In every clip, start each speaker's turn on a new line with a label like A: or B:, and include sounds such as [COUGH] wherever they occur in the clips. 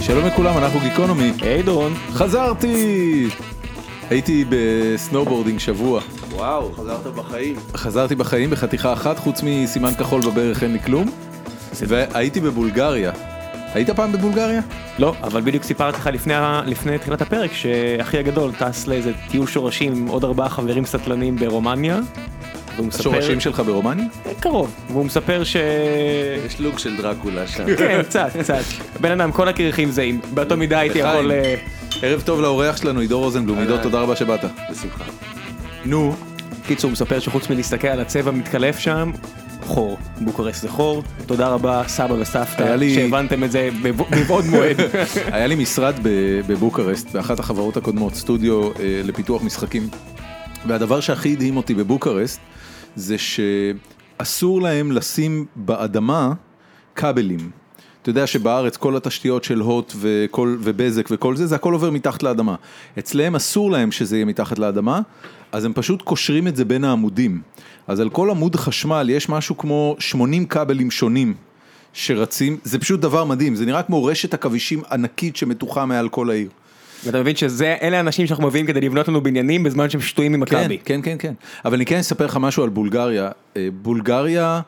A: שלום לכולם, אנחנו גיקונומי.
B: היי דורון.
A: חזרתי! הייתי בסנובורדינג שבוע.
C: וואו, חזרת בחיים.
A: חזרתי בחיים בחתיכה אחת, חוץ מסימן כחול בברך אין לי כלום. והייתי בבולגריה. היית פעם בבולגריה?
B: לא, אבל בדיוק סיפרתי לך לפני, ה- לפני תחילת הפרק שאחי הגדול טס לאיזה טיול שורשים עם עוד ארבעה חברים סטלנים ברומניה. והוא מספר...
A: השורשים שלך ברומניה?
B: קרוב. והוא מספר ש...
C: יש לוג של דרקולה שם.
B: כן, קצת, קצת. בן אדם, כל הקרחים זהים. באותה מידה הייתי יכול... אה,
A: ערב טוב לאורח שלנו, עידו רוזנבלום. עידו,
C: אהלן.
A: תודה רבה שבאת.
C: בשמחה.
A: נו,
B: קיצור, הוא מספר שחוץ מלהסתכל על הצבע מתקלף שם, חור. בוקרשט זה חור. תודה רבה, סבא וסבתא,
A: היה לי-
B: שהבנתם את זה בב- מבעוד מועד.
A: [LAUGHS]
B: [LAUGHS]
A: היה לי משרד ב- בבוקרשט, באחת החברות הקודמות, סטודיו אה, לפיתוח משחקים. והדבר שהכי הדהים אותי בבוקרשט, זה שאסור להם לשים באדמה כבלים. אתה יודע שבארץ כל התשתיות של הוט וכל, ובזק וכל זה, זה הכל עובר מתחת לאדמה. אצלהם אסור להם שזה יהיה מתחת לאדמה, אז הם פשוט קושרים את זה בין העמודים. אז על כל עמוד חשמל יש משהו כמו 80 כבלים שונים שרצים, זה פשוט דבר מדהים, זה נראה כמו רשת עכבישים ענקית שמתוחה מעל כל העיר.
B: ואתה מבין שזה, אלה האנשים שאנחנו מביאים כדי לבנות לנו בניינים בזמן שהם שטויים ממכבי.
A: כן, כן, כן. אבל אני כן אספר לך משהו על בולגריה. אה, בולגריה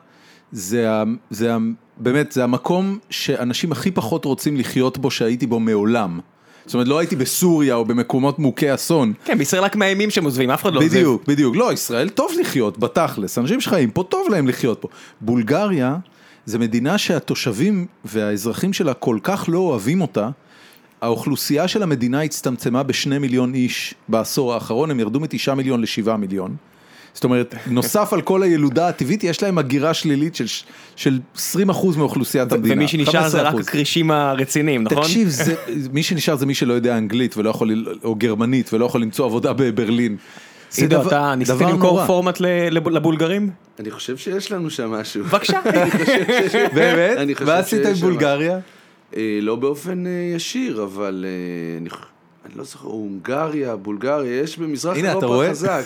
A: זה, ה- זה ה- באמת, זה המקום שאנשים הכי פחות רוצים לחיות בו שהייתי בו מעולם. זאת אומרת, לא הייתי בסוריה או במקומות מוכי אסון.
B: כן, בישראל רק מאיימים שהם עוזבים, אף אחד לא עוזב.
A: בדיוק, בדיוק. לא, ישראל טוב לחיות, בתכלס. אנשים שחיים פה, טוב להם לחיות פה. בולגריה זה מדינה שהתושבים והאזרחים שלה כל כך לא אוהבים אותה. האוכלוסייה של המדינה הצטמצמה בשני מיליון איש בעשור האחרון, הם ירדו מתשעה מיליון לשבעה מיליון. זאת אומרת, נוסף על כל הילודה הטבעית, יש להם הגירה שלילית של, ש- של 20% מאוכלוסיית המדינה.
B: ומי שנשאר זה רק
A: 15%.
B: הכרישים הרציניים, נכון?
A: תקשיב, זה, מי שנשאר זה מי שלא יודע אנגלית ולא יכול, ל- או גרמנית ולא יכול למצוא עבודה בברלין. זה
B: עידו,
A: דבר-
B: אתה ניסית
A: דבר
B: למכור
A: נורא.
B: פורמט ל- לב- לבולגרים?
C: אני חושב שיש לנו שם משהו.
B: בבקשה.
C: [LAUGHS] אני
A: [LAUGHS] באמת?
C: חושב
A: מה עשית עם
C: שיש
A: בולגריה?
C: אה, לא באופן אה, ישיר, אבל אה, אני ח- אני לא זוכר, הונגריה, בולגריה, יש במזרח
A: הנה, אתה
C: אירופה
A: רואה? [LAUGHS]
C: חזק.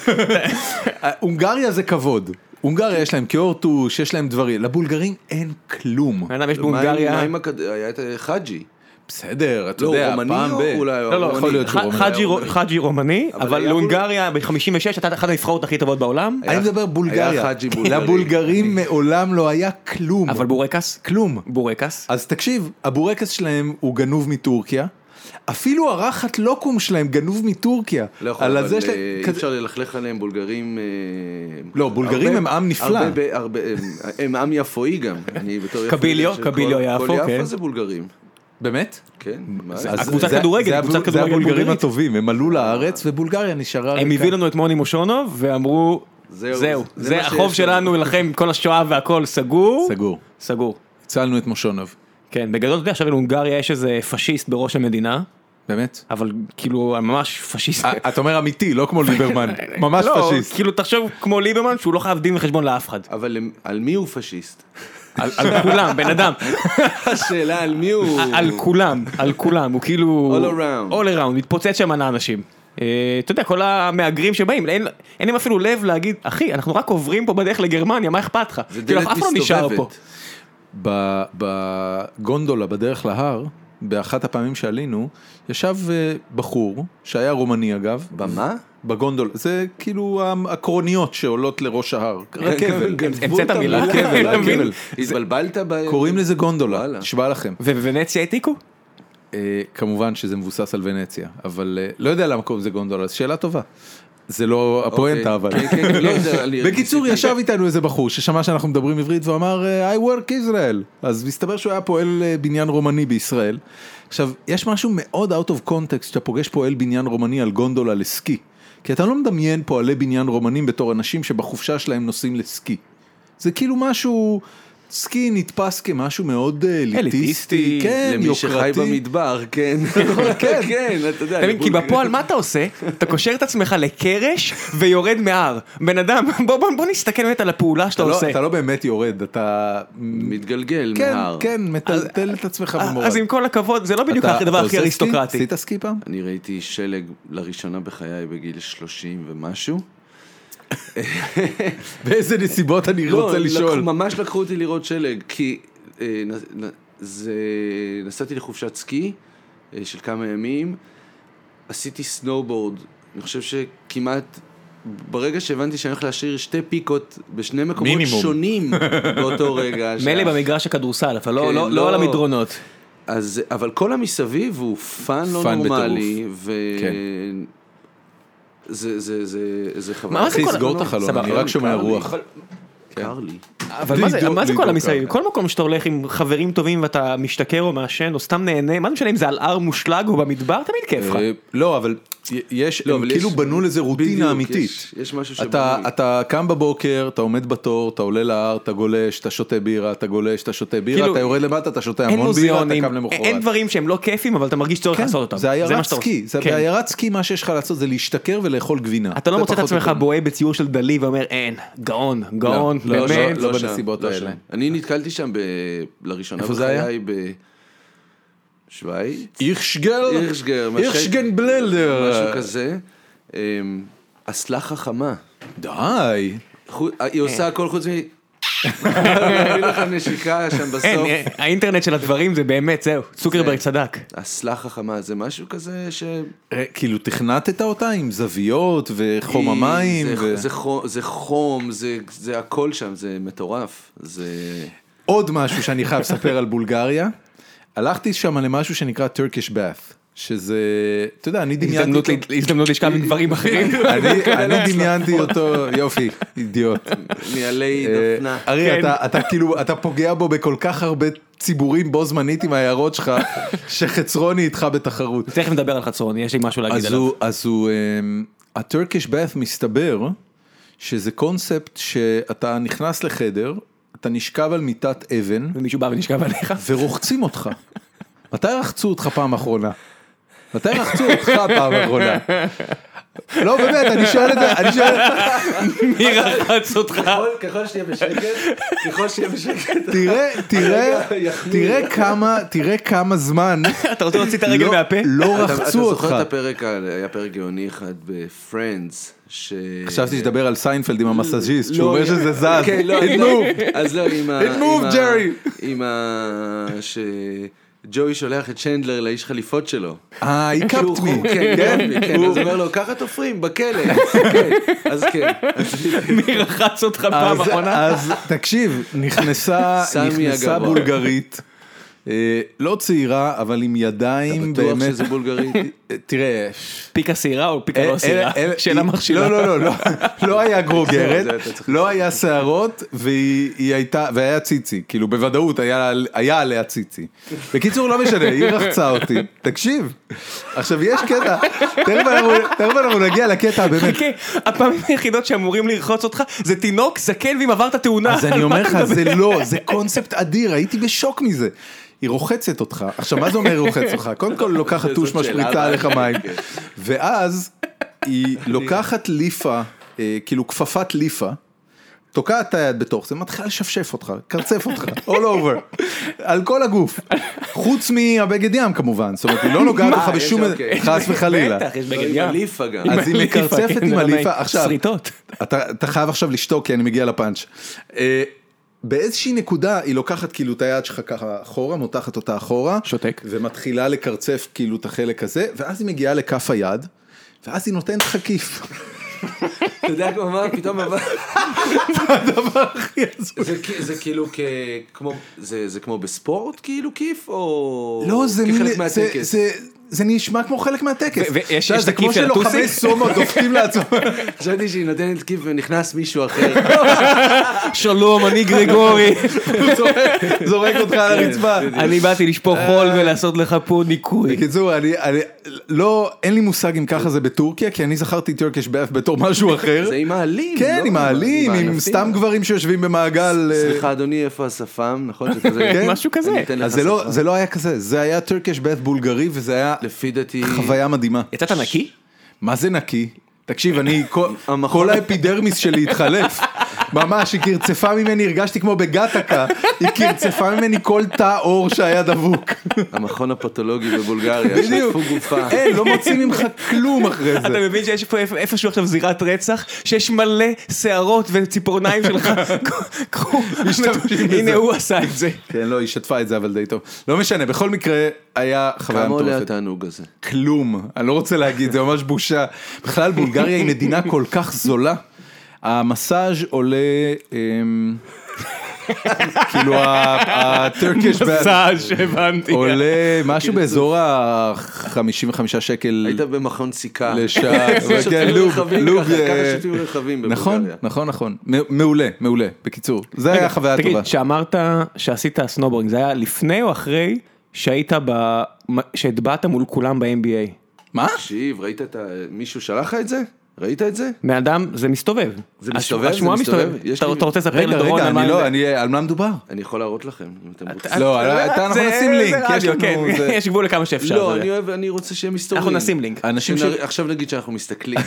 A: אה, הונגריה זה כבוד.
C: כן.
A: הונגריה יש להם קיורטוש, יש להם דברים. לבולגרים אין כלום.
B: בן אדם, יש
C: מה עם- מה
B: בהונגריה...
C: עם הכד- היה את אה, חאג'י.
A: בסדר, אתה
C: לא,
A: יודע,
C: רומני
A: פעם
C: או
A: ב...
C: אולי,
A: לא, לא,
C: רומני.
A: יכול להיות
B: ח-
A: שהוא רומני.
B: חאג'י רו-
C: רומני.
B: חאג'י רומני,
C: אבל
B: אבל
C: היה
B: להונגריה ב-56 הייתה אחת הנבחרות הכי טובות בעולם,
A: אני מדבר בולגריה.
C: היה חאג'י בולגרי.
A: לבולגרים מעולם לא היה כלום.
B: אבל בורקס?
A: כלום.
B: בורקס.
A: אז תקשיב, הבורקס שלהם הוא גנוב מטורקיה. אפילו הרחת לוקום שלהם גנוב מטורקיה.
C: לא יכול,
A: על
C: אבל
A: הזה
C: אה,
A: שלהם-
C: אי
A: כזה-
C: אפשר ללכלך עליהם, בולגרים... אה,
A: לא, בולגרים
C: הרבה-
A: הם עם נפלא.
C: הרבה ב- הרבה- הם- הם עם יפואי גם. אני בתור יפואי
B: קביליו,
C: יודע שכל-
B: קביליו יפו,
C: כל
B: כן.
C: יפו זה בולגרים.
A: באמת?
C: כן. מה
A: אז
C: זה?
B: הקבוצת
A: זה-
B: כדורגל,
A: זה
B: קבוצת
A: הבול-
B: כדורגל
A: זה הבולגרים
B: בולגרית.
A: הטובים, הם עלו לארץ ובולגריה נשארה...
B: הם
A: ריקה.
B: הביאו לנו את מוני מושונוב ואמרו,
C: זהו,
B: זהו,
C: זה
B: זה
C: מה שיש
B: החוב
C: לנו."
B: שלנו לכם, עם כל השואה והכל סגור.
A: סגור.
B: סגור.
A: הצלנו את מושונוב.
B: כן, בגדול אתה יודע, עכשיו להונגריה יש איזה פשיסט בראש המדינה,
A: באמת?
B: אבל כאילו ממש פשיסט.
A: אה, אתה אומר אמיתי, לא כמו ליברמן. ממש
B: [LAUGHS] לא,
A: פשיסט.
B: כאילו תחשוב כמו ליברמן שהוא לא חייב דין וחשבון לאף אחד.
C: אבל הם- על מי הוא פשיסט?
B: על על כולם, בן אדם.
C: השאלה על מי הוא...
B: על כולם, על כולם, הוא כאילו...
C: All around.
B: All around, מתפוצץ שם על האנשים. אה, אתה יודע, כל המהגרים שבאים, אין אין להם אפילו לב להגיד, אחי, אנחנו רק עוברים פה בדרך לגרמניה, מה אכפת לך?
C: זה
B: כאילו,
C: דלת
B: אף אחד לא נשאר פה.
C: מסתובבת.
A: ב- בגונדולה בדרך להר, באחת הפעמים שעלינו, ישב אה, בחור, שהיה רומני אגב.
C: במה?
A: בגונדול, זה כאילו הקרוניות שעולות לראש ההר,
C: כן,
A: רכבל,
C: כן,
B: המצאת
C: גנבו את
B: מילה?
C: המילה,
B: כן, [LAUGHS]
C: המילה
B: אתה מבין?
C: גבל. התבלבלת ב...
A: קוראים לזה גונדולה,
C: וואלה.
A: נשבע לכם.
B: ובוונציה העתיקו?
A: אה, כמובן שזה מבוסס על ונציה, אבל אה, לא יודע למה קוראים לזה גונדולה, אז שאלה טובה. זה לא הפואנטה אבל.
C: כן, כן, כן, לא יודע, אני-
A: בקיצור, ישב איתנו איזה בחור ששמע שאנחנו מדברים עברית והוא אמר I work Israel. אז מסתבר שהוא היה פועל אה, בניין רומני בישראל. עכשיו, יש משהו מאוד out of context שאתה פוגש פועל בניין רומני על גונדולה לסקי. כי אתה לא מדמיין פועלי בניין רומנים בתור אנשים שבחופשה שלהם נוסעים לסקי. זה כאילו משהו, סקי נתפס כמשהו מאוד אה, אליטיסטי,
B: אליטיסטי,
A: כן,
C: למי שחי
A: יוקרתי.
C: במדבר, כן.
A: [LAUGHS] כן.
C: כן, אתה יודע.
B: אתה מבין? כי
C: לבולגרים-
B: בפועל מה אתה עושה? אתה קושר את עצמך לקרש ויורד מהר. בן אדם, בוא- בוא בוא נסתכל באמת על הפעולה שאתה
A: אתה לא-
B: עושה.
A: אתה לא באמת יורד, אתה...
C: מתגלגל
A: כן,
C: מההר.
A: כן, מטלטל את עצמך במורד.
B: אז עם כל הכבוד, זה לא בדיוק
A: אתה-
B: הדבר
A: אתה
B: הכי
A: עושה סקי?
B: אריסטוקרטי.
A: עשית סקי פעם?
C: אני ראיתי שלג לראשונה בחיי בגיל 30 ומשהו.
A: באיזה נסיבות אני רוצה
C: לא,
A: לשאול.
C: לקחו- ממש לקחו אותי לראות שלג, כי אה, נ- נ- זה... נסעתי לחופשת סקי, אה, של כמה ימים. עשיתי סנואובורד, אני חושב שכמעט, ברגע שהבנתי שאני הולך להשאיר שתי פיקות בשני מקומות
A: מינימום. [LAUGHS]
C: שונים באותו רגע.
D: מילא
C: שה-
D: במגרש הכדורסל, אבל לא-
C: כן,
D: לא לא
C: לא-
D: על המדרונות.
C: אז, אבל כל המסביב הוא פאן לא
A: פאן
C: נורמלי, ו...
A: כן.
C: זה, זה, זה, זה חבל.
D: מה זה
A: אחי,
D: כל-
A: סגור את
D: נו,
A: החלון,
D: סבבה. לא,
A: אני רק שומע
C: קר לי.
A: רוח. כן.
C: קר לי.
D: אבל מה זה-
A: לידו-
D: מה זה כל
A: לידו
D: המסביב?
A: קרקע.
D: כל מקום שאתה הולך עם חברים טובים ואתה משתכר או מעשן או סתם נהנה, מה זה משנה אם זה על הר מושלג או במדבר, תמיד כיף לך.
A: אה, לא, אבל י- יש,
C: לא,
A: הם
C: אבל
A: כאילו
C: יש-
A: בנו לזה
C: בדיוק,
A: רוטינה אמיתית.
C: יש, יש משהו
A: אתה,
C: שבנוי.
A: אתה קם בבוקר, אתה עומד בתור, אתה עולה להר, אתה גולש, אתה שותה בירה, אתה גולש, אתה שותה בירה,
D: כאילו,
A: אתה יורד למטה, אתה שותה
D: אין
A: המון בירה, אתה
D: מוזיאונים,
A: קם למחרת. כן,
D: אין דברים שהם לא כיפים, אבל אתה מרגיש צורך לעשות אותם.
A: זה
D: מה
A: עיירת
D: שאתה
A: סקי,
D: עושה.
A: זה
D: כן.
A: בעיירת סקי מה שיש לך לעשות זה להשתכר ולאכול גבינה.
D: אתה לא
A: זה
D: מוצא את
A: פחות
D: עצמך
A: או יותר.
D: בוהה בציור של דלי ואומר אין, גאון, גאון,
A: לא, לא,
D: באמת.
A: לא
C: שם,
A: בנסיבות
C: לא
A: האלה.
C: שם. אני נתקלתי שם ב... לראשונה
A: איפה זה היה?
C: בחיי בשוויץ.
A: איכשגל,
C: איכשגר, מה
A: איכשגן
C: שהי-
A: בלדר.
C: משהו כזה. אמ, אסלה חכמה.
A: די.
C: חו- היא
A: אה.
C: עושה
A: [LAUGHS]
C: הכל חוץ מ... אני לך נשיקה שם
A: אה,
D: אין,
C: בסוף.
D: אין, האינטרנט של הדברים זה באמת, זהו, צוקרברג צדק.
C: אסלה חכמה זה משהו כזה ש...
A: אה, כאילו תכנתת אותה עם זוויות וחום המים.
C: אה, זה-
A: ו-
C: זה חום, זה חום, זה- זה הכל שם, זה מטורף.
A: [LAUGHS]
C: זה...
A: עוד משהו שאני חייב לספר על בולגריה, הלכתי שם למשהו שנקרא Turkish Bath, שזה, אתה יודע, אני דמיינתי
D: הזדמנות
A: אותו,
D: ל- הזדמנות לשכב עם גברים
A: [LAUGHS]
D: אחרים.
A: אני, אני דמיינתי אותו, יופי,
C: [LAUGHS]
A: אידיוט.
C: נעלי
A: אה,
C: דפנה.
A: ארי, אתה, אתה כאילו, אתה פוגע בו בכל כך הרבה ציבורים בו זמנית עם ההערות
C: [LAUGHS]
A: שלך, שחצרוני איתך בתחרות.
D: תכף נדבר על חצרוני, יש לי משהו להגיד
A: אז
D: עליו.
A: הוא, אז הוא, אמ, ה-Turkish Bath מסתבר שזה קונספט שאתה נכנס לחדר, אתה נשכב על מיטת אבן,
D: ומישהו בא ונשכב עליך.
A: ורוחצים
C: [LAUGHS]
A: אותך. מתי רחצו אותך פעם אחרונה? מתי רחצו אותך פעם אחרונה? לא באמת, אני שואל את זה, אני שואל,
D: מי רחץ אותך?
C: ככל- ככל שתהיה בשקט, ככל שתהיה בשקט.
A: תראה,
C: [LAUGHS]
A: תראה, תראה כמה, תראה כמה זמן
D: אתה רוצה להוציא את הרגל
A: לא-
D: מהפה?
A: לא
C: אתה-
A: רחצו
C: אתה
A: אותך.
C: זוכר את הפרק, ה- היה פרק גאוני אחד בפרנדס, ש...
A: חשבתי שתדבר על סיינפלד עם המסאז'יסט,
C: לא,
A: שהוא אומר שזה זז,
C: כן,
A: [LAUGHS]
C: לא,
A: It
C: אז לא.
A: moved.
C: אז לא, עם ה...
A: It
C: עם
A: moved,
C: ה-
A: Jerry.
C: עם ה... שג'וי שולח את שנדלר לאיש חליפות שלו.
A: אה, he
C: שהוא-
A: cupped me.
C: כן,
A: [LAUGHS]
C: כן, כן,
A: הוא-
C: אז הוא אומר לו, ככה תופרים, בכלא. [LAUGHS] כן, אז כן.
D: מי רחץ אותך פעם
A: אז-
D: אחרונה?
A: אז תקשיב, נכנסה
C: [LAUGHS] סמי
A: נכנסה
C: הגבוה.
A: בולגרית, אה, לא צעירה, אבל עם ידיים
C: בטוח
A: באמת, אה,
C: שזה אה, בולגרית?
A: תראה, אה,
D: פיקה שעירה או פיקה לא שעירה?
A: אלה- אלה-
D: שאלה
A: היא- לא,
D: מכשילה.
C: [LAUGHS]
A: לא, לא, לא, לא היה גרוגרת,
C: זה אתה צריך
A: לא היה שערות, והיא היא הייתה, והיה ציצי, כאילו בוודאות היה היה עליה ציצי. בקיצור, לא משנה, היא רחצה אותי, תקשיב. עכשיו, יש קטע, תכף אנחנו- תכף אנחנו נגיע לקטע [LAUGHS] הבאמת
D: חכה, לא. אוקיי, הפעמים היחידות שאמורים לרחוץ אותך זה תינוק, זקן ואם עברת תאונה.
A: אז אני אומר לך, זה לא, זה קונספט אדיר, הייתי בשוק מזה. היא רוחצת אותך, עכשיו מה זה אומר רוחצת אותך? קודם כל לוקחת טוש
C: [LAUGHS] זאת שאלה, כן.
A: משפריצה
C: אבל-
A: עליך מים, ואז היא לוקחת ליפה, אה, כאילו כפפת ליפה, תוקעת את היד בתוך זה, מתחילה לשפשף אותך, קרצף אותך, all over, על כל הגוף, חוץ מהבגד ים כמובן, זאת אומרת היא לא נוגעת
C: מה,
A: לך
C: יש,
A: בשום,
C: אוקיי.
A: חס וחלילה,
D: בטח, יש
C: לא,
D: בגד
C: עם
D: ים.
C: הליפה גם.
A: אז היא
D: הליפה,
A: מקרצפת
D: כן,
A: עם
D: זה
A: הליפה,
D: נעים.
A: עכשיו,
D: שריטות.
A: אתה, אתה חייב עכשיו לשתוק כי אני מגיע לפאנץ'. אה, באיזושהי נקודה היא לוקחת כאילו את היד שלך ככה אחורה, מותחת אותה אחורה.
D: שותק.
A: ומתחילה לקרצף כאילו את החלק הזה, ואז היא מגיעה לכף היד, ואז היא נותנת חקיף.
C: אתה יודע כמו מה, פתאום עבר...
A: הכי הזוי.
C: זה כ- זה כאילו כ... כמו... זה זה כמו בספורט כאילו כיף, או...
A: לא, זה מין...
C: כחלק
A: זה,
C: מהטקס?
A: זה, זה נשמע כמו חלק מהטקס.
D: ו- ויש-
A: אתה יודע,
D: יש
A: זה כמו
D: תקיף של
A: שלוחמי
D: הטוסיק?
A: סומו דופקים
D: [LAUGHS]
A: לעצמם.
C: חשבתי שהיא נותנת כיף ונכנס
A: [LAUGHS]
C: מישהו אחר.
A: לא.
D: שלום, [LAUGHS] אני גרגורי.
A: זורק- זורק אותך על
D: כן,
A: הרצפה.
D: אני באתי לשפוך חול ולעשות לך פה ניקוי.
A: בקיצור, אני, אני לא, אין לי מושג אם ככה זה בטורקיה, כי אני זכרתי טורקיש באף בתור משהו אחר.
C: זה עם העלים.
A: [LAUGHS] כן,
C: לא?
A: עם העלים, עם
C: הענפים.
A: סתם גברים שיושבים במעגל. אה,
C: סליחה אדוני, איפה השפם? נכון? זה כזה-
A: [LAUGHS] כן.
D: משהו כזה.
C: אני אתן לך
A: אז זה לא,
C: שפם.
A: זה לא היה כזה, זה היה טורקיש בית בולגרי וזה היה
C: לפי דעתי...
A: חוויה מדהימה.
D: יצאת נקי?
A: מה זה נקי? תקשיב, אני, כל-
C: [LAUGHS] המכון-
A: כל האפידרמיס שלי התחלף. ממש, היא קרצפה ממני, הרגשתי כמו בגטקה, היא קרצפה ממני כל תא עור שהיה
C: [LAUGHS]
A: דבוק.
C: המכון הפתולוגי בבולגריה,
A: בדיוק.
C: שטפו גופה.
A: אין, לא מוצאים ממך כלום אחרי
C: [LAUGHS]
D: אתה
A: זה.
D: מבין שיש פה איפ- איפשהו עכשיו זירת רצח, שיש מלא שערות וציפורניים
A: [LAUGHS]
D: שלך, קחו,
A: משתמשים בזה.
D: הנה הוא עשה את זה.
A: כן, לא, היא שטפה את זה, אבל די טוב. לא משנה, בכל מקרה, היה חוויה
C: כמה עולה
A: מטורפת.
C: התענוג הזה?
A: כלום, אני לא רוצה להגיד, זה ממש בושה. בכלל, בולגריה היא מדינה כל כך זולה. המסאז' עולה, אמ, כאילו הטרקיש
B: מסאז' הבנתי.
A: עולה משהו באזור ה-55 שקל
C: היית במכון סיכה. [LAUGHS]
A: לשעה. כן,
C: שותים
A: לוב,
C: רכבים
A: לוב,
C: ככה,
A: אה,
C: ככה שותים רכבים
A: נכון,
C: בבולגריה.
A: נכון, נכון. מ- מעולה, מעולה, בקיצור. זה היה חוויה
B: תגיד,
A: טובה.
B: שאמרת שעשית סנובורינג, זה היה לפני או אחרי שהיית ב... שהטבעת מול כולם ב-NBA?
A: מה?
C: תקשיב, ראית את ה... מישהו שלח לך את זה? ראית את זה?
B: בן אדם, זה מסתובב.
C: זה
B: הש-
C: מסתובב, זה
B: השמועה
C: מסתובב.
B: מסתובבת.
C: יש
B: אתה
C: לי-
B: אתה רוצה לספר
A: רגע,
B: לדורון
A: רגע,
B: על מה
A: אני
B: זה?
A: לא, אני- על מה מדובר? [LAUGHS]
C: אני יכול להראות לכם, אם אתם רוצים.
A: לא, אתה- אנחנו
D: זה-
A: נשים
D: זה
A: לינק, יש
D: רדיו,
A: לנו-
D: כן,
A: זה-
D: יש גבול לכמה שאפשר.
C: לא,
D: אתה
C: אני
D: יודע.
C: אוהב, אני רוצה שהם מסתובבים.
D: אנחנו נשים לינק.
A: אנשים ש-
C: שנרא- עכשיו נגיד שאנחנו
A: [LAUGHS]
C: מסתכלים.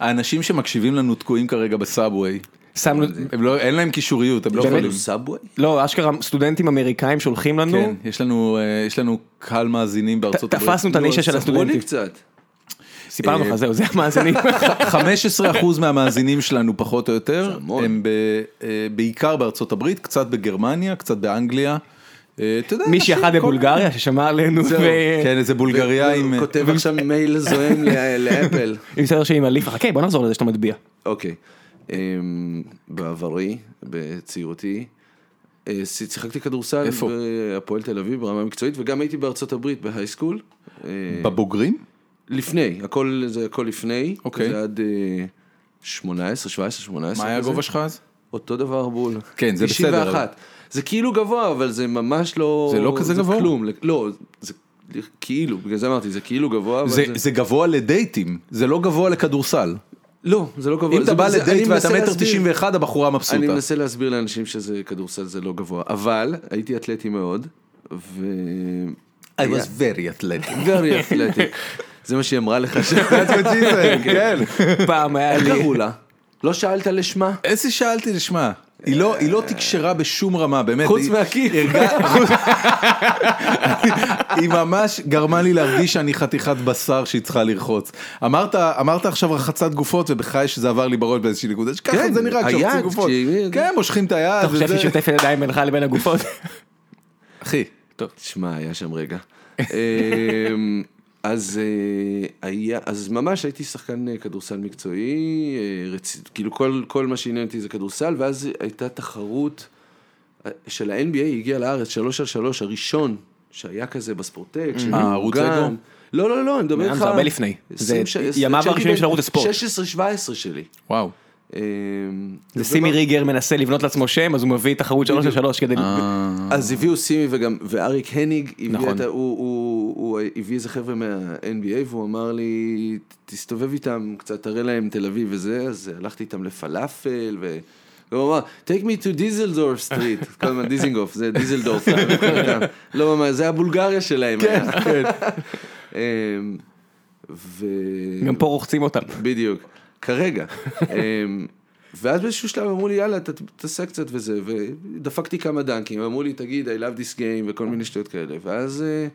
A: האנשים שמקשיבים לנו תקועים כרגע בסאבווי.
B: שמנו...
A: הם לא, אין להם קישוריות, הם לא
C: באמת?
A: יכולים.
C: הוא סאבווי?
B: לא, אשכרה סטודנטים אמריקאים שולחים לנו,
A: כן, יש לנו, אה, יש לנו קהל מאזינים בארצות
B: ת-
A: הברית.
B: תפסנו את הנישה של
C: ספרו לי
B: הסטודנטים.
C: לא, קצת.
B: סיפרנו
A: אה,
B: לך, זהו, זה
A: [LAUGHS]
B: המאזינים.
A: 15% מהמאזינים שלנו פחות או יותר,
C: המון.
A: הם ב, אה, בעיקר בארצות הברית, קצת בגרמניה, קצת באנגליה. אה, אתה יודע,
B: מישהי
A: אנשים-
B: אחת בבולגריה ששמעה עלינו,
A: זהו,
B: ו-
A: כן, איזה בולגריה עם...
C: הוא כותב עכשיו מייל זועם ל- לאפל.
B: עם סדר שלי עם הליף, חכה בוא נחזור לזה שאתה מטביע. [LAUGHS]
C: אוקיי. אמ, בעברי, בצעירותי, אה, ש- שיחקתי כדורסל
A: איפה?
C: בהפועל תל אביב ברמה מקצועית, וגם הייתי בארצות הברית בהייסקול. אה,
A: בבוגרים?
C: לפני, הכל זה הכל לפני.
A: אוקיי.
C: זה עד אה, 18, 17, 18.
A: מה היה
C: כזה.
A: הגובה שלך אז?
C: אותו דבר בול.
A: כן, זה בסדר,
C: 91. זה כאילו גבוה, אבל זה ממש לא...
A: זה לא כזה גבוה?
C: זה כלום. לא, זה כאילו, בגלל זה אמרתי, זה כאילו גבוה, אבל
A: זה,
C: זה...
A: זה גבוה לדייטים, זה לא גבוה לכדורסל.
C: לא, זה לא גבוה.
A: אם
C: זה-
A: אתה בא
C: זה- אני
A: לדייט ואתה
C: מנסה
A: מטר
C: להסביר.
A: 91, הבחורה
C: אני
A: מבסוטה.
C: מנסה להסביר לאנשים שזה כדורסל זה לא גבוה, אבל הייתי אתלטי מאוד, ו...
A: I was very athletic. [LAUGHS]
C: very athletic. זה מה שהיא אמרה לך ש...
A: That's what she
C: [LAUGHS]
A: said, כן.
D: פעם היה
C: איך
D: לי...
C: קראו לה? לא שאלת לשמה?
A: איזה שאלתי לשמה. היא לא, היא לא תקשרה בשום רמה, באמת.
C: אה. חוץ
A: היא-
C: מהקיר.
A: [LAUGHS] היא ממש גרמה לי להרגיש שאני חתיכת בשר שהיא צריכה לרחוץ. אמרת, אמרת עכשיו רחצת גופות, ובחיי שזה עבר לי בראש באיזושהי נקודה, שככה
C: כן,
A: זה נראה כשרחצים
C: היד,
A: גופות.
C: כשהיא-
A: כן, מושכים את היד.
B: אתה חושב
A: וזה-
B: שהיא שוטפת ידיים בינך לבין הגופות? [LAUGHS]
A: אחי,
C: תשמע, היה שם רגע. אמ, אז אה, היה, אז ממש הייתי שחקן אה, כדורסל מקצועי, אה, רצ... כאילו כל, כל מה שעניין אותי זה כדורסל, ואז הייתה תחרות אה, של ה-NBA, הגיעה לארץ, שלוש על שלוש, הראשון שהיה כזה בספורטק, שהיה
A: אה, ערוץ
C: מאורגן.
A: אגו?
C: לא, לא, לא, אני מדבר
B: זה
C: איתך.
B: הרבה לפני. זה
C: עשרים ש-
B: ימיו
C: כשהייתי
B: הראשונים
C: בן
B: של ערוץ הספורט.
C: 16-17 שלי.
A: וואו.
C: אמ,
B: זה לא- סימי ריגר מנסה לבנות לעצמו שם, אז הוא מביא תחרות 3 על 3 כדי...
A: אה.
C: אז הביאו סימי וגם, ואריק הניג, הביא
B: נכון.
C: את ה- הוא, הוא, הוא הביא איזה חבר'ה מה-NBA והוא אמר לי, תסתובב איתם קצת, תראה להם תל אביב וזה, אז הלכתי איתם לפלאפל ו... והוא אמר, take me to דיזלדורף סטריט, [LAUGHS] כל הזמן דיזינגוף, זה דיזלדורף, [LAUGHS] לא ממש, זה הבולגריה שלהם. כן, [LAUGHS] כן. ו...
B: גם פה רוחצים אותם.
C: בדיוק, כרגע. אמ, ואז באיזשהו שלב אמרו לי, יאללה, ת- תעשה קצת וזה, ודפקתי כמה דנקים, אמרו לי, תגיד, I love this game, וכל מיני שטויות כאלה, ואז אה,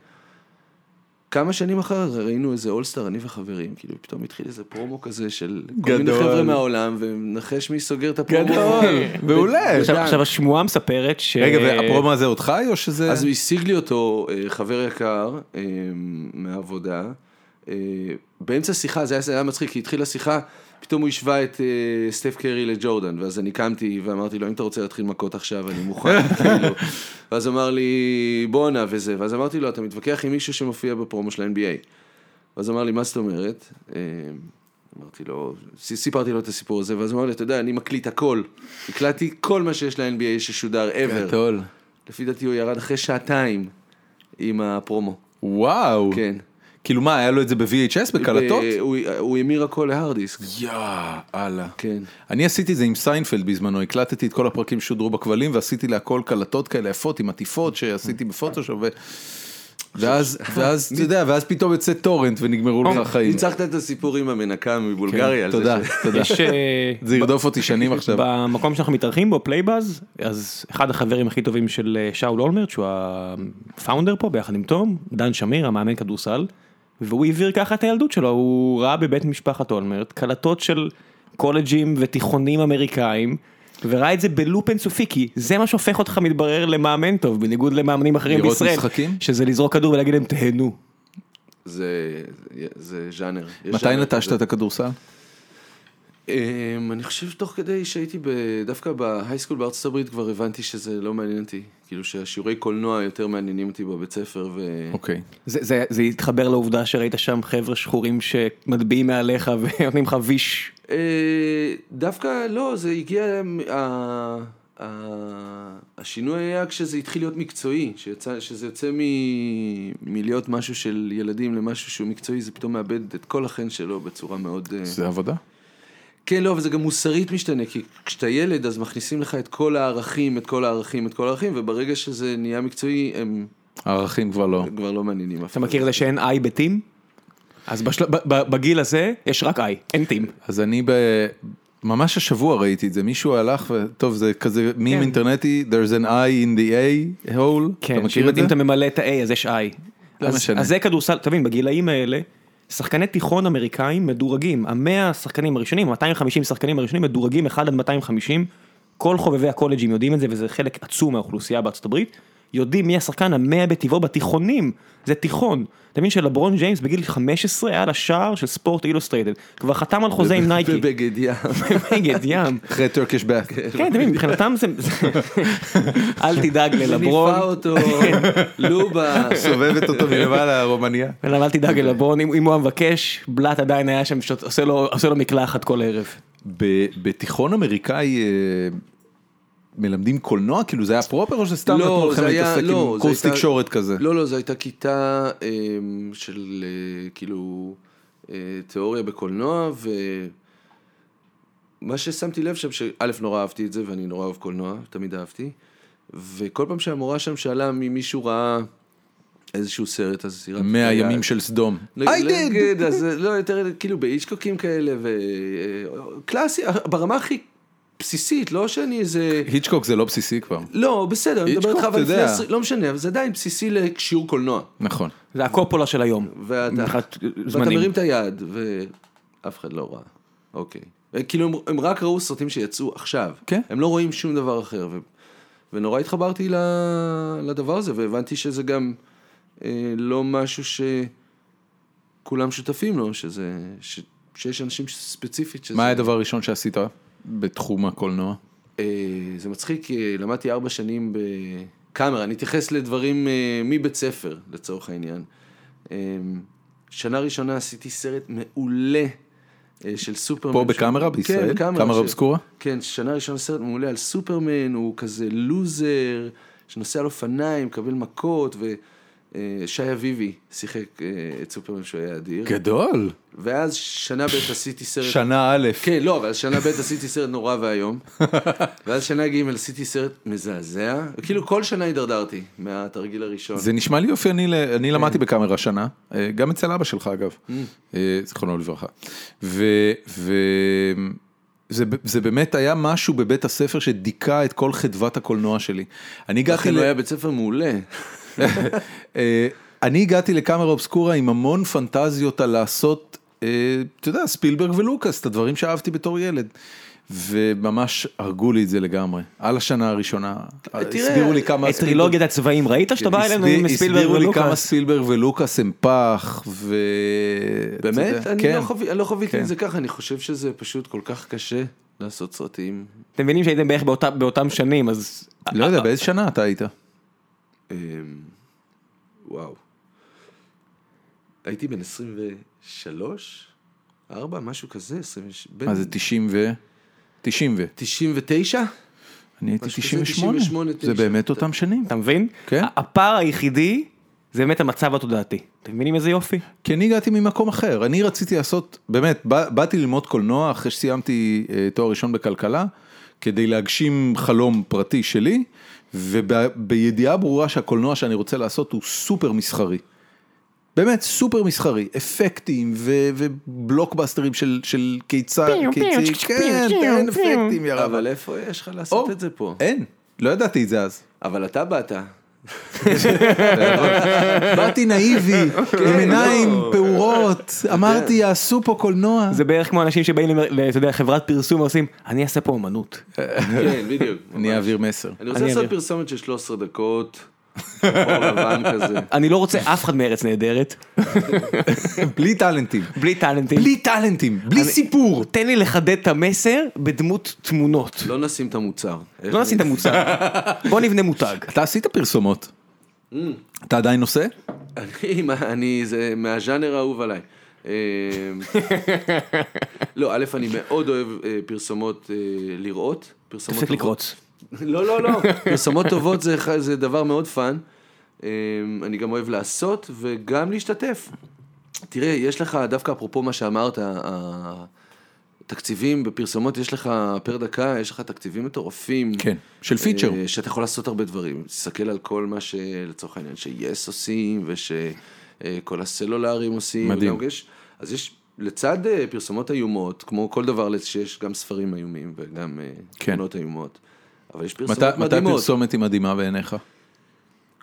C: כמה שנים אחר זה ראינו איזה אולסטאר, אני וחברים, כאילו, פתאום התחיל איזה פרומו כזה של כל מיני
A: גדול.
C: חבר'ה מהעולם, ונחש מי סוגר את הפרומו.
A: גדול, מעולה.
B: עכשיו-
C: ודן.
B: עכשיו השמועה מספרת ש...
A: רגע, והפרומו הזה עוד חי או שזה...
C: אז הוא השיג לי אותו אה, חבר יקר אה, מהעבודה. אה, באמצע שיחה, זה היה, זה היה מצחיק, כי התחילה שיחה, פתאום הוא השווה את אה, סטף קרי לג'ורדן, ואז אני קמתי ואמרתי לו, אם אתה רוצה להתחיל מכות עכשיו, אני מוכן, כאילו. ואז אמר לי, בואנה וזה, ואז אמרתי לו, אתה מתווכח עם מישהו שמופיע בפרומו של ה-NBA. ואז אמר לי, מה זאת אומרת? אה, אמרתי לו, ס- סיפרתי לו את הסיפור הזה, ואז הוא אמר לי, אתה יודע, אני מקליט הכל. הקלטתי כל מה שיש ל-NBA ששודר
A: כן,
C: ever.
A: גדול.
C: לפי דעתי הוא ירד אחרי שעתיים עם הפרומו.
A: וואו.
C: כן.
A: כאילו מה, היה לו את זה ב-VHS, בקלטות?
C: ב- הוא- הוא המיר הכל להארד דיסק.
A: יא, אללה.
C: כן.
A: אני עשיתי את זה עם סיינפלד בזמנו, הקלטתי את כל הפרקים ששודרו בכבלים ועשיתי להכל קלטות כאלה יפות עם עטיפות שעשיתי בפוטושופ. ו... ואז, ואז, אתה יודע, ואז פתאום יוצא טורנט ונגמרו לך החיים.
C: ניצחת את הסיפור עם המנקה מבולגריה על זה.
A: כן, תודה,
C: ש-
A: תודה.
B: [LAUGHS] יש אה,
A: זה ירדוף אותי שנים עכשיו.
B: במקום שאנחנו מתארחים בו פלייבאז אז אחד החברים הכי טובים של אה, שאול אולמרט שהוא הפאונדר פה ביחד עם תום דן שמיר המאמן כדורסל. והוא העביר ככה את הילדות שלו הוא ראה בבית משפחת אולמרט קלטות של קולג'ים ותיכונים אמריקאים. וראה את זה בלופ אינסופי כי זה מה שהופך אותך מתברר למאמן טוב בניגוד למאמנים אחרים
A: לראות
B: בישראל
A: משחקים?
B: שזה לזרוק כדור ולהגיד להם תהנו.
C: זה זה ז'אנר. יש
A: מתי
C: ז'אנר
A: נטשת
C: כזה.
A: את הכדורסל?
C: אמ, אני חושב שתוך כדי שהייתי ב- דווקא בהייסקול בארצות הברית כבר הבנתי שזה לא מעניין אותי. כאילו שהשיעורי קולנוע יותר מעניינים אותי בבית ספר ו...
A: אוקיי.
B: זה, זה, זה התחבר לעובדה שראית שם חבר'ה שחורים שמטביעים מעליך [LAUGHS] ונותנים לך ויש.
C: אה, דווקא לא, זה הגיע, מ- ה- ה- השינוי היה כשזה התחיל להיות מקצועי, שיצא, שזה יוצא מ, מלהיות משהו של ילדים למשהו שהוא מקצועי, זה פתאום מאבד את כל החן שלו בצורה מאוד... אה,
A: זה עבודה.
C: כן, לא, אבל זה גם מוסרית משתנה, כי כשאתה ילד אז מכניסים לך את כל הערכים, את כל הערכים, את כל הערכים, וברגע שזה נהיה מקצועי, הם
A: הערכים כבר לא.
C: כבר לא מעניינים אף
B: אתה מכיר את זה שאין איי בטים? אז בשל... ב- ב- בגיל הזה יש רק איי, אין טים.
A: אז אני ב... ממש השבוע ראיתי את זה, מישהו הלך, ו- טוב זה כזה מים
B: כן.
A: אינטרנטי, there's an eye in the a hole, אתה
B: כן,
A: מכיר את זה?
B: שאם אתה ממלא את ה-A אז יש איי.
A: לא
B: אז,
A: משנה.
B: אז זה כדורסל, תבין, בגילאים האלה, שחקני תיכון אמריקאים מדורגים, המאה השחקנים הראשונים, 250 שחקנים הראשונים מדורגים 1 עד 250, כל חובבי הקולג'ים יודעים את זה, וזה חלק עצום מהאוכלוסייה בארצות הברית, יודעים מי השחקן המאה בטבעו בתיכונים, זה תיכון. אתה מבין שלברון ג'יימס בגיל 15 היה על השער של ספורט אילוסטרייטד, כבר חתם על חוזה עם נייקי,
C: בבגד ים.
B: [LAUGHS] נגד ים.
A: אחרי טורקיש באף. [LAUGHS]
B: כן, אתה מבין, מבחינתם זה, זה- אל תדאג ללברון,
C: ניפה
B: [LAUGHS]
C: אותו,
B: כן.
C: לובה.
A: סובבת אותו מלמעלה הרומניה.
B: אלא אל תדאג ללברון, אם אם הוא המבקש, בלאט עדיין היה שם, פשוט עושה לו- עושה לו מקלחת כל ערב.
A: ב- בתיכון אמריקאי אה, מלמדים קולנוע? כאילו זה היה פרופר או שסתם נתנו לכם
C: זה היה-
A: להתעסק
C: לא,
A: עם
C: זה
A: קורס
C: הייתה-
A: תקשורת כזה?
C: לא, לא, זו הייתה כיתה אמ, של אה, כאילו אה, תיאוריה בקולנוע, ומה ששמתי לב שם, שא', נורא אהבתי את זה, ואני נורא אוהב קולנוע, תמיד אהבתי, וכל פעם שהמורה שם שאלה אם מישהו ראה איזשהו סרט, אז היא רק...
A: 100
C: היה-
A: ימים של סדום. I did!
C: נגד, אז לא, יותר כאילו באיצ'קוקים כאלה, וקלאסי, ברמה הכי בסיסית, לא
A: [LAUGHS]
C: שאני איזה...
A: היצ'קוק זה לא בסיסי כבר.
C: לא, בסדר, אני מדבר
A: היצ'קוק,
C: איתך,
A: אתה
C: אבל לפני
A: יודע.
C: עשרים, לא משנה, אבל זה עדיין בסיסי לשיעור קולנוע.
A: נכון.
B: זה הקופולה של היום.
C: ואתה
B: מבחינת
C: ואתה
B: זמנים.
C: מרים את היד, ואף אחד לא ראה. אוקיי. כאילו, הם- הם רק ראו סרטים שיצאו עכשיו.
A: כן.
C: הם לא רואים שום דבר אחר. ו- ונורא התחברתי ל- לדבר הזה, והבנתי שזה גם אה, לא משהו שכולם שותפים לו, שזה... ש- שיש אנשים ספציפית שזה...
A: מה היה הדבר הראשון שעשית בתחום הקולנוע?
C: אה, זה מצחיק, אה, למדתי ארבע שנים בקאמרה, אני אתייחס לדברים אה, מבית ספר, לצורך העניין. אה, שנה ראשונה עשיתי סרט מעולה אה, של סופרמן.
A: פה בקאמרה בישראל?
C: כן, בקאמרה.
A: קאמרה
C: ש-
A: אובסקורה?
C: כן, שנה ראשונה סרט מעולה על סופרמן, הוא כזה לוזר, שנוסע על אופניים, מקבל מכות, ושי אביבי שיחק אה, את סופרמן שהוא היה אדיר.
A: כן. גדול.
C: ואז שנה ב' עשיתי סרט
A: שנה א'.
C: כן, לא, אבל שנה ב' עשיתי סרט נורא
A: [LAUGHS]
C: ואיום, ואז שנה ג' עשיתי סרט מזעזע, כאילו כל שנה הידרדרתי מהתרגיל הראשון. כן,
A: זה נשמע לי יופי, אני, ל- אני למדתי בקאמרה השנה, אה, גם אצל אבא שלך אגב,
C: Mm.
A: אה, זיכרונו לברכה. ו... ו... זה, ב- זה באמת היה משהו בבית הספר שדיכא את כל חדוות הקולנוע שלי. אני הגעתי,
C: לכן
A: ל...
C: הוא לא היה בית ספר מעולה.
A: אה, אני הגעתי לקאמרה אובסקורה עם המון פנטזיות על לעשות, אה, אתה יודע, ספילברג ולוקאס, את הדברים שאהבתי בתור ילד. וממש הרגו לי את זה לגמרי. על השנה הראשונה, הסבירו לי כמה...
B: את טרילוגיית הצבעים ראית שאתה בא אלינו עם
A: הסביר-
B: ספילברג
A: הסבירו לי כמה
B: ולוקאס?
A: ספילברג ולוקאס הם פח, ו... אתה
C: באמת?
A: יודע,
C: אני
A: כן.
C: לא חוו- אני לא חוויתי
A: כן.
C: את זה ככה, אני חושב שזה פשוט כל כך קשה לעשות סרטים.
B: אתם מבינים שהייתם בערך באותה- באותם שנים אז
A: לא יודע, באיזה שנה אתה היית?
C: אמ, וואו. הייתי בן 23? 4? משהו כזה? 26? בין
A: מה זה 90 ו... 90 ו...
C: 99?
A: אני הייתי
C: משהו כזה,
A: 98.
C: 98,
A: זה באמת אותם שנים.
B: אתה מבין?
A: כן.
B: ה- הפער היחידי זה באמת המצב התודעתי. אתם מבינים איזה יופי?
A: כי אני הגעתי ממקום אחר, אני רציתי לעשות, באמת, בא- באתי ללמוד קולנוע אחרי שסיימתי אה, תואר ראשון בכלכלה, כדי להגשים חלום פרטי שלי, ובידיעה ברורה שהקולנוע שאני רוצה לעשות הוא סופר מסחרי. באמת סופר מסחרי, אפקטים ו- ובלוקבאסטרים של, של קיצה,
B: פיו, פיו,
A: קיצי,
B: צ'ק, צ'ק,
A: כן,
B: פיו,
A: אין
B: פיו.
A: אפקטים ירב.
C: אבל איפה יש לך לעשות
A: או.
C: את זה פה?
A: אין, לא ידעתי את זה אז.
C: אבל
A: [LAUGHS]
C: אתה באת.
A: באתי נאיבי,
C: [LAUGHS] כן,
A: עם עיניים
C: לא.
A: פעורות, אמרתי יעשו פה קולנוע.
B: זה בערך כמו אנשים שבאים, למר- ל- אתה יודע, חברת פרסום ועושים, אני אעשה פה אמנות.
C: כן, בדיוק.
A: אני אעביר מסר.
C: אני רוצה
B: אני
C: לעשות
B: אעביר.
C: פרסומת של 13 דקות, חור לבן
B: [LAUGHS]
C: כזה.
B: אני לא רוצה אף אחד מארץ נהדרת,
A: [LAUGHS] בלי טאלנטים.
B: בלי טאלנטים.
A: בלי טאלנטים, בלי סיפור.
B: תן לי לחדד את המסר בדמות תמונות.
C: לא נשים את המוצר.
B: לא נשים את [LAUGHS] המוצר. בוא נבנה מותג.
A: אתה עשית פרסומות.
C: Mm.
A: אתה עדיין עושה?
C: [LAUGHS] אני, מה- אני, זה מהז'אנר האהוב עליי.
B: [LAUGHS]
C: אה, לא, א', אני מאוד אוהב אה, פרסומות אה, לראות. פרסומות
B: תפסיק לקרוץ.
C: טובות. לא, לא, לא. פרסומות טובות זה, ח- זה דבר מאוד פאן. אה, אני גם אוהב לעשות וגם להשתתף. תראה, יש לך, דווקא אפרופו מה שאמרת, ה- התקציבים בפרסומות, יש לך פר דקה, יש לך תקציבים מטורפים.
A: כן, של פיצ'ר.
C: אה, שאתה יכול לעשות הרבה דברים. תסתכל על כל מה שלצורך העניין שיס עושים, ושכל הסלולרים עושים.
A: מדהים.
C: וגם יש, אז יש, לצד אה, פרסומות איומות, כמו כל דבר שיש גם ספרים איומים וגם אה,
A: כן.
C: תמונות איומות, אבל יש פרסומות
A: מתי מתי
C: מדהימות.
A: הפרסומת היא מדהימה בעיניך?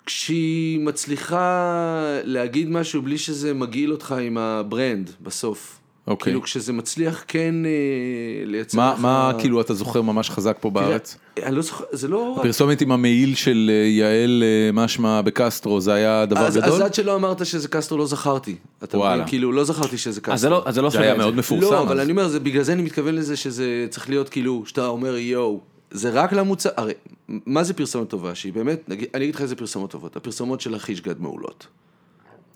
C: כשהיא מצליחה להגיד משהו בלי שזה מגעיל אותך עם הברנד בסוף.
A: אוקיי.
C: כאילו כשזה מצליח כן אה, לייצר
A: מה-
C: לך...
A: מה כאילו אתה זוכר ממש חזק פה
C: תראה,
A: בארץ?
C: אני לא זוכר, זה לא... רק-
A: פרסומת עם המעיל של אה, יעל אה, משמע בקסטרו, זה היה דבר
C: אז, אז
A: גדול?
C: עד שלא אמרת שזה קסטרו לא זכרתי. אתה
A: וואלה.
C: מבין? כאילו לא זכרתי שזה קסטרו.
B: אז זה לא, אז זה לא
A: זה היה
B: שווה את
A: מאוד מפורסם.
C: לא, אבל
A: אז.
C: אני אומר, זה, בגלל זה אני מתכוון לזה שזה צריך להיות כאילו, שאתה אומר יואו, זה רק למוצר, הרי מה זה פרסומת טובה? שהיא באמת, נגיד, אני אגיד לך איזה פרסומות טובות, הפרסומות של החישגד מעולות.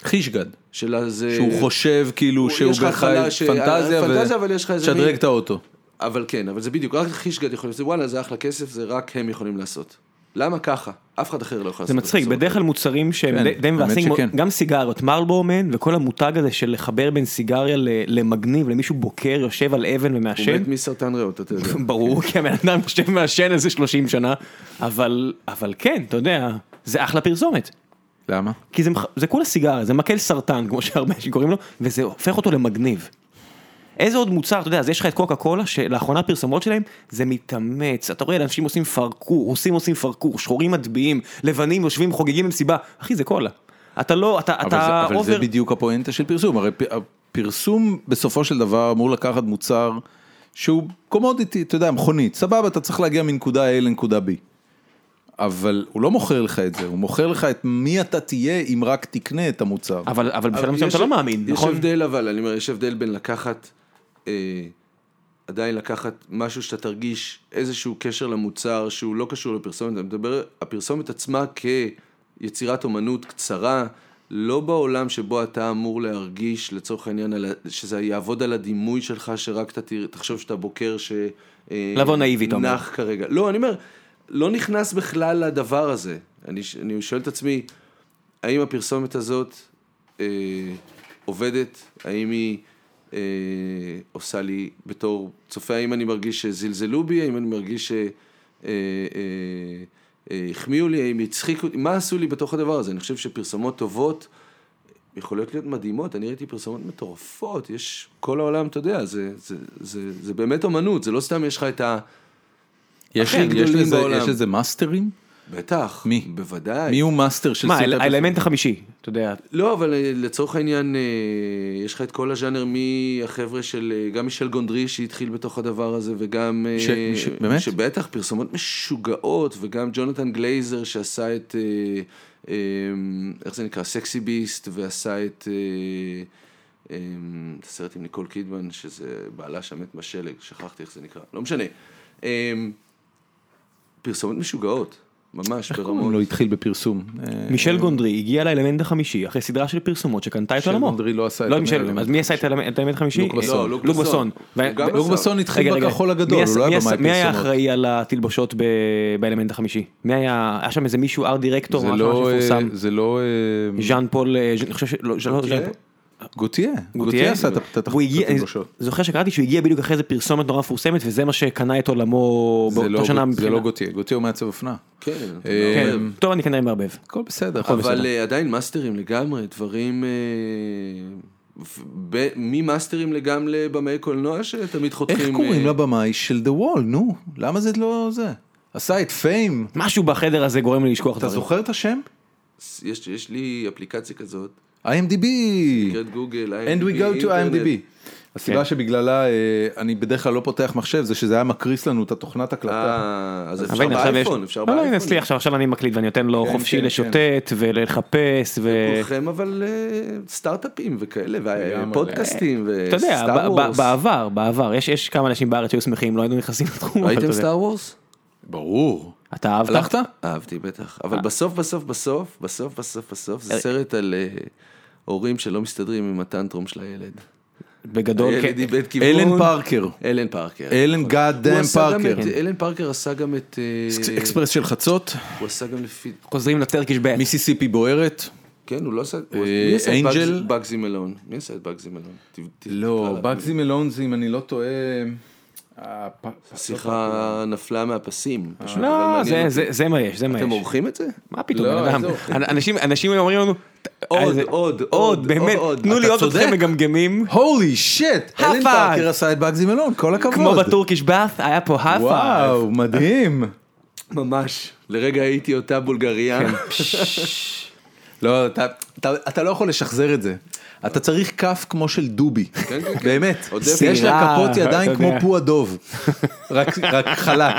A: חישגד.
C: של אז...
A: שהוא חושב כאילו
C: אה, הוא-
A: שהוא
C: יש לך
A: בכלל
C: התחלה ש-
A: פנטזיה,
C: פנטזיה, אבל יש לך איזה
A: שדרג
C: מין-
A: את האוטו.
C: אבל כן, אבל זה בדיוק, רק חישגד יכול לעשות, וואלה, זה אחלה כסף, זה רק הם יכולים לעשות. למה ככה? אף אחד אחר לא יכול לעשות.
B: זה אוקיי. מצחיק,
C: פרסומת.
B: בדרך כלל מוצרים
A: כן,
B: שהם די- די
A: האמת
B: מבאסים,
A: שכן.
B: גם סיגריות, מרלבורמן וכל המותג הזה של לחבר בין סיגריה ל- למגניב, למישהו בוקר, יושב על אבן
C: הוא
B: ומעשן,
C: מת מסרטן ריאות, אתה יודע.
B: [LAUGHS] ברור, כי הבן אדם יושב מעשן איזה 30 שנה, אבל, אבל כן, אתה יודע, זה אחלה פרסומת.
A: למה?
B: כי זה, מח- זה כולה סיגריה, זה מקל סרטן, כמו שהרבה אנשים קוראים לו, וזה הופך אותו למגניב. איזה עוד מוצר, אתה יודע, אז יש לך את קוקה קולה, שלאחרונה הפרסומות שלהם, זה מתאמץ, אתה רואה, אנשים עושים פרקור, רוסים עושים פרקור, שחורים מטביעים, לבנים יושבים, חוגגים במסיבה, אחי, זה קולה. אתה לא, אתה,
A: אבל, זה,
B: אתה
A: אבל זה בדיוק הפואנטה של פרסום, הרי פ- הפרסום בסופו של דבר אמור לקחת מוצר שהוא קומודיטי, אתה יודע, מכונית, סבבה, אתה צריך להגיע מנקודה A לנקודה B. אבל הוא לא מוכר לך את זה, הוא מוכר לך את מי אתה תהיה אם רק תקנה את המוצר.
B: אבל, אבל בשלב
C: אבל
B: מסוים
C: יש-
B: אתה לא מאמין,
C: יש
B: נכון?
C: הבדל אבל, אני אומר, יש הבדל בין לקחת, אה, עדיין לקחת משהו שאתה תרגיש איזשהו קשר למוצר שהוא לא קשור לפרסומת, אני מדבר, הפרסומת עצמה כיצירת אומנות קצרה, לא בעולם שבו אתה אמור להרגיש, לצורך העניין, על ה- שזה יעבוד על הדימוי שלך, שרק אתה תראה- תחשוב שאתה בוקר ש... אה,
B: לבוא נאיבי, אתה אומר.
C: נח כרגע. לא, אני אומר, לא נכנס בכלל לדבר הזה. אני, ש- אני שואל את עצמי, האם הפרסומת הזאת אה, עובדת? האם היא אה, עושה לי בתור צופה? האם אני מרגיש שזלזלו בי? האם אני מרגיש שהחמיאו אה, אה, אה, החמיאו לי? האם הצחיקו אותי? מה עשו לי בתוך הדבר הזה? אני חושב שפרסומות טובות יכולות להיות מדהימות. אני ראיתי פרסומות מטורפות. יש כל העולם, אתה יודע, זה, זה, זה, זה באמת אומנות. זה לא סתם יש לך את ה...
A: יש,
C: הכי
A: יש,
C: גדולים
A: לזה,
C: בעולם.
A: יש לזה מאסטרים?
C: בטח.
A: מי?
C: בוודאי.
A: מי הוא מאסטר
B: מה,
A: שסרטט?
B: האל- האלמנט החמישי, אתה יודע,
C: לא, אבל אה, לצורך העניין, אה, יש לך את כל הז'אנר מהחבר'ה של, אה, גם מישל גונדרי שהתחיל בתוך הדבר הזה, וגם... אה,
A: ש- מיש- באמת?
C: שבטח, פרסומות משוגעות, וגם ג'ונתן גלייזר שעשה את, אה, אה, איך זה נקרא? סקסי ביסט, ועשה את... אה, אה, את הסרט עם ניקול קידמן, שזה בעלה שם מת בשלג, שכחתי איך זה נקרא, לא משנה. אה, פרסומות משוגעות, ממש
A: הוא
C: ברמות.
A: לא התחיל בפרסום. אה,
B: מישל גונדרי הגיע לאלמנט החמישי אחרי סדרה של פרסומות שקנתה את
A: מישל
B: עולמו.
A: גונדרי לא עשה את
B: לא
A: האלמנט
B: מישל, אז מי עשה את האלמנט את האלמנט החמישי?
A: לוק בסון.
B: אה,
C: לוק
B: לוק
C: בסון.
B: בסון. ו-
C: הוא גם
B: ו-
C: עשה.
A: לוק בסון התחיל
B: רגע, רגע.
A: בכחול
B: מי
A: הגדול,
B: עשה-
A: הוא לא
B: מי
A: היה
B: עשה-
A: במאי
B: מי היה
A: פרסומות.
B: אחראי על התלבושות ב- באלמנט החמישי? מי היה, היה שם איזה מישהו ארט דירקטור,
A: זה
B: משהו
A: לא, אה,
B: מפורסם.
A: זה לא, אה,
B: ז'אן פול, אה, ז'- אני חושב שלא, ז'אן לא, ז'אן פול.
A: גוטייה, גוטייה עשה את את
B: הוא הגיע- אני
A: התלבושות.
B: זוכר שקראתי שהוא הגיע בדיוק אחרי איזה פרסומת נורא מפורסמת וזה מה שקנה את עולמו
A: זה לא
B: באותה שנה.
A: גוט- זה
B: מבחינה-
A: לא גוטייה, גוטייה הוא מעצב אופנה.
C: כן,
A: אה,
B: כן, טוב אני כנראה מערבב.
A: הכל בסדר.
C: אבל אה, עדיין מאסטרים לגמרי, דברים... אה, ב- ממאסטרים לגמרי לבמאי קולנוע שתמיד חותכים...
A: איך קוראים
C: אה,
A: לבמאי של The Wall, נו? למה זה לא זה? עשה את פיים.
B: משהו בחדר הזה גורם לי לשכוח
A: אתה
B: דברים.
A: זוכר את השם?
C: יש, יש לי אפליקציה כזאת,
A: IMDb.
B: Mm.
C: נקראת גוגל,
A: And we go to
C: אינטרנט.
A: IMDb. הסיבה שבגללה אה, אני בדרך כלל לא פותח מחשב זה שזה היה מקריס לנו את התוכנת הקלטה.
C: אה, אז
B: אבל
C: אפשר
B: הנה, עכשיו יש-
C: באייפון, אפשר
B: לא, לא,
C: באייפון.
B: הנה אצלי עכשיו עכשיו אני מקליט ואני נותן לו
A: כן,
B: חופשי
A: כן,
B: לשוטט ולחפש ו...
C: כולכם אבל אה, סטארט-אפים וכאלה,
A: לגמרי.
C: ופודקאסטים,
B: אתה יודע, ב-
C: וסטאר
B: ב-
C: וורס.
B: בעבר, בעבר, יש- יש כמה אנשים בארץ שהיו שמחים, לא היינו נכנסים לתחום. אבל אתה
C: ראיתם
B: יודע.
C: סטאר וורס?
A: ברור.
B: אתה אהבת?
A: הלכת?
C: אהבתי בטח, אבל בסוף בסוף בסוף, בסוף בסוף בסוף, זה
B: אה.
C: סרט על אה, הורים שלא מסתדרים עם הטנטרום של הילד.
B: בגדול,
C: הילד
B: כן.
C: איבד כיוון.
A: אוקיי. אלן פארקר.
C: אלן פארקר.
A: אלן גאד
C: הוא
A: דאם
C: עשה גם
A: פארקר.
C: את- אלן פארקר עשה גם את... אה,
A: אקספרס של חצות,
C: הוא עשה גם לפי...
B: חוזרים לטרקיש בט.
A: מיסיסיפי בוערת.
C: כן, הוא לא עשה... הוא-
A: אה,
C: מי עשה את
A: אנג'ל?
C: בגז- בגזי מלון? מי עשה את בגזי מלון? ת- ת- תקרא
A: לא,
C: לה.
A: בגזי מלונזי, אם אני לא טועה... הפ-
C: שיחה נפלה מהפסים.
A: אה.
C: פשוט, אבל
B: לא,
C: מעניין
B: זה-
C: אותי.
B: זה- זה מה יש, זה מה יש.
C: אתם עורכים את זה?
B: מה פתאום,
A: לא,
B: בן אדם.
A: עזוב.
B: אנ- אנשים- אנשים אומרים לנו,
C: עוד,
B: איזה-
C: עוד, עוד,
B: עוד, באמת,
C: עוד.
B: תנו לי
C: אתה
B: עוד אתכם
C: צודק.
B: מגמגמים.
A: הולי שיט! אלן
B: five.
A: פארקר עשה את בגזי מלון, כל הכבוד.
B: כמו בטורקיש בת, היה פה האפה.
A: וואו, מדהים.
C: ממש. לרגע הייתי אותה בולגריה.
B: כן,
C: [LAUGHS]
A: לא, אתה, אתה, אתה לא יכול לשחזר את זה. אתה צריך כף כמו של דובי,
C: כן, כן.
A: באמת,
C: עודף.
A: יש לה
B: סירה,
A: כפות ידיים
B: אתה
A: כמו
B: יודע.
A: פו הדוב, רק, רק חלק,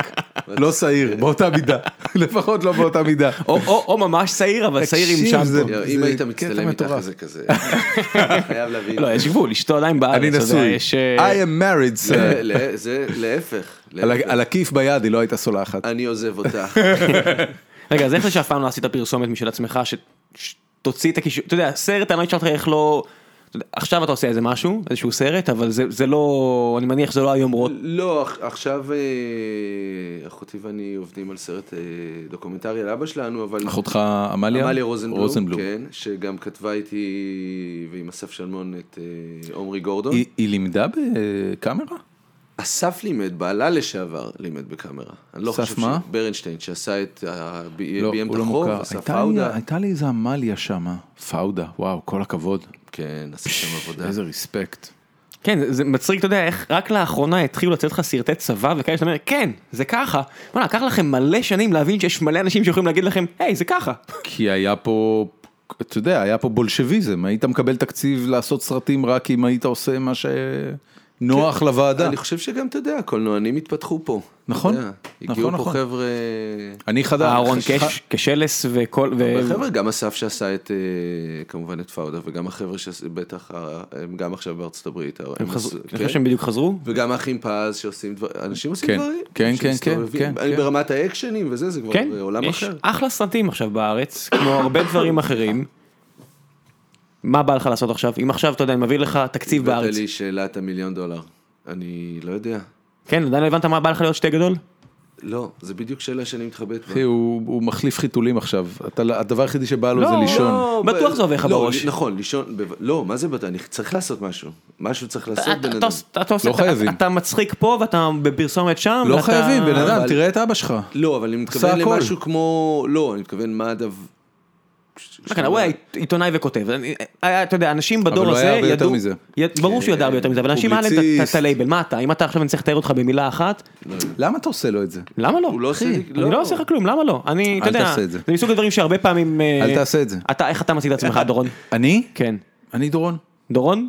A: לא שעיר, באותה מידה, לפחות לא באותה מידה.
B: או- או או ממש שעיר, אבל שעיר עם
A: תקשיב,
B: שם.
A: זה-
C: יאללה, אם
A: זה
C: היית
A: קטע
C: מצטלם איתך
A: מטורף.
C: זה
A: [LAUGHS]
C: כזה. חייב להבין.
B: לא, יש גבול, אשתו עדיין בארץ.
A: אני
B: אתה יודע,
A: נשוי,
B: יש,
A: I
B: אה,
A: am married,
C: זה-
A: sir.
C: לה- זה להפך.
A: על
C: להפך.
A: ה- על הכיף ביד היא לא הייתה סולחת.
C: אני עוזב אותך.
B: רגע, אז איך זה שאף פעם לא עשית פרסומת משל עצמך, ש- שתוציא את הקישור, אתה יודע, סרט, אני לא אשאל אותך איך לא... אתה יודע, עכשיו אתה עושה איזה משהו, איזשהו סרט, אבל זה- זה לא, אני מניח שזה לא היומרות.
C: לא, אח- עכשיו אה, אחותי ואני עובדים על סרט אה, דוקומנטרי על אבא שלנו, אבל...
A: אחותך עמליה?
C: עמליה רוזנבלום, כן, שגם כתבה איתי ועם אסף שלמון את אה, עומרי גורדון.
A: היא היא לימדה בקאמרה?
C: אסף לימד, בעלה לשעבר לימד בקאמרה. אני לא
A: אסף
C: חושב
A: מה?
C: ש... ברנשטיין, שעשה את... ה- ב-
A: לא,
C: ביים
A: הוא
C: את
A: לא
C: החוב,
A: מוכר.
C: אסף
A: הייתה לי-
C: עודה.
A: הייתה לי איזה עמליה שמה, פאודה, וואו, כל הכבוד.
C: כן, עשה שם עבודה.
A: איזה ריספקט.
B: כן, זה- זה מצחיק, אתה יודע, איך רק לאחרונה התחילו לצאת לך סרטי צבא וכאלה שאתה אומר, כן, זה ככה. וואלה, לקח לכם מלא שנים להבין שיש מלא אנשים שיכולים להגיד לכם, היי, זה ככה.
A: כי היה פה, אתה יודע, היה פה בולשביזם, היית מקבל תקציב לעשות סרטים רק אם היית עושה מה שנוח לוועדה.
C: אני חושב שגם, אתה יודע, הקולנוענים התפתחו פה. אתה
A: נכון,
C: יודע,
A: נכון,
C: הגיעו פה
A: נכון.
C: חבר'ה...
A: אני חדר,
B: אהרון
A: ח-
B: אה, קש, כשלס וכל, ו-
C: חבר'ה, גם אסף שעשה את, אה, כמובן, את פאודה, וגם החבר'ה שבטח, אה, הם גם עכשיו בארצות הברית.
B: הם חזרו-
C: עשו-
B: אני חושב
C: כן?
B: שהם בדיוק חזרו.
C: וגם האחים פז שעושים דברים, אנשים עושים
A: כן,
C: דברים.
A: כן, כן,
C: שמסתובבים.
A: כן, כן,
C: אני
A: כן.
C: ברמת האקשנים וזה, זה כבר
B: כן,
C: אה, עולם
B: יש
C: אחר.
B: אחלה סרטים עכשיו בארץ, כמו הרבה דברים אחרים. מה בא לך לעשות עכשיו? אם עכשיו, אתה יודע, אני מביא לך תקציב בארץ.
C: הבאת לי שאלת המיליון דולר. אני לא יודע.
B: כן, עדיין לא הבנת מה בא לך להיות שתי גדול?
C: לא, זה בדיוק שאלה שאני מתחבט
B: [LAUGHS]
C: בה.
A: אחי, אה, הוא הוא מחליף חיתולים עכשיו, אתה- הדבר היחידי שבא לו
B: לא,
A: זה לישון.
C: לא,
B: בטוח
C: ב-
B: זה עובר לך
C: לא,
B: בראש.
C: נכון, לישון, ב- לא, מה זה בטוח? אני צריך לעשות משהו. משהו צריך לעשות
B: אתה-
C: בן
B: אתה
C: אדם.
B: עוש- אתה עושה-
A: לא
B: אתה-
A: חייבים.
B: אתה מצחיק פה ואתה בפרסומת שם.
A: לא
B: ואתה-
A: חייבים, בן אדם,
C: אבל-
A: תראה את אבא שלך.
C: לא, אבל אני מתכוון
A: הכל.
C: למשהו כמו, לא, אני מתכוון מה הדבר...
B: רק אני, כן, הוא היה עיתונאי וכותב, אני- היה, אתה יודע, אנשים בדור
A: אבל
B: הזה
A: הוא
B: ידעו,
A: היה הרבה יותר מזה.
B: יד- ברור שהוא ידע הרבה יותר מזה, אבל אנשים היה להם את- את-
A: פובליציסט.
B: את הלייבל, מה אתה, אם אתה עכשיו אני צריך לתאר אותך במילה אחת,
C: לא
A: למה אתה עושה לו את זה?
B: למה לא?
C: הוא לא עושה
B: אחי,
C: לי-
B: אני
C: לא.
B: לא עושה לך כלום, למה לא? אני, אתה
A: אל
B: יודע,
A: תעשה את זה.
B: זה מסוג הדברים שהרבה פעמים, אה,
A: אל תעשה את זה.
B: אתה, איך אתה מציג
A: [LAUGHS]
B: את עצמך, דורון?
A: אני?
B: כן.
A: אני דורון.
B: דורון?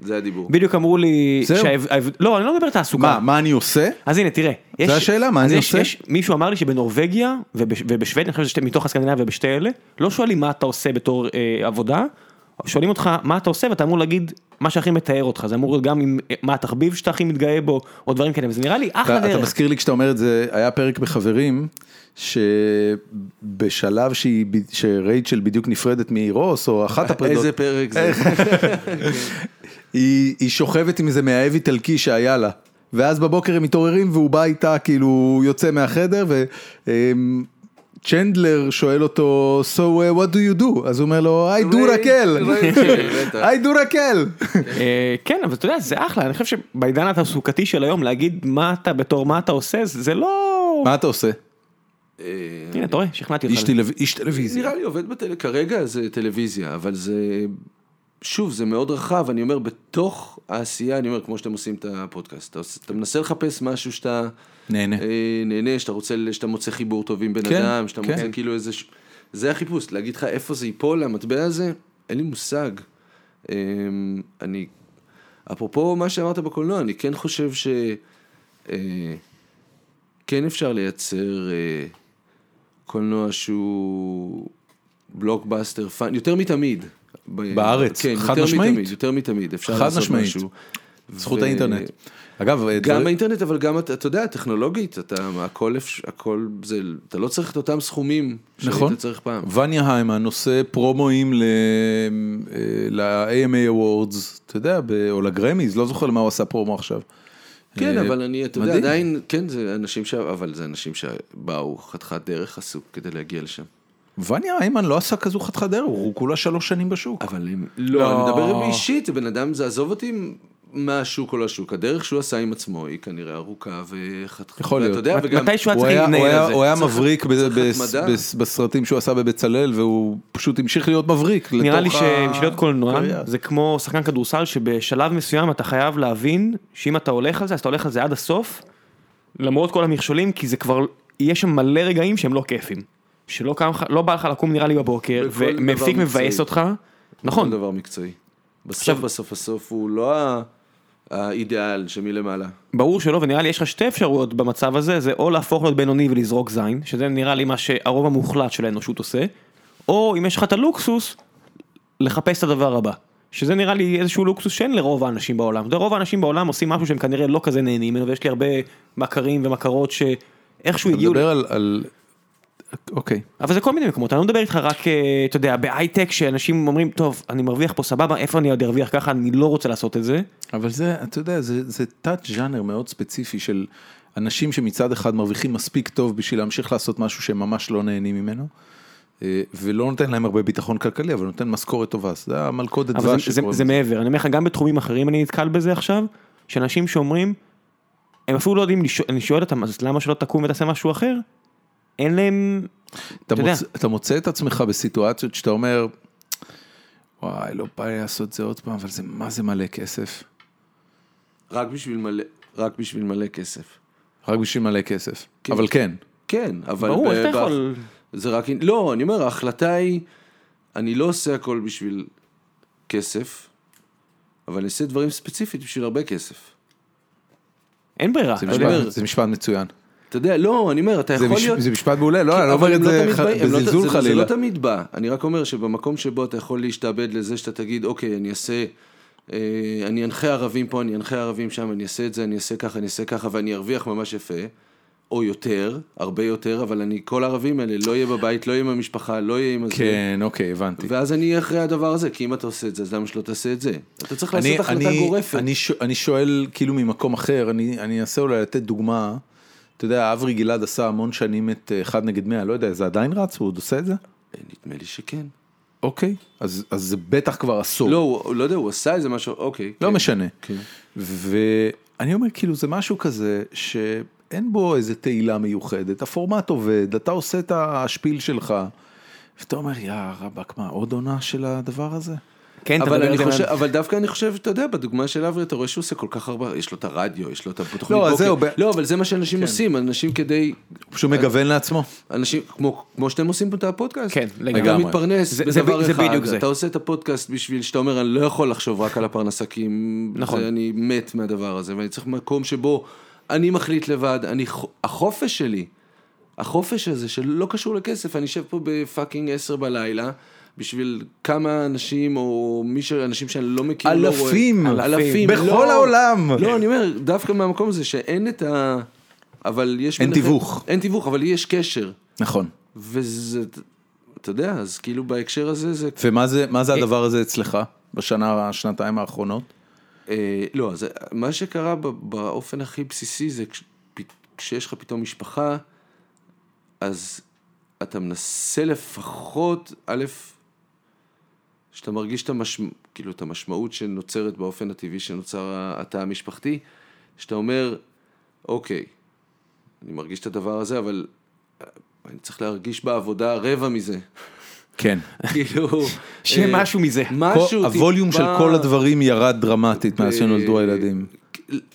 C: זה הדיבור.
B: בדיוק אמרו לי,
A: זהו.
B: שההב- ההב- לא, אני לא מדבר תעסוקה.
A: מה, מה אני עושה?
B: אז הנה תראה, יש,
A: השאלה, מה
B: אז
A: אני
B: יש,
A: עושה?
B: יש, מישהו אמר לי שבנורבגיה ובש, ובשוודיה, אני חושב שזה מתוך הסקנדינביה ובשתי אלה, לא שואלים מה אתה עושה בתור אה, עבודה, שואלים אותך מה אתה עושה ואתה אמור להגיד מה שהכי מתאר אותך, זה אמור להיות גם עם, אה, מה התחביב שאתה הכי מתגאה בו, או דברים כאלה, וזה נראה לי אחלה
A: אתה, אתה
B: דרך.
A: מזכיר לי כשאתה אומר את זה, היה פרק בחברים, שבשלב שהיא, ב- שרייצ'ל בדיוק נפרדת מרוס, או אחת הפרדות,
C: [LAUGHS] איזה פרק זה?
A: היא, היא שוכבת עם איזה מאהב איטלקי שהיה לה. ואז בבוקר הם מתעוררים והוא בא איתה, כאילו, הוא יוצא מהחדר, ו... אמ, צ'נדלר שואל אותו, so uh, what do you do? אז הוא אומר לו, I do רקל, [LAUGHS] I do רקל.
B: אה, כן, אבל אתה יודע, זה אחלה, אני חושב שבעידן התעסוקתי של היום להגיד מה אתה בתור מה אתה עושה, זה זה לא...
A: מה אתה עושה?
B: הנה, אתה רואה, שכנעתי
A: איש
B: אותך.
A: טלו- איש טלוויזיה.
C: אה, נראה לי עובד בטל... כרגע זה טלוויזיה, אבל זה... שוב, זה מאוד רחב, אני אומר, בתוך העשייה, אני אומר, כמו שאתם עושים את הפודקאסט, אתה, עוש- אתה מנסה לחפש משהו שאתה
A: נהנה.
C: אה, נהנה, שאתה רוצה, שאתה מוצא חיבור טוב עם בן
A: כן,
C: אדם, שאתה
A: כן.
C: מוצא כאילו איזה... ש- זה החיפוש, להגיד לך איפה זה ייפול, המטבע הזה, אין לי מושג. אה, אני... אפרופו מה שאמרת בקולנוע, אני כן חושב ש... אה, כן אפשר לייצר אה, קולנוע שהוא בלוקבאסטר פאן, יותר מתמיד. ב-
A: בארץ,
C: כן,
A: חד
C: יותר
A: משמעית.
C: מתמיד, יותר מתמיד, אפשר
A: חד
C: לעשות
A: משמעית.
C: משהו.
A: זכות
C: ו-
A: האינטרנט. אגב,
C: אה,
A: אה,
C: גם
A: דברים-
C: באינטרנט, אבל גם, אתה אתה יודע, טכנולוגית, אתה, הכל, אפש- הכל זה, אתה לא צריך את אותם סכומים
A: נכון.
C: שהיית צריך פעם.
A: וניה היימן עושה פרומואים ל- אה, ל-AMA Awards, אתה יודע, ב- או לגרמיז, לא זוכר למה הוא עשה פרומו עכשיו.
C: כן,
A: אה,
C: אבל אני, אתה יודע,
A: מדהים.
C: עדיין, כן, זה אנשים ש... אבל זה אנשים שבאו חתיכת דרך עשו כדי להגיע לשם.
A: וניה היימן לא עשה כזו חתיכת דרך, הוא כולה שלוש שנים בשוק.
C: אבל הם... לא, אני מדבר אישית, בן אדם, זה עזוב אותי מהשוק או לשוק. הדרך שהוא עשה עם עצמו היא כנראה ארוכה וחתיכה.
A: יכול להיות.
C: אתה יודע, וגם...
B: מתישהו היה
A: הוא
B: צריך
A: היה- הוא
B: להתנהל
A: היה-
B: על זה.
A: הוא היה מבריק ב-
C: צריך
A: ב-
C: התמדה.
A: ב- בסרטים שהוא עשה בבצלאל, והוא פשוט המשיך להיות מבריק.
B: נראה לי
A: לתוך ה-
B: שבשביל להיות קולנוען
A: הקריירה.
B: זה כמו שחקן כדורסל שבשלב מסוים אתה חייב להבין שאם אתה הולך על זה אז אתה הולך על זה עד הסוף למרות כל המכשולים כי זה כבר יש שם מלא רגעים שהם לא כיפים. שלא קם לך לא בא לך לקום נראה לי בבוקר
C: בכל דבר
B: ומפיק מבאס
C: מקצועי.
B: אותך.
C: נכון.
B: נכון
C: דבר מקצועי. בסוף,
B: עכשיו-
C: בסוף, בסוף, הוא לא ה- האידיאל שמלמעלה.
B: ברור שלא ונראה לי יש לך שתי אפשרויות במצב הזה זה או להפוך להיות בינוני ולזרוק זין שזה נראה לי מה שהרוב המוחלט של האנושות עושה או אם יש לך את הלוקסוס לחפש את הדבר הבא שזה נראה לי איזשהו לוקסוס שאין לרוב האנשים בעולם זה רוב האנשים בעולם עושים משהו שהם כנראה לא כזה נהנים ממנו ויש לי הרבה מכרים ומכרות שאיכשהו
A: אתה
B: הגיעו ל-
A: מדבר על- על... אוקיי.
B: אבל זה כל מיני מקומות, אני לא מדבר איתך רק, אה, אתה יודע, בהייטק שאנשים אומרים, טוב, אני מרוויח פה סבבה, איפה אני עוד ארוויח ככה, אני לא רוצה לעשות את זה.
A: אבל זה, אתה יודע, זה, זה תת ז'אנר מאוד ספציפי של אנשים שמצד אחד מרוויחים מספיק טוב בשביל להמשיך לעשות משהו שהם ממש לא נהנים ממנו, אה, ולא נותן להם הרבה ביטחון כלכלי, אבל נותן משכורת טובה, אז זה המלכודת
B: אבל
A: דבש
B: זה, זה,
A: שקוראים
B: זה
A: לזה.
B: מעבר, אני אומר לך, גם בתחומים אחרים אני נתקל בזה עכשיו, שאנשים שאומרים, הם אפילו לא יודעים, לשאול- אני שואל אותם, אז למה שלא תקום ותעשה משהו אחר? אין להם,
A: אתה,
B: אתה יודע.
A: מוצא, אתה מוצא את עצמך בסיטואציות שאתה אומר, וואי, לא בא לי לעשות זה עוד פעם, אבל זה מה זה מלא כסף,
C: רק בשביל מלא, רק בשביל מלא כסף.
A: רק בשביל מלא כסף, אבל כן.
C: כן, אבל...
B: ברור,
C: ב-
B: איך אתה
C: ב-
B: יכול...
C: זה רק... לא, אני אומר, ההחלטה היא, אני לא עושה הכל בשביל כסף, אבל אני עושה דברים ספציפית בשביל הרבה כסף.
B: אין ברירה.
A: זה
B: אתה יודע.
A: משפט, זה משפט מצוין,
C: אתה יודע, לא, אני אומר, אתה
A: זה,
C: יכול
A: מש,
C: להיות...
A: זה משפט מעולה, לא,
C: כן,
A: אני לא אומר
C: אבל הם
A: את זה
C: תמיד
A: ח-
C: באים, הם לא ת-
A: בזלזול
C: זה- זה
A: חלילה,
C: לא תמיד בא, אני רק אומר שבמקום שבו אתה יכול להשתעבד לזה שאתה תגיד, אוקיי, אני אעשה, אה, אני אנחה ערבים פה, אני אנחה ערבים שם, אני אעשה את זה, אני אעשה ככה, אני אעשה ככה, ואני ארוויח ממש יפה, או יותר, הרבה יותר, אבל אני, כל הערבים האלה, לא יהיה בבית, לא יהיה עם המשפחה, לא יהיה עם הזה.
A: כן, אוקיי, הבנתי.
C: ואז אני אהיה אחרי הדבר הזה, כי אם אתה עושה את זה, אז למה שלא תעשה את זה? אתה צריך לעשות
A: אני,
C: החלטה
A: אני,
C: גורפת.
A: אני, ש, אני שואל כאילו ממקום אחר, אני, אני אנסה אולי לתת דוגמה. אתה יודע, אברי גלעד עשה המון שנים את אה, אחד נגד מאה, לא יודע, זה עדיין רץ? הוא עוד עושה את זה?
C: אה, נדמה לי שכן.
A: אוקיי. אז, אז זה בטח כבר עשור.
C: לא, הוא- לא יודע, הוא עשה איזה משהו, אוקיי.
A: לא
C: כן.
A: משנה.
C: כן.
A: ואני אומר, כאילו, זה משהו כזה שאין בו איזה תהילה מיוחדת, הפורמט עובד, אתה עושה את השפיל שלך, ואתה אומר, יא רבאק, מה, עוד עונה של הדבר הזה?
B: כן, אתה
C: אבל,
B: מדבר
C: אני
B: איתם
C: חושב,
B: על-
C: אבל דווקא אני חושב, אתה יודע, בדוגמה של אברי, אתה רואה שהוא עושה כל כך הרבה, יש לו את הרדיו, יש לו את התוכנית
A: לא, אז זהו, ב- כן.
C: לא, אבל זה מה שאנשים עושים, אנשים כדי,
A: הוא פשוט מגוון לעצמו.
C: אנשים, כמו, כמו שאתם עושים פה את הפודקאסט.
B: כן, לגמרי.
C: אתה
A: לגמרי.
C: מתפרנס
B: זה- זה
C: בדבר
B: ב- זה
C: אחד,
B: בדיוק זה.
C: אתה עושה את הפודקאסט בשביל שאתה אומר, אני לא יכול לחשוב רק על הפרנסה, כי אם
B: נכון.
C: זה, אני מת מהדבר הזה, ואני צריך מקום שבו אני מחליט לבד, אני, ח- החופש שלי, החופש הזה שלא קשור לכסף, אני אשב פה בפאקינג עשר בלילה. בשביל כמה אנשים, או מי ש... אנשים שאני לא מכיר, לא רואה.
A: אלפים.
C: אלפים,
A: בכל
C: לא-
A: העולם.
C: לא, אני אומר, דווקא מהמקום הזה שאין את ה... אבל יש...
A: אין
C: ביניכם-
A: תיווך.
C: אין תיווך, אבל יש קשר.
A: נכון.
C: וזה, אתה יודע, אז כאילו בהקשר הזה זה...
A: ומה זה, מה זה הדבר הזה אצלך בשנה, שנתיים האחרונות?
C: אה, לא, זה, מה שקרה ב- באופן הכי בסיסי זה כש- פ- כשיש לך פתאום משפחה, אז אתה מנסה לפחות, א', שאתה מרגיש את, המשמ... כאילו, את המשמעות שנוצרת באופן הטבעי שנוצר התא המשפחתי, שאתה אומר, אוקיי, אני מרגיש את הדבר הזה, אבל אה, אני צריך להרגיש בעבודה רבע מזה. [LAUGHS]
A: כן.
C: כאילו...
B: שיהיה
C: אה,
B: משהו מזה.
C: משהו
A: כל- הווליום של
C: טיפה-
A: כל הדברים ירד דרמטית מאז שנולדו
C: אה,
A: הילדים.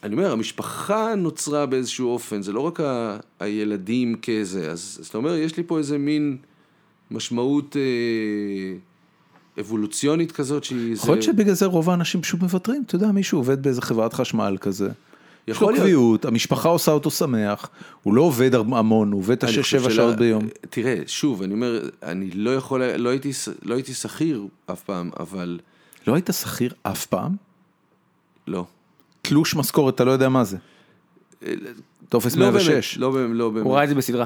C: אני אומר, המשפחה נוצרה באיזשהו אופן, זה לא רק ה- הילדים כזה, אז אז אתה אומר, יש לי פה איזה מין משמעות אה, אבולוציונית כזאת שהיא... זה-
A: יכול להיות שבגלל זה רוב האנשים פשוט מוותרים, אתה יודע, מישהו עובד באיזה חברת חשמל כזה. יש לו
C: יכול להיות.
A: קביעות, המשפחה עושה אותו שמח, הוא לא עובד הרבה- המון, הוא עובד את
C: אני
A: השש
C: חושב אה,
A: שבע
C: שלה-
A: שעות ביום.
C: תראה, שוב, אני אומר, אני לא יכול, לא הייתי, ש- לא הייתי שכיר אף פעם, אבל
A: לא היית שכיר אף פעם?
C: לא.
A: תלוש משכורת, אתה לא יודע מה זה. טופס
C: אה, לא באמת,
A: 106.
C: לא באמת, לא באמת.
B: הוא ראה את זה בסדרה.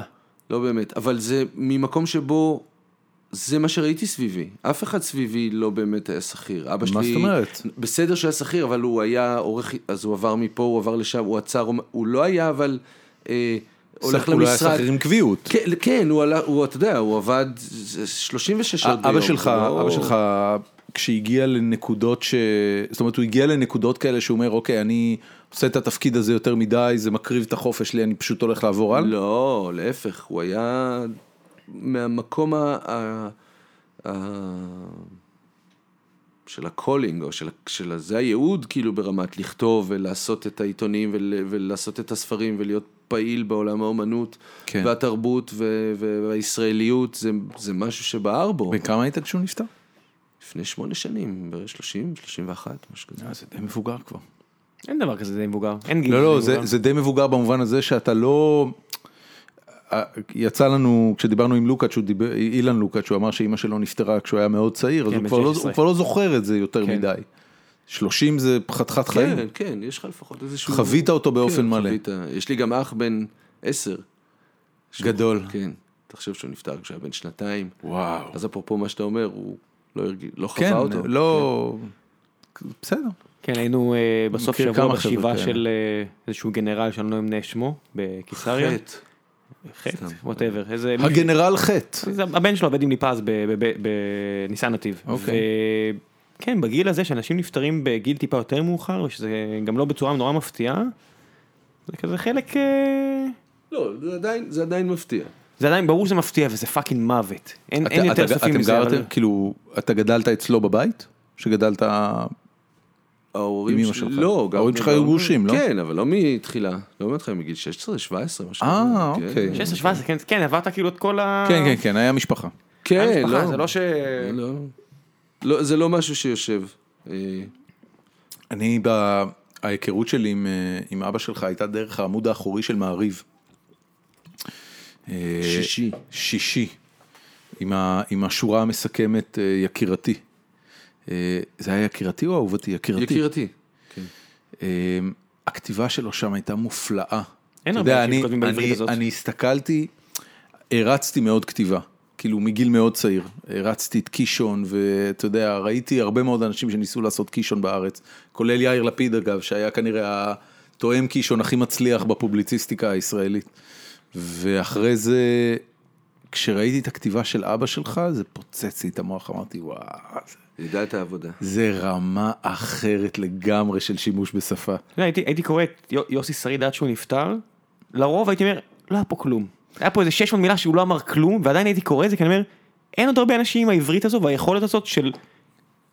C: לא באמת, אבל זה ממקום שבו זה מה שראיתי סביבי. אף אחד סביבי לא באמת היה שכיר. אבא שלי...
A: מה זאת אומרת?
C: בסדר שהיה שכיר, אבל הוא היה עורך, אז הוא עבר מפה, הוא עבר לשם, הוא עצר, הוא לא היה, אבל... אה, הולך
A: הוא לא היה
C: למשרד.
A: שכיר עם קביעות.
C: כן, כן, הוא, עלה, הוא, אתה יודע, הוא עבד 36 שעות ביום.
A: אבא שלך,
C: זה לא-
A: אבא שלך, כשהגיע לנקודות ש... זאת אומרת, הוא הגיע לנקודות כאלה שהוא אומר, אוקיי, אני עושה את התפקיד הזה יותר מדי, זה מקריב את החופש שלי, אני פשוט הולך לעבור על.
C: לא, להפך, הוא היה מהמקום ה... ה... ה... של הקולינג, או של, של ה- זה הייעוד, כאילו, ברמת לכתוב ולעשות את העיתונים ול, ולעשות את הספרים ולהיות פעיל בעולם האומנות
A: כן.
C: והתרבות ו, ו, והישראליות, זה, זה משהו שבער בו.
A: וכמה היית כשהוא נפטר?
C: לפני שמונה שנים, ב-30, 31, משהו כזה.
A: זה די מבוגר כבר.
B: אין דבר כזה די מבוגר. אין גיל.
A: לא,
B: די
A: לא,
B: מבוגר.
A: זה, זה די מבוגר במובן הזה שאתה לא... אה, יצא לנו, כשדיברנו עם לוקאץ', הוא דיבר, אילן לוקאץ', הוא אמר שאימא שלו נפטרה כשהוא היה מאוד צעיר, אז
B: כן,
A: הוא
B: בן
A: כבר, לא,
B: 16.
A: הוא כבר לא זוכר את זה יותר
B: כן.
A: מדי. 30 זה חתיכת חיים.
C: כן, כן, יש לך לפחות איזשהו...
A: חווית אותו באופן
C: כן,
A: מלא.
C: חווית. יש לי גם אח בן עשר. שהוא-
A: גדול.
C: כן. תחשוב שהוא נפטר כשהוא היה בן שנתיים.
A: וואו.
C: אז אפרופו מה שאתה אומר, הוא לא, הרגיש, לא חווה
A: כן,
C: אותו.
A: לא... בסדר.
B: כן, היינו אה, בסוף
A: מכיר
B: שבוע
A: כמה חבר'ה
B: בשבעה
A: כאלה.
B: של אה, איזשהו גנרל שאני לא אמנה את שמו, בקיסריה.
C: חטא.
B: חטא,
C: סתם.
B: ווטאבר. איזה...
A: הגנרל חטא.
B: זה- הבן שלו עובד עם ליפז ב- ב- ב- בניסן נתיב.
A: אוקיי.
B: ו- כן, בגיל הזה שאנשים נפטרים בגיל טיפה יותר מאוחר, ושזה גם לא בצורה נורא מפתיעה, זה כזה חלק... אה,
C: לא, זה עדיין, זה עדיין מפתיע.
B: זה עדיין ברור שזה מפתיע וזה פאקינג מוות. אין,
A: אתה-
B: אין יותר
A: אתה-
B: סופים
A: אתם
B: מזה. אבל-
A: גרתם, כאילו, אתה גדלת אצלו בבית? שגדלת...
B: אה.
C: ההורים
A: עם אמא
C: שלי-
A: שלך.
C: לא, גם...
A: ההורים שלך היו
C: גם-
A: גרושים, לא?
C: כן, אבל לא מתחילה. לא מתחילה, מגיל 16, 17, משהו.
A: אה,
C: כזה. כן.
A: אוקיי.
B: 16, 17, כן, כן, עברת כאילו את כל ה...
A: כן, כן, כן, היה משפחה.
C: כן,
B: המשפחה,
C: לא.
B: זה לא ש...
C: לא. לא, זה לא משהו שיושב. אה,
A: אני, ב... ההיכרות שלי עם, אה, עם אבא שלך הייתה דרך העמוד האחורי של מעריב. אה,
C: שישי.
A: שישי, עם, ה... עם השורה המסכמת אה, יקירתי. אה, זה היה יקירתי או אהובתי? יקירתי.
C: יקירתי.
A: אה, הכתיבה שלו שם הייתה מופלאה. אתה
B: הרבה
A: יודע,
B: אנשים
A: אני-
B: כותבים בעברית
A: אני-
B: הזאת.
A: אני הסתכלתי, הרצתי מאוד כתיבה, כאילו מגיל מאוד צעיר. הרצתי את קישון, ואתה יודע, ראיתי הרבה מאוד אנשים שניסו לעשות קישון בארץ, כולל יאיר לפיד אגב, שהיה כנראה התואם קישון הכי מצליח בפובליציסטיקה הישראלית. ואחרי זה, כשראיתי את הכתיבה של אבא שלך, זה פוצץ לי את המוח, אמרתי, וואו, זה-
C: ידע את העבודה.
A: זה רמה אחרת לגמרי של שימוש בשפה.
B: אתה יודע, הייתי, הייתי קורא את יו- יוסי שריד עד שהוא נפטר, לרוב הייתי אומר, לא היה פה כלום. היה פה איזה 600 מילה שהוא לא אמר כלום, ועדיין הייתי קורא את זה, כי אני אומר, אין עוד הרבה אנשים עם העברית הזו והיכולת הזאת של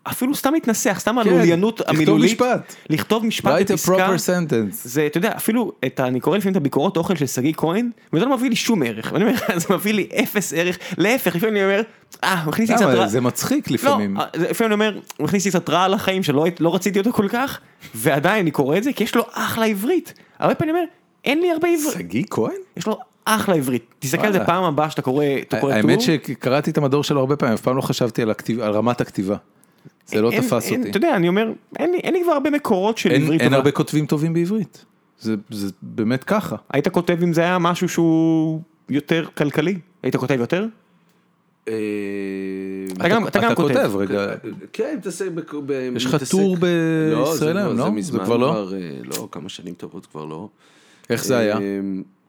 B: אפילו סתם להתנסח, סתם הלוליינות
A: תכתוב
B: המילולית.
A: כן, משפט.
B: לכתוב משפט
A: write a
B: בפסקה.
A: לא proper sentence.
B: זה, אתה יודע, אפילו, את, ה- אני קורא לפעמים את הביקורות אוכל של שגיא כהן, וזה לא מביא לי שום ערך. ואני אומר, [LAUGHS] זה מביא לי אפס ערך, להפך, לפעמים אני אומר, אה, הוא הכניס לי קצת...
A: למה?
B: רע."
A: זה מצחיק לפעמים.
B: לא, זה- לפעמים אני אומר, הוא הכניס לי קצת רעל לחיים שלא הי- לא רציתי אותו כל כך, ועדיין אני קורא את זה כי יש לו אחלה עברית. הרבה פעמים אני אומר, אין לי הרבה עברית,
A: שגיא כהן?
B: יש לו אחלה עברית. תסתכל על זה
A: וואלה.
B: פעם הבאה שאתה קורא אתה קורא טור.
A: האמת שקראתי את המדור שלו הרבה פעמים, אף פעם לא חשבתי על הכתיב- על רמת הכתיבה. זה לא
B: אין-
A: תפס
B: אין-
A: אותי.
B: אתה יודע, אני אומר, אין לי- אין לי כבר הרבה מקורות של
A: אין-
B: עברית.
A: אין
B: אבל
A: הרבה כותבים טובים בעברית. זה זה באמת ככה.
B: היית כותב אם זה היה משהו שהוא יותר כלכלי? היית כותב יותר?
C: אה,
B: אתה גם- אתה גם כותב.
A: כותב, רגע.
C: כן, מתעסק בק- ב...
A: יש לך
C: מתעסק-
A: טור
C: לא, זה
A: בישראל
C: כבר-
A: היום, לא?
C: זה
A: זה
C: מזמן
A: כבר לא?
C: אה, לא, כמה שנים טובות כבר לא.
A: איך זה היה?
C: אה,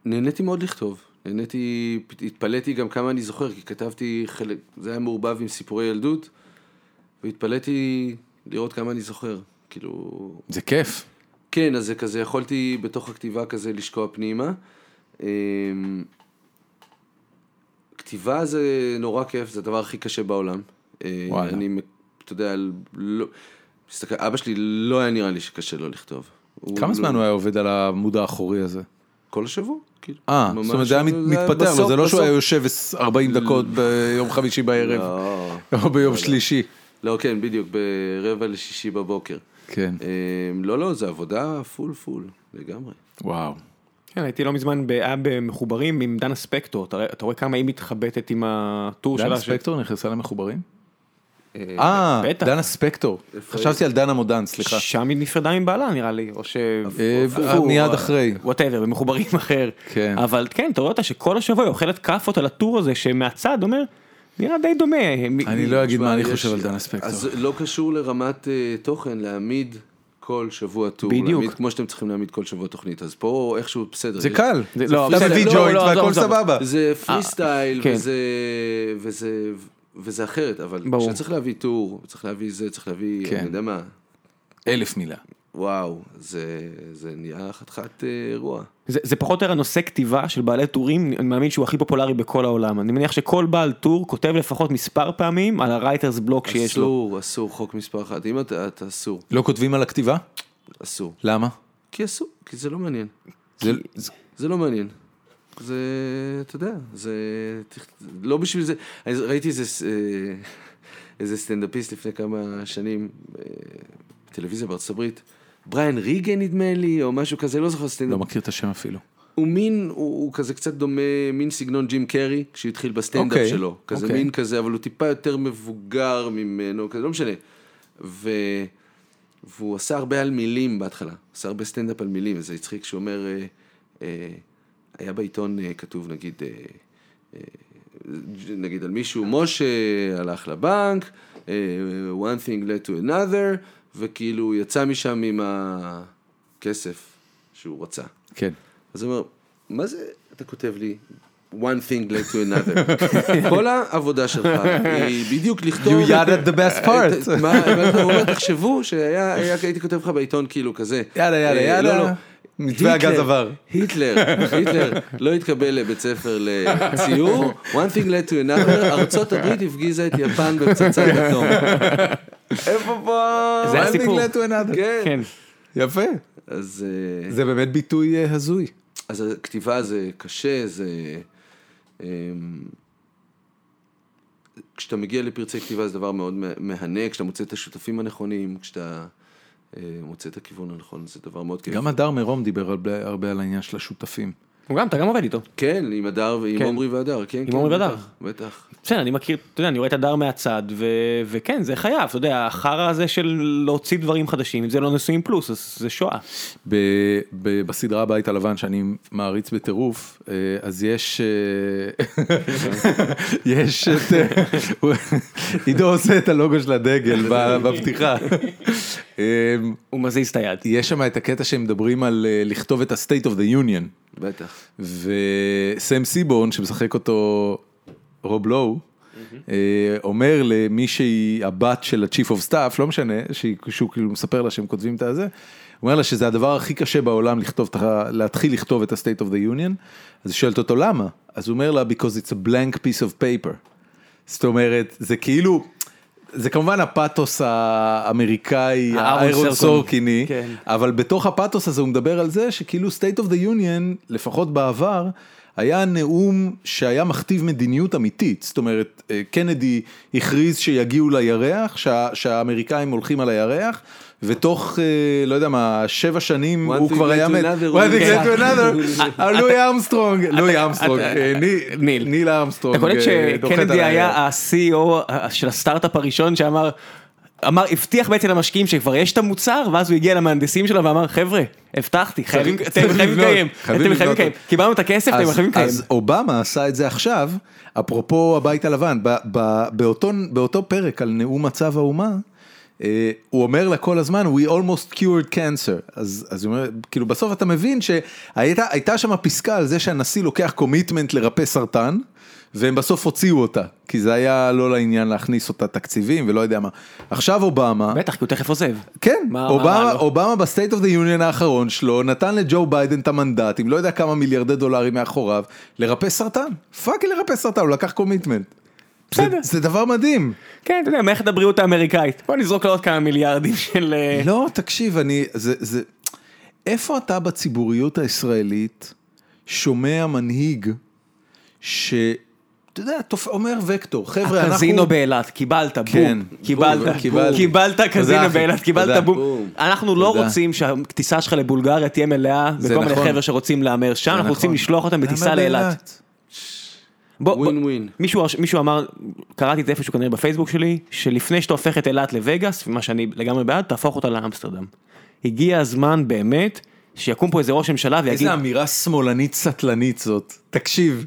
C: נהניתי מאוד לכתוב. נהניתי, התפלאתי גם כמה אני זוכר, כי כתבתי חלק, זה היה מעורבב עם סיפורי ילדות, והתפלאתי לראות כמה אני זוכר. כאילו,
A: זה כיף.
C: כן, אז זה כזה, יכולתי בתוך הכתיבה כזה לשקוע פנימה. אמ, כתיבה זה נורא כיף, זה הדבר הכי קשה בעולם. אה,
A: וואלה.
C: אני, מ- אתה יודע, לא... מסתכל, אבא שלי לא היה נראה לי שקשה לו לכתוב. הוא
A: כמה
C: לא-
A: זמן הוא היה עובד על העמוד האחורי הזה?
C: כל השבוע. כאילו.
A: אה,
C: ממש,
A: זאת אומרת זה היה מת-
C: זה-
A: מתפתח לו,
C: בסוף-
A: זה לא שהוא
C: בסוף-
A: היה יושב 40 דקות ביום חמישי בערב,
C: לא,
A: או ביום שלישי.
C: לא, כן, בדיוק, ברבע לשישי
A: [LAUGHS]
C: בבוקר.
A: כן,
C: אמ, לא, לא, זה עבודה פול פול, לגמרי.
A: וואו.
B: כן, הייתי לא מזמן היה במחוברים עם דנה ספקטור, אתה, אתה רואה כמה היא מתחבטת עם הטור שלה.
A: דנה ספקטור נכנסה למחוברים? אה,
B: בטח.
A: דנה ספקטור. חשבתי על דנה מודן, סליחה.
B: שם היא נפרדה מבעלה נראה לי, או ש...
A: אה,
C: הפוך,
A: מיד
C: אה.
A: אחרי.
B: וואטאבר, במחוברים אחר.
A: כן.
B: אבל כן, אתה רואה אותה שכל השבוע היא אוכלת כאפות על הטור הזה, שמהצד אומר, נראה די דומה.
A: אני לא אגיד
C: תשמע,
A: מה אני
C: יש-
A: חושב על דנה ספקטור.
C: אז לא קשור לרמת אה, תוכן, להעמיד כל שבוע טור.
B: בדיוק.
C: להעמיד כמו שאתם צריכים להעמיד כל שבוע תוכנית, אז פה איכשהו בסדר.
A: זה
C: יש-
A: קל,
B: זה- לא,
A: אתה
B: בסדר,
A: מביא
B: לא,
A: ג'וינט
B: לא, עזוב,
A: והכל
B: עזוב.
A: סבבה. אה,
C: זה פרי סטייל,
B: כן.
C: וזה, וזה, וזה אחרת, אבל
B: ברור.
C: כשצריך להביא טור, צריך להביא זה, צריך להביא,
A: כן.
C: אני יודע מה,
A: אלף מילה.
C: וואו, זה, זה נהיה חתיכת אה, אירוע.
B: זה, זה פחות או יותר הנושא כתיבה של בעלי טורים, אני מאמין שהוא הכי פופולרי בכל העולם. אני מניח שכל בעל טור כותב לפחות מספר פעמים על הרייטרס בלוק שיש לו.
C: אסור, אסור, חוק מספר אחת. אם אתה, אתה אסור,
A: לא כותבים על הכתיבה?
C: אסור.
A: למה?
C: כי אסור, כי זה לא מעניין.
A: זה- זה-
C: זה לא מעניין. זה, אתה יודע, זה, תכ- לא בשביל זה. אני ראיתי איזה, ס- אה, איזה סטנדאפיסט לפני כמה שנים, אה, בטלוויזיה בארצות הברית, בריאן ריגן נדמה לי, או משהו כזה, לא זוכר
A: לא
C: סטנדאפ.
A: מכיר את השם אפילו.
C: הוא מין, הוא, הוא כזה קצת דומה, מין סגנון ג'ים קרי, כשהתחיל בסטנדאפ
A: אוקיי,
C: שלו. כזה
A: אוקיי.
C: מין כזה, אבל הוא טיפה יותר מבוגר ממנו, כזה, לא משנה. ו... והוא עשה הרבה על מילים בהתחלה, עשה הרבה סטנדאפ על מילים, וזה הצחיק כשהוא אומר, אה, אה, היה בעיתון אה, כתוב נגיד, אה, אה, נגיד על מישהו, משה הלך לבנק, אה, one thing led to another, וכאילו הוא יצא משם עם הכסף שהוא רצה.
A: כן.
C: אז הוא אומר, מה זה אתה כותב לי? one thing led to another. [LAUGHS] כל העבודה שלך היא בדיוק לכתוב...
A: You added the
B: אה,
A: best part.
C: מה, מה אתה אומר, תחשבו שהיה, היה- הייתי כותב לך בעיתון כאילו כזה.
A: יאללה, יאללה,
C: אה,
A: יאללה.
C: לא, לא.
A: מתווה הגז
B: כן.
C: היטלר,
A: עבר.
C: היטלר, היטלר לא התקבל לבית ספר לציור, one thing led to another, ארצות הברית הפגיזה את יפן בפצצת
A: [LAUGHS]
C: אטום. איפה פה?
B: זה
A: One thing
B: הסיפור.
A: led to another.
C: כן.
B: כן.
A: יפה.
C: אז... אה,
A: זה באמת ביטוי אה, הזוי.
C: אז הכתיבה זה קשה, זה... אמ, כשאתה מגיע לפרצי כתיבה זה דבר מאוד מה- מהנה, כשאתה מוצא את השותפים הנכונים, כשאתה אה, מוצא את הכיוון הנכון, זה דבר מאוד כיף.
A: גם הדר מירום דיבר הרבה- הרבה על העניין של השותפים.
B: הוא גם, אתה גם עובד איתו.
C: כן, עם הדר ועם
B: כן.
C: עמרי והדר, כן. כן,
B: עמרי
C: בטח,
B: והדר.
C: בטח.
B: בסדר, אני מכיר, אתה יודע, אני רואה את הדר מהצד, ו... וכן, זה חייב, אתה יודע, החרא הזה של להוציא דברים חדשים, אם זה לא נשואים פלוס, אז זה שואה.
A: ב, ב, בסדרה הבית הלבן שאני מעריץ בטירוף אה, אז יש אה, [LAUGHS] יש את אה, [LAUGHS] הוא- עידו עושה את הלוגו של הדגל ב- בפתיחה. אה,
B: הוא מזיז את היד.
A: יש שם את הקטע שהם מדברים על אה, לכתוב את ה-state of the union
C: בטח.
A: וסם סיבון שמשחק אותו רוב לואו. אה, אומר למי שהיא הבת של ה-chief of staff, לא משנה, שהיא- שהוא כאילו מספר לה שהם כותבים את הזה, הוא אומר לה שזה הדבר הכי קשה בעולם לכתוב, את ה- להתחיל לכתוב את ה-state of the union, אז היא שואלת אותו למה, אז הוא אומר לה because it's a blank piece of paper. זאת אומרת, זה כאילו, זה כמובן הפאתוס האמריקאי,
B: הארון
A: האיירון
B: סורקין.
A: סורקיני,
B: כן.
A: אבל בתוך הפאתוס הזה הוא מדבר על זה שכאילו state of the union, לפחות בעבר, היה נאום שהיה מכתיב מדיניות אמיתית. זאת אומרת, אה, קנדי הכריז שיגיעו לירח, שה, שהאמריקאים הולכים על הירח, ותוך, אה, לא יודע מה, שבע שנים
C: One
A: הוא
C: thing
A: כבר
C: led
A: היה...
C: to
A: מת.
C: another,
A: One
C: הוא-
A: thing led to
C: כן.
A: another.
C: [LAUGHS]
A: אה, לואי אמסטרונג, לואי אמסטרונג, אה, ני-
B: ניל.
A: ניל אמסטרונג.
B: אתה קולט
A: אה, דוחת על
B: שקנדי היה
A: הירח.
B: ה-CEO של הסטארט-אפ הראשון שאמר, אמר, הבטיח בעצם למשקיעים שכבר יש את המוצר, ואז הוא הגיע למהנדסים שלו ואמר, חבר'ה, הבטחתי, חייבים, אתם
A: צריך
B: חייבים
A: לבנות,
B: לקיים,
A: חייבים
B: אתם חייבים
A: לבנות.
B: לקיים, קיבלנו את הכסף, אתם
A: אז,
B: חייבים לקיים.
A: אז אובמה עשה את זה עכשיו, אפרופו הבית הלבן, ב, ב, באותו, באותו פרק על נאום מצב האומה, אה, הוא אומר לה כל הזמן, We almost cured cancer. אז, אז הוא אומר, כאילו בסוף אתה מבין שהייתה שם פסקה על זה שהנשיא לוקח קומיטמנט לרפא סרטן, והם בסוף הוציאו אותה, כי זה היה לא לעניין להכניס אותה תקציבים ולא יודע מה. עכשיו אובמה,
B: בטח, כי הוא תכף עוזב.
A: כן,
B: מה- מה רע
A: אובמה,
B: לו?
A: אובמה בסטייט אוף דה יוניון האחרון שלו נתן לג'ו ביידן את המנדטים, לא יודע כמה מיליארדי דולרים מאחוריו, לרפא סרטן, פאקינג לרפא סרטן, הוא לקח קומיטמנט.
B: בסדר.
A: זה, זה דבר מדהים.
B: כן, אתה יודע, מערכת הבריאות האמריקאית. בוא נזרוק לה עוד כמה מיליארדים של... אה,
A: לא, תקשיב, אני, זה, זה, איפה אתה בציבוריות הישראלית שומע מנהיג ש... אתה יודע, תופ... אומר וקטור, חבר'ה, אנחנו...
B: הקזינו באילת, קיבלת,
A: כן,
B: בום.
A: בום,
B: קיבלת,
A: קיבלתי.
B: קיבלת
A: תודה,
B: קזינו
A: אחי.
B: באילת,
A: תודה.
B: קיבלת בום.
C: בום.
B: אנחנו לא
A: תודה.
B: רוצים שהטיסה שלך לבולגריה תהיה מלאה
A: זה
B: בכל מיני
A: נכון.
B: חבר'ה שרוצים להמר שם,
A: זה
B: אנחנו רוצים
A: נכון.
B: לשלוח אותם
A: למה
B: בטיסה לאילת. בוא- בוא-
C: ווין ווין.
B: מישהו, מישהו אמר, קראתי את זה איפשהו כנראה בפייסבוק שלי, שלפני שאתה הופך את אילת לווגאס, מה שאני לגמרי בעד, תהפוך אותה לאמסטרדם. הגיע הזמן באמת שיקום פה איזה ראש ממשלה ויגיד,
A: איזה אמ- אמירה שמאלנית סטלנית זאת. תקשיב,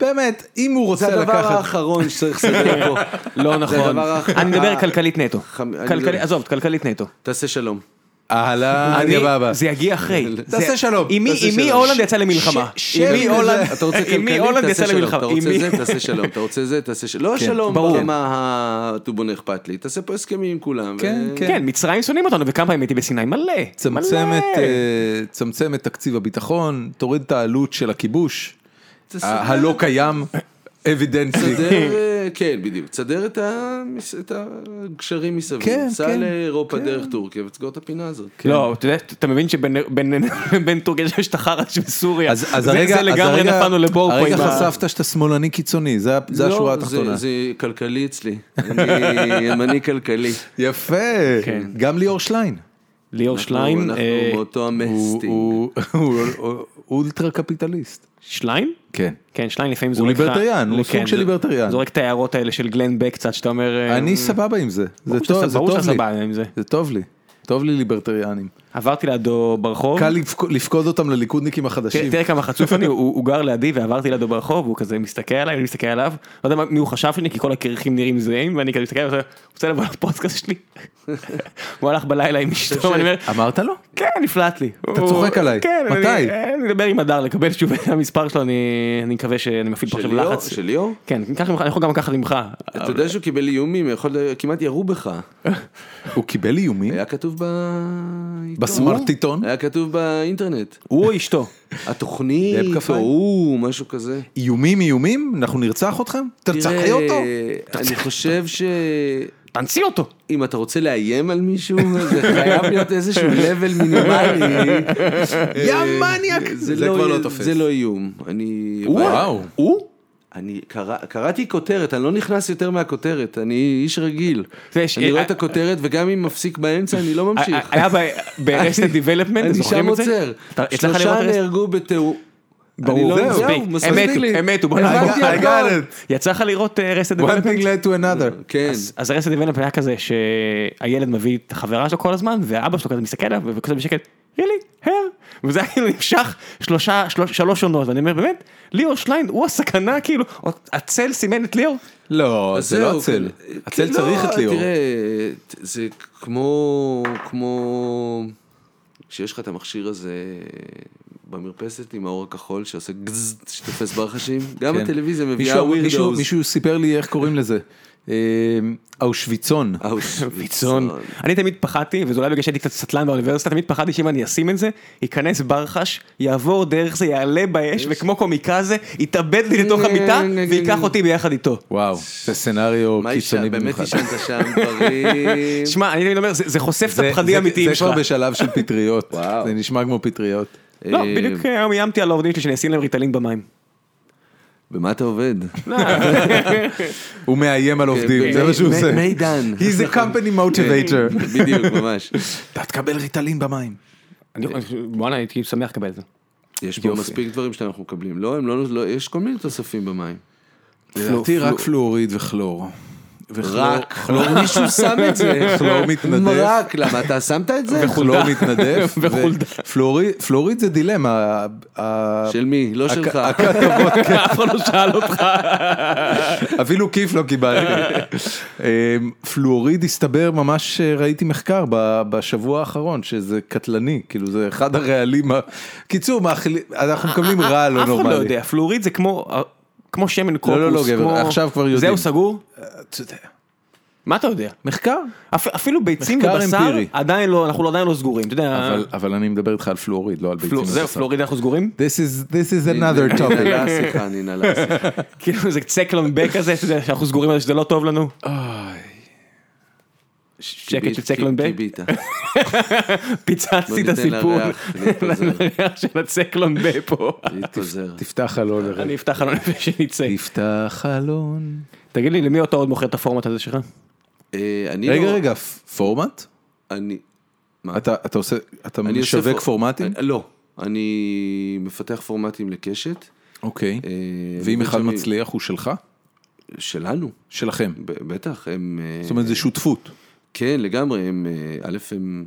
A: באמת, אם הוא
C: זה
A: רוצה
C: הדבר
A: לקחת...
C: האחרון שצריך לסדר פה.
B: [LAUGHS]
A: [LAUGHS]
B: לא נכון,
C: הדבר האח-
B: אני מדבר
C: ה-
B: כלכלית נטו,
C: חמ- אני
B: כלכלי-
C: לא-
B: עזוב, כלכלית נטו.
C: תעשה שלום.
A: אהלן,
B: אני-
A: יבבה.
B: זה יגיע
A: [LAUGHS]
B: אחרי.
A: תעשה
B: זה-
A: שלום,
B: עם מי-
A: תעשה
B: עם מי
A: שלום.
B: הולנד יצא למלחמה?
A: ש-
B: עם מי
A: שם
B: הולנד-
C: אתה רוצה
B: עם מי
C: כלכלית,
B: הולנד יצא
C: תעשה שלום.
B: למלחמה?
C: אתה
B: עם
C: רוצה
B: מי-
C: זה, תעשה שלום. אתה רוצה זה, תעשה שלום. לא שלום
B: ברור.
C: ברמה הטובון אכפת לי. תעשה פה הסכמים עם כולם.
A: כן,
C: ו-
A: כן.
B: כן, מצרים שונאים אותנו, וכמה פעמים הייתי בסיני, [LAUGHS] מלא.
A: צמצם
B: מלא.
A: את, אה, צמצם את תקציב הביטחון, תוריד את העלות של הכיבוש, ה- הלא קיים, אבידנסי.
C: תסדר, אה, כן, בדיוק. תסדר את ה- את הגשרים מסביב.
A: כן,
C: סע
A: כן,
C: לאירופה דרך טורקיה ותסגור את הפינה הזאת.
B: לא, אתה יודע, אתה מבין שבין בין- [LAUGHS] בין טורקיה יש את החרא שבסוריה.
A: אז, אז
B: זה-
A: הרגע,
B: זה
A: אז
B: לגמרי
A: הרגע-
B: נפלנו לבור פה
A: הרגע
B: עם ה-
A: חשפת שאתה שמאלני קיצוני, זה, ה- זה
C: לא,
A: השורה התחתונה.
C: זה- זה כלכלי אצלי. אני ימני כלכלי.
A: יפה,
B: כן.
A: גם ליאור שליין.
B: ליאור שליין,
C: אנחנו
B: אה,
C: באותו
A: הוא,
C: המסטינג.
A: הוא, הוא, הוא, הוא אולטרה קפיטליסט.
B: שליין?
A: כן.
B: כן, שליין לפעמים זורק לך...
A: ליברטריאן, הוא
B: כן,
A: סוג של
B: ז-
A: ליברטריאן.
B: זורק את ההערות האלה של גלן בק קצת, שאתה אומר... אה,
A: אני סבבה עם זה, זה
B: ברור
A: טוב,
B: שאתה-
A: זה
B: ברור
A: טוב
B: שאתה
A: לי.
B: סבבה עם זה.
A: זה טוב לי. טוב לי ליברטריאנים.
B: עברתי לידו ברחוב.
A: קל לפק- לפקוד אותם לליכודניקים
B: תראה
A: החדשים.
C: כן,
B: תראה כמה חצוף אני, הוא הוא גר לידי ועברתי לידו ברחוב, הוא כזה מסתכל עליי, אני מסתכל עליו, לא יודע מה- מי הוא חשב שאני, כי כל הקרחים נראים זהים, ואני כזה מסתכל עליו, הוא רוצה לבוא לפודקאסט שלי. הוא הלך בלילה עם אשתו, ואני אומר,
A: אמרת לו?
B: כן, נפלט לי. אתה
A: צוחק עליי. מתי?
B: אני אדבר עם הדר, לקבל שוב את המספר שלו, אני אני מקווה שאני מפעיל פה עכשיו
C: של ליאור?
B: לחץ.
C: של ליאור?
B: כן, ניקח ממך, אני יכול גם לקחת ממך.
C: אתה יודע שהוא קיבל איומים, יכול- כמעט ירו בך.
A: הוא קיבל איומים?
C: היה כתוב בעיתון.
A: בסמרטיטון?
C: היה כתוב באינטרנט.
B: הוא או אשתו?
A: דאב
C: התוכנית,
A: כפיים.
C: או משהו כזה.
A: איומים איומים? אנחנו נרצח אתכם? תרצחי
C: תראה,
A: אותו?
C: אני חושב שאם
B: תנסי אותו.
C: אתה רוצה לאיים על מישהו, זה חייב להיות איזשהו לבל מינימלי.
A: [LAUGHS] יא מניאק! זה כבר לא תופס.
C: אה, זה לא איום. אני...
A: וואו.
B: הוא?
C: אני קרא- קראתי כותרת, אני לא נכנס יותר מהכותרת, אני איש רגיל.
B: זה יש-
C: אני רואה
B: אה,
C: את הכותרת, וגם אם מפסיק באמצע, אני לא
A: אה-
C: ממשיך.
B: היה ברסטד דיבלפמנט,
C: אני שם
B: זוכרים את זה?
C: עוצר.
B: אתה- הצלחת לראות
C: שלושה
B: Arrested?
C: נהרגו בתיאור. אני
B: ברור,
C: לא-
A: זהו,
B: מספיק.
C: זהו, מספיק
B: הם מתו,
C: לי.
B: הם מתו, בוא
A: הבנתי,
B: נעבור.
A: I got it.
B: יצא לך לראות רסט
A: One thing
B: דבלפמנט?
A: led to another.
C: כן.
B: אז רסט דבלפמנט היה כזה שהילד מביא את החברה שלו כל הזמן, והאבא שלו כזה מסתכל עליו וכזה בשקט, really, her? וזה היה כאילו נמשך שלושה, שלוש- שלוש עונות, ואני אומר, באמת, ליאור שליין הוא הסכנה, כאילו, הצל סימן את ליאור?
A: לא,
C: אז
A: זה לא
C: זהו,
A: הצל.
C: כן.
A: הצל
C: לא,
A: צריך את ליאור.
C: תראה, זה כמו, כמו, כשיש לך את המכשיר הזה במרפסת עם האור הכחול שעושה גזז, שתופס ברחשים, גם
A: כן.
C: הטלוויזיה מביאה
A: מישהו- מישהו-
C: ווירדוז.
A: מישהו סיפר לי איך קוראים לזה. אה, אושוויצון.
C: אה.
A: [LAUGHS]
B: ויצון.
A: לא
B: אני תמיד פחדתי, וזה אולי בגלל שהייתי קצת סטלן באוניברסיטה, תמיד פחדתי שאם אני אשים את זה, ייכנס ברחש, יעבור דרך זה, יעלה באש, וכמו קומיקזה, יתאבד לי לתוך המיטה, וייקח אותי ביחד איתו.
A: וואו, זה סצנריו
C: מה אישה,
A: קיצוני
C: באמת
A: במיוחד.
C: ישנת שם
A: [LAUGHS]
C: דברים.
B: שמע, אני תמיד אומר, זה זה חושף את
A: זה-
B: הפחדים
A: זה-
B: האמיתיים
A: זה
B: שלך.
A: כבר בשלב של פטריות.
C: וואו.
A: זה נשמע כמו פטריות.
B: לא,
C: אה,
B: בדיוק היום איימתי על העובדים שלי שאני אשים להם ריטלין במים.
C: במה אתה עובד?
A: הוא מאיים על עובדים, זה
C: מ-
A: מה שהוא
C: כן, מ-
A: עושה.
C: מידן.
A: He's a company motivator.
C: [LAUGHS] בדיוק, ממש.
A: אתה תקבל ריטלין במים.
B: אני-
A: אה,
B: וואלה, הייתי שמח לקבל את זה.
C: יש פה
A: יופי.
C: מספיק דברים שאנחנו מקבלים. לא, הם לא, לא- יש כל מיני תוספים במים.
A: לדעתי רק פלואוריד וכלור.
C: רק, מישהו שם את זה,
A: כלור מתנדף.
C: רק, למה אתה שמת את זה?
A: וחלור מתנדף,
B: וחולדה.
A: ופלוריד- פלוריד זה דילמה, ה-
C: של מי? לא שלך.
B: אף אחד לא שאל אותך.
A: כן. אפילו כיף לא קיבלתי. אמ, פלואוריד הסתבר ממש אה, ראיתי מחקר ב- בשבוע האחרון שזה קטלני כאילו זה אחד הרעלים. ה- קיצור מאכילים אנחנו מקבלים רע לא
B: אה, אף אחד לא
A: נורמלי.
B: יודע, פלואוריד זה כמו... אה, כמו שמן קוקוס,
A: לא, לא, גבר,
B: כמו-
A: עכשיו כבר יודעים.
B: זהו סגור?
A: אתה יודע,
B: מה אתה יודע?
A: מחקר.
B: אפ- אפילו ביצים
A: מחקר
B: ובשר,
A: אמפירי.
B: עדיין לא, אנחנו עדיין לא סגורים, אתה יודע,
A: אבל אבל אני מדבר איתך על פלואוריד לא על ביצים.
B: פלו- זהו,
A: ובשר.
B: פלואוריד אנחנו סגורים? [LAUGHS]
A: This is this is
C: [LAUGHS]
A: another
C: ננעלה
A: topic.
C: השיחה, ננעלה
A: [LAUGHS]
C: השיחה.
B: כאילו זה צקלון בק כזה, אתה יודע, שאנחנו סגורים על זה שזה לא טוב לנו? שקט של צקלון בק?
C: קיבית.
B: פיצצתי את
C: בוא ניתן
B: הסיפור.
C: לריח להתפזר.
B: [LAUGHS] לריח של הצקלון בק פה.
A: [LAUGHS]
C: להתפזר.
A: תפתח חלון. לרגע.
B: אני אפתח חלון לפני שנצא.
A: תפתח חלון.
B: תגיד לי, למי אתה עוד מוכר את הפורמט הזה שלך?
C: אה, אני
A: רגע
C: לא-
A: רגע פורמט?
C: אני
A: אתה אתה עושה אתה
C: אני עושה
A: משווק
C: פור-
A: פורמטים?
C: אה, לא, אני מפתח פורמטים לקשת.
A: אוקיי.
C: אה,
A: ואם אחד
C: בעצם-
A: מצליח הוא שלך?
C: שלנו,
A: שלכם.
C: ב- בטח, הם... אה,
A: זאת אומרת זה שותפות.
C: כן, לגמרי, הם... אה, א', הם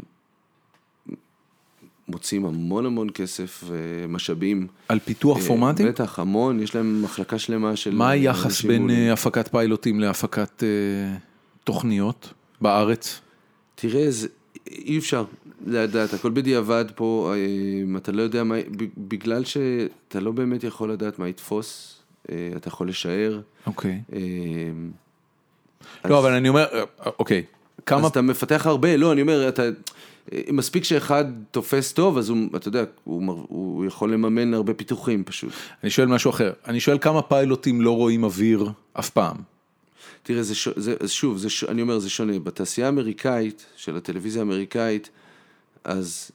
C: מוצאים המון המון כסף אה, ומשאבים.
A: על פיתוח
C: אה,
A: פורמטים?
C: בטח, המון, יש להם מחלקה שלמה של...
A: מה היחס
C: אנשים
A: בין
C: מעולים.
A: אה, הפקת פיילוטים להפקת אה, תוכניות בארץ?
C: תראה, זה, אי אפשר לדעת, הכל בדיעבד פה, אה, אתה לא יודע מה, ב- בגלל שאתה לא באמת יכול לדעת מה יתפוס, אה, אתה יכול לשער.
A: אוקיי.
C: אה,
A: לא,
C: אז-
A: אבל אני אומר, אה, אוקיי, כמה...
C: אז אתה מפתח הרבה, לא, אני אומר, אתה... אה, מספיק שאחד תופס טוב, אז הוא, אתה יודע, הוא, מר- הוא יכול לממן הרבה פיתוחים פשוט.
A: אני שואל משהו אחר. אני שואל כמה פיילוטים לא רואים אוויר אף פעם.
C: תראה, זה, ש... זה אז שוב, זה ש... אני אומר, זה שונה. בתעשייה האמריקאית, של הטלוויזיה האמריקאית, אז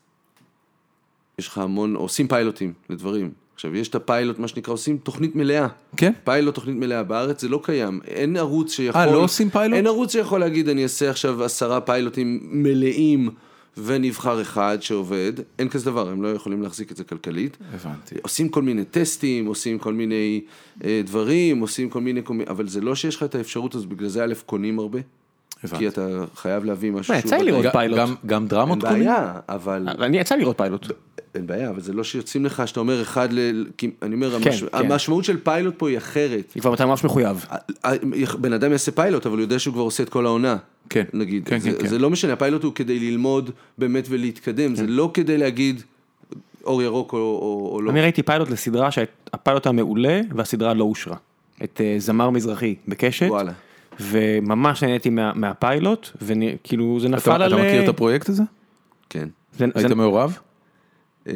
C: יש לך המון, עושים פיילוטים לדברים. עכשיו, יש את הפיילוט, מה שנקרא, עושים תוכנית מלאה.
A: כן?
C: פיילוט תוכנית מלאה בארץ זה לא קיים, אין ערוץ שיכול...
A: אה, לא עושים פיילוט?
C: אין ערוץ שיכול להגיד אני אעשה עכשיו עשרה פיילוטים מלאים ונבחר אחד שעובד, אין כזה דבר, הם לא יכולים להחזיק את זה כלכלית.
A: הבנתי.
C: עושים כל מיני טסטים, עושים כל מיני אה, דברים, עושים כל מיני, כל מיני- אבל זה לא שיש לך את האפשרות, אז בגלל זה א', קונים הרבה,
A: הבנתי.
C: כי אתה חייב להביא משהו
B: מה, יצא לי
C: בטוח.
B: לראות
A: ג-
B: פיילוט.
A: גם- גם דרמות
C: אין
A: קונים?
C: בעיה, אבל...
B: אני יצא לראות פיילוט.
C: אין בעיה, אבל זה לא שיוצאים לך, שאתה אומר אחד ל... כי- אני אומר,
B: כן,
C: המש-
B: כן.
C: המשמעות של פיילוט פה היא אחרת.
B: היא כבר מתי ממש מחויב.
C: בן אדם יעשה פיילוט, אבל הוא יודע שהוא כבר עושה את כל העונה.
A: כן.
C: נגיד.
A: כן,
C: זה,
A: כן, כן.
C: זה לא משנה, הפיילוט הוא כדי ללמוד באמת ולהתקדם,
B: כן.
C: זה לא כדי להגיד אור ירוק או, או, או לא.
B: אני ראיתי פיילוט לסדרה שהפיילוט היה מעולה והסדרה לא אושרה. את אה, זמר מזרחי בקשת.
C: וואלה.
B: וממש נהניתי מה- מהפיילוט, וכאילו זה
A: אתה
B: נפל על...
A: אתה
B: אה,
A: מכיר את הפרויקט הזה?
C: כן.
B: זה- זה-
A: היית מעורב?
C: אה,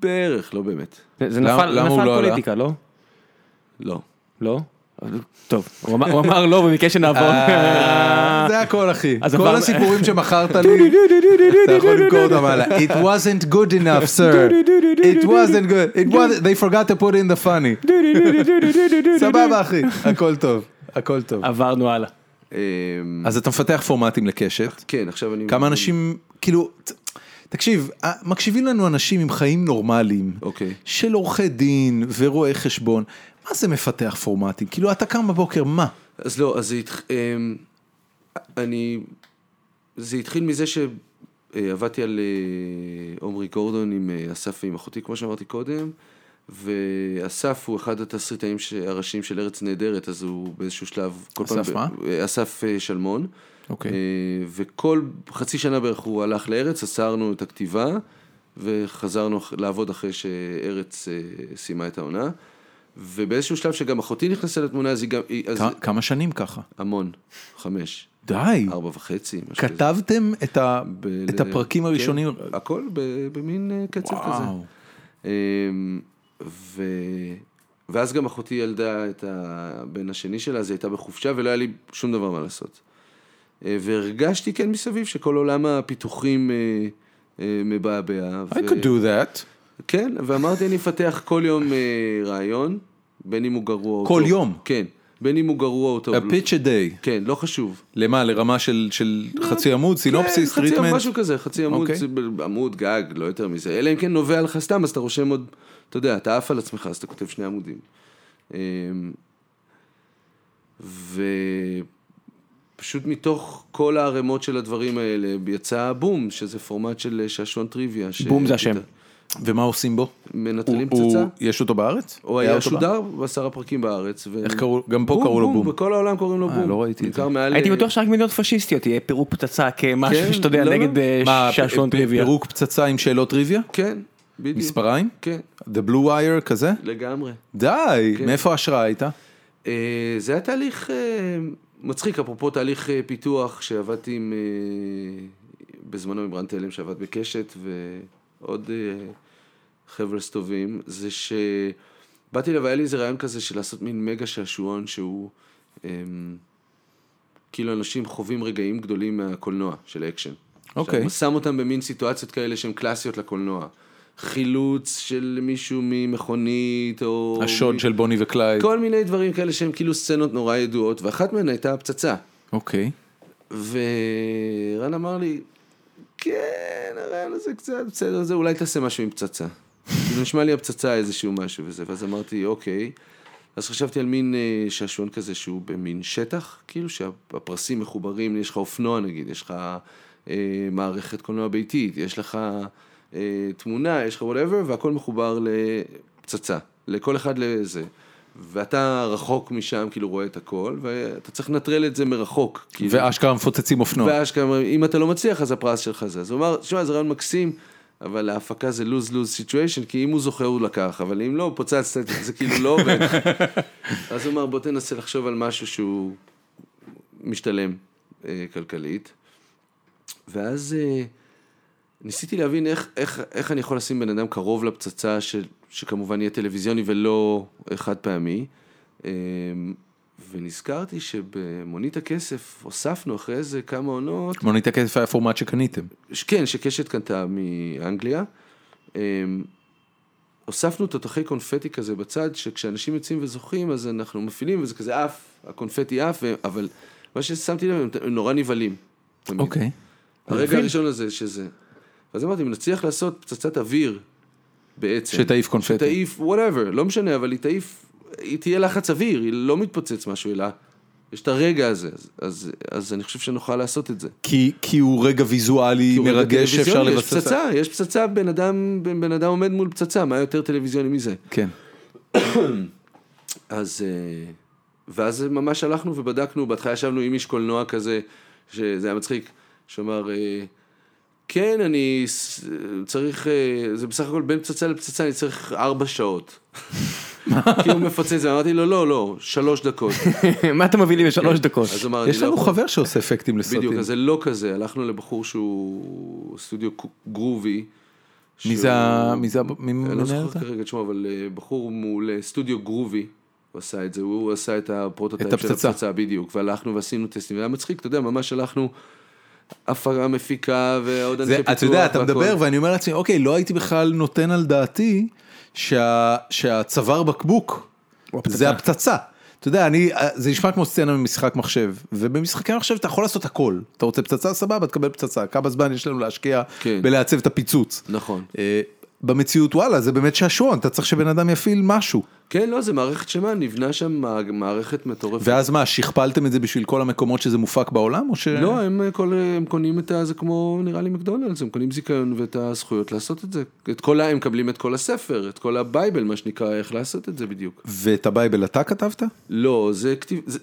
C: בערך, לא באמת.
B: זה זה
A: למה-
B: נפל
A: למה
B: זה
A: הוא
B: נפל
A: לא
B: על
A: עלה?
B: פוליטיקה, לא?
C: לא.
B: לא? טוב, הוא אמר- הוא אמר לא במקרה שנעבור.
A: אה.
B: [LAUGHS]
C: אה.
A: זה הכל אחי.
B: אז
A: כל
B: אבל-
A: הסיפורים שמכרת
C: [LAUGHS]
A: לי, אתה יכול למכור אותם הלאה. It wasn't good enough, sir.
C: [LAUGHS]
A: It wasn't good. It was... They forgot to put in the funny. סבבה אחי, הכל טוב, הכל טוב.
B: עברנו הלאה.
C: אה,
A: אז אתה מפתח פורמטים לקשת,
C: כן, עכשיו אני...
A: כמה אנשים, כאילו, ת- תקשיב, אה, מקשיבים לנו אנשים עם חיים נורמליים,
C: אוקיי.
A: של עורכי דין ורואי חשבון, מה זה מפתח פורמטים? כאילו, אתה קם בבוקר, מה?
C: אז לא, אז זה התח... אמ, אני... זה התחיל מזה שעבדתי על אה, עומרי גורדון עם אה, אסף ועם אחותי, כמו שאמרתי קודם, ואסף הוא אחד התסריטאים ש- הראשיים של ארץ נהדרת, אז הוא באיזשהו שלב... כל פעם
A: אסף
C: ב-
A: מה?
C: אה, אסף אה, שלמון.
A: אוקיי.
C: אה, וכל חצי שנה בערך הוא הלך לארץ, אסרנו את הכתיבה, וחזרנו אח- לעבוד אחרי שארץ אה, סיימה את העונה. ובאיזשהו שלב שגם אחותי נכנסה לתמונה, אז היא גם... היא- אז-
A: כ- כמה שנים ככה?
C: המון, חמש,
A: די.
C: ארבע וחצי, משהו כזה.
A: כתבתם את ה-
C: ב-
A: את הפרקים
C: כן,
A: הראשונים,
C: הכל ב- במין אה, קצב כזה.
A: וואו.
C: אמ, ו... ואז גם אחותי ילדה את הבן השני שלה, אז היא הייתה בחופשה ולא היה לי שום דבר מה לעשות. אה, והרגשתי כן מסביב שכל עולם הפיתוחים אה, אה, מבעבע.
A: I could do that.
C: כן, ואמרתי אני אפתח כל יום אה, רעיון, בין אם הוא גרוע או
A: כל
C: טוב.
A: יום?
C: כן, בין אם הוא גרוע או טוב.
A: A pitch a day.
C: כן, לא חשוב.
A: למה? לרמה של של חצי עמוד, סינופסיס,
C: לא. כן, חצי עמוד,
A: טריטמנט?
C: משהו כזה, חצי עמוד,
A: אוקיי.
C: okay. עמוד גג, לא יותר מזה. אלא אם כן נובע לך סתם, אז אתה רושם עוד, אתה יודע, אתה עף על עצמך, אז אתה כותב שני עמודים. אמ, ו... פשוט מתוך כל הערימות של הדברים האלה יצא בום, שזה פורמט של שעשועון טריוויה. ש-
B: בום זה השם.
A: ומה עושים בו?
C: מנטרלים
A: הוא-
C: פצצה.
A: הוא- יש אותו בארץ?
C: הוא היה
A: אותו
C: שודר בעשר הפרקים בארץ. ו-
A: איך קראו- גם פה קראו לו בום.
C: בכל העולם קוראים לו
A: אה,
C: בום.
A: לא ראיתי את
C: בעיקר
A: זה.
C: מעל-
B: הייתי בטוח שרק מדינות פשיסטיות יהיה פירוק פצצה
C: אה, כן,
B: כמשהו שאתה יודע
C: לא, לא.
B: נגד אה,
A: מה, פ-
B: שעשועון
A: פ-
B: טריוויה.
A: פירוק פצצה עם שאלות טריוויה?
C: כן, בדיוק.
A: מספריים?
C: כן,
A: The Blue Wire כזה?
C: לגמרי.
A: די,
C: כן.
A: מאיפה ההשראה הייתה?
C: אה, זה היה תהליך אה, מצחיק, אפרופו תהליך אה, פיתוח שעבדתי עם, אה, בזמנו עם רן תלם שעבד בקשת ועוד אה, חבר'ה טובים, זה שבאתי אליו, היה לי איזה רעיון כזה של לעשות מין מגה שעשועון שהוא, אה, כאילו אנשים חווים רגעים גדולים מהקולנוע של אקשן.
A: אוקיי.
C: עכשיו, שם אותם במין סיטואציות כאלה שהן קלאסיות לקולנוע. חילוץ של מישהו ממכונית או...
A: השוד של בוני וקלייד.
C: כל מיני דברים כאלה שהם כאילו סצנות נורא ידועות, ואחת מהן הייתה הפצצה.
A: אוקיי.
C: ורן אמר לי, כן, הרעיון הזה קצת בסדר, זה אולי תעשה משהו עם פצצה. כאילו נשמע לי הפצצה איזשהו משהו וזה, ואז אמרתי, אוקיי. אז חשבתי על מין אה, שעשועון כזה שהוא במין שטח, כאילו שהפרסים מחוברים, יש לך אופנוע נגיד, יש לך אה, מערכת קולנוע ביתית, יש לך אה, תמונה, יש לך וואטאבר, והכל מחובר לפצצה, לכל אחד לזה. ואתה רחוק משם, כאילו רואה את הכל, ואתה צריך לנטרל את זה מרחוק. כאילו.
A: ואשכרה מפוצצים אופנוע.
C: ואשכרה, אומרים, אם אתה לא מצליח, אז הפרס שלך זה. אז הוא אמר, תשמע, זה רעיון מקסים, אבל ההפקה זה lose-lose situation, כי אם הוא זוכר, הוא לקח, אבל אם לא, פוצצת, את זה, זה כאילו לא עובד. אז הוא אמר, בוא תנסה לחשוב על משהו שהוא משתלם אה, כלכלית. ואז אה, ניסיתי להבין איך, איך, איך אני יכול לשים בן אדם קרוב לפצצה, ש, שכמובן יהיה טלוויזיוני ולא חד פעמי. אה, ונזכרתי שבמונית הכסף הוספנו אחרי זה כמה עונות,
A: מונית הכסף היה פורמט שקניתם.
C: ש- כן, שקשת קנתה מאנגליה. אה, הוספנו תותחי קונפטי כזה בצד, שכשאנשים יוצאים וזוכים, אז אנחנו מפעילים, וזה כזה עף, הקונפטי עף, ו- אבל מה ששמתי לב, הם- הם נורא נבהלים. תמיד.
A: אוקיי.
C: הרגע הראשון הזה שזה. ואז אמרתי, אם נצליח לעשות פצצת אוויר בעצם.
A: שתעיף קונפטי.
C: שתעיף, whatever, לא משנה, אבל היא תעיף, היא תהיה לחץ אוויר, היא לא מתפוצץ משהו, אלא יש את הרגע הזה, אז, אז, אז אני חושב שנוכל לעשות את זה.
A: כי, כי הוא רגע ויזואלי
C: כי הוא רגע
A: מרגש שאפשר
C: טלוויזיוני,
A: לבסס.
C: יש פצצה, יש פצצה, בן אדם, בן בן אדם עומד מול פצצה, מה יותר טלוויזיוני מזה?
A: כן.
C: אז... אה, ואז ממש הלכנו ובדקנו, בהתחלה ישבנו עם איש קולנוע כזה, שזה היה מצחיק, שאמר, אה, כן, אני ס- צריך, אה, זה בסך הכל בין פצצה לפצצה, אני צריך ארבע
A: [LAUGHS]
C: שעות. כי הוא מפצץ, ואמרתי לו, לא, לא, שלוש
A: [LAUGHS]
C: דקות.
B: [LAUGHS] מה אתה מביא לי בשלוש דקות?
C: אז הוא אמר,
A: יש
C: "אני לא
A: לנו
C: יכול."
A: חבר שעושה אפקטים לסרטים.
C: בדיוק, אז זה לא כזה, הלכנו לבחור שהוא סטודיו גרובי.
A: מי זה ה- מי זה ה- מי
C: אני
A: מנהל
C: לא זוכר
A: אותה?
C: כרגע את שמו, אבל אה, בחור מעולה, סטודיו גרובי, הוא עשה את זה, הוא עשה את הפרוטוטייפ
A: את
C: של
A: הפצצה.
C: הפצצה, בדיוק, והלכנו ועשינו טסטים, זה היה מצחיק, אתה יודע, ממש הלכנו, אף המפיקה ועוד אנשי
A: זה,
C: פיתוח,
A: אתה יודע, אתה
C: והכל.
A: מדבר ואני אומר לעצמי, אוקיי, לא הייתי בכלל נותן על דעתי שה, שהצוואר בקבוק זה הפצצה. אתה יודע, אני, זה נשמע כמו סצנה ממשחק מחשב, ובמשחקי מחשב אתה יכול לעשות הכל. אתה רוצה פצצה, סבבה, תקבל פצצה. כמה זמן יש לנו להשקיע
C: כן.
A: בלעצב את הפיצוץ.
C: נכון.
A: אה, במציאות, וואלה, זה באמת שעשועון, אתה צריך שבן אדם יפעיל משהו.
C: כן, לא, זה מערכת שלמה, נבנה שם מע- מערכת מטורפת.
A: ואז מה, שכפלתם את זה בשביל כל המקומות שזה מופק בעולם, או ש...
C: לא, הם, אה, כל, הם קונים את ה... זה כמו, נראה לי, מקדונלדס, הם קונים זיכיון ואת הזכויות לעשות את זה. את כל ה... הם מקבלים את כל הספר, את כל הבייבל, מה שנקרא, איך לעשות את זה בדיוק.
A: ואת הבייבל אתה כתבת?
C: לא, זה כתיב... זה...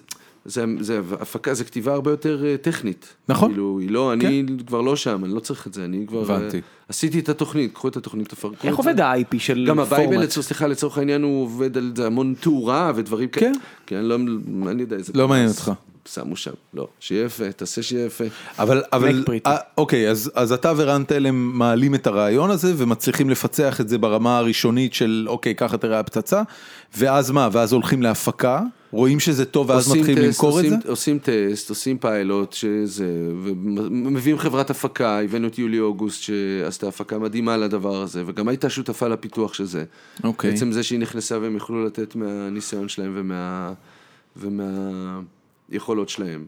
C: זה, זה הפקה, זה כתיבה הרבה יותר אה, טכנית.
A: נכון. כן.
C: כאילו, היא לא, אני כבר לא שם, אני לא צריך את זה, אני כבר...
A: הבנתי.
C: אה, עשיתי את התוכנית, קחו את התוכנית, תפרקו את זה.
B: איך עובד ה-IP של
C: גם הבייבל,
B: פורמט?
C: לצור- סליחה, לצורך העניין, הוא עובד על זה המון תאורה ודברים כאלה.
A: כן.
C: כן, אני לא, אני יודע איזה...
A: לא מעניין
C: פרס
A: אותך.
C: שמו שם, לא. שיהיה יפה, תעשה שיהיה יפה.
A: אבל, אבל,
B: פריטי.
A: אה, אוקיי, אז, אז אתה ורן תלם מעלים את הרעיון הזה ומצליחים לפצח את זה ברמה הראשונית של אוקיי, ככה תראה הפצצה, ואז מה, ואז הולכים להפקה, רואים שזה טוב ואז
C: עושים
A: מתחילים
C: טסט,
A: למכור את זה?
C: עושים- עושים טסט, עושים פיילוט, שזה, ומביאים חברת הפקה, הבאנו את יולי אוגוסט שעשתה הפקה מדהימה לדבר הזה, וגם הייתה שותפה לפיתוח של זה.
A: אוקיי.
C: בעצם זה שהיא נכנסה והם יכלו לתת מהניסיון שלהם ומה... ומהיכולות שלהם.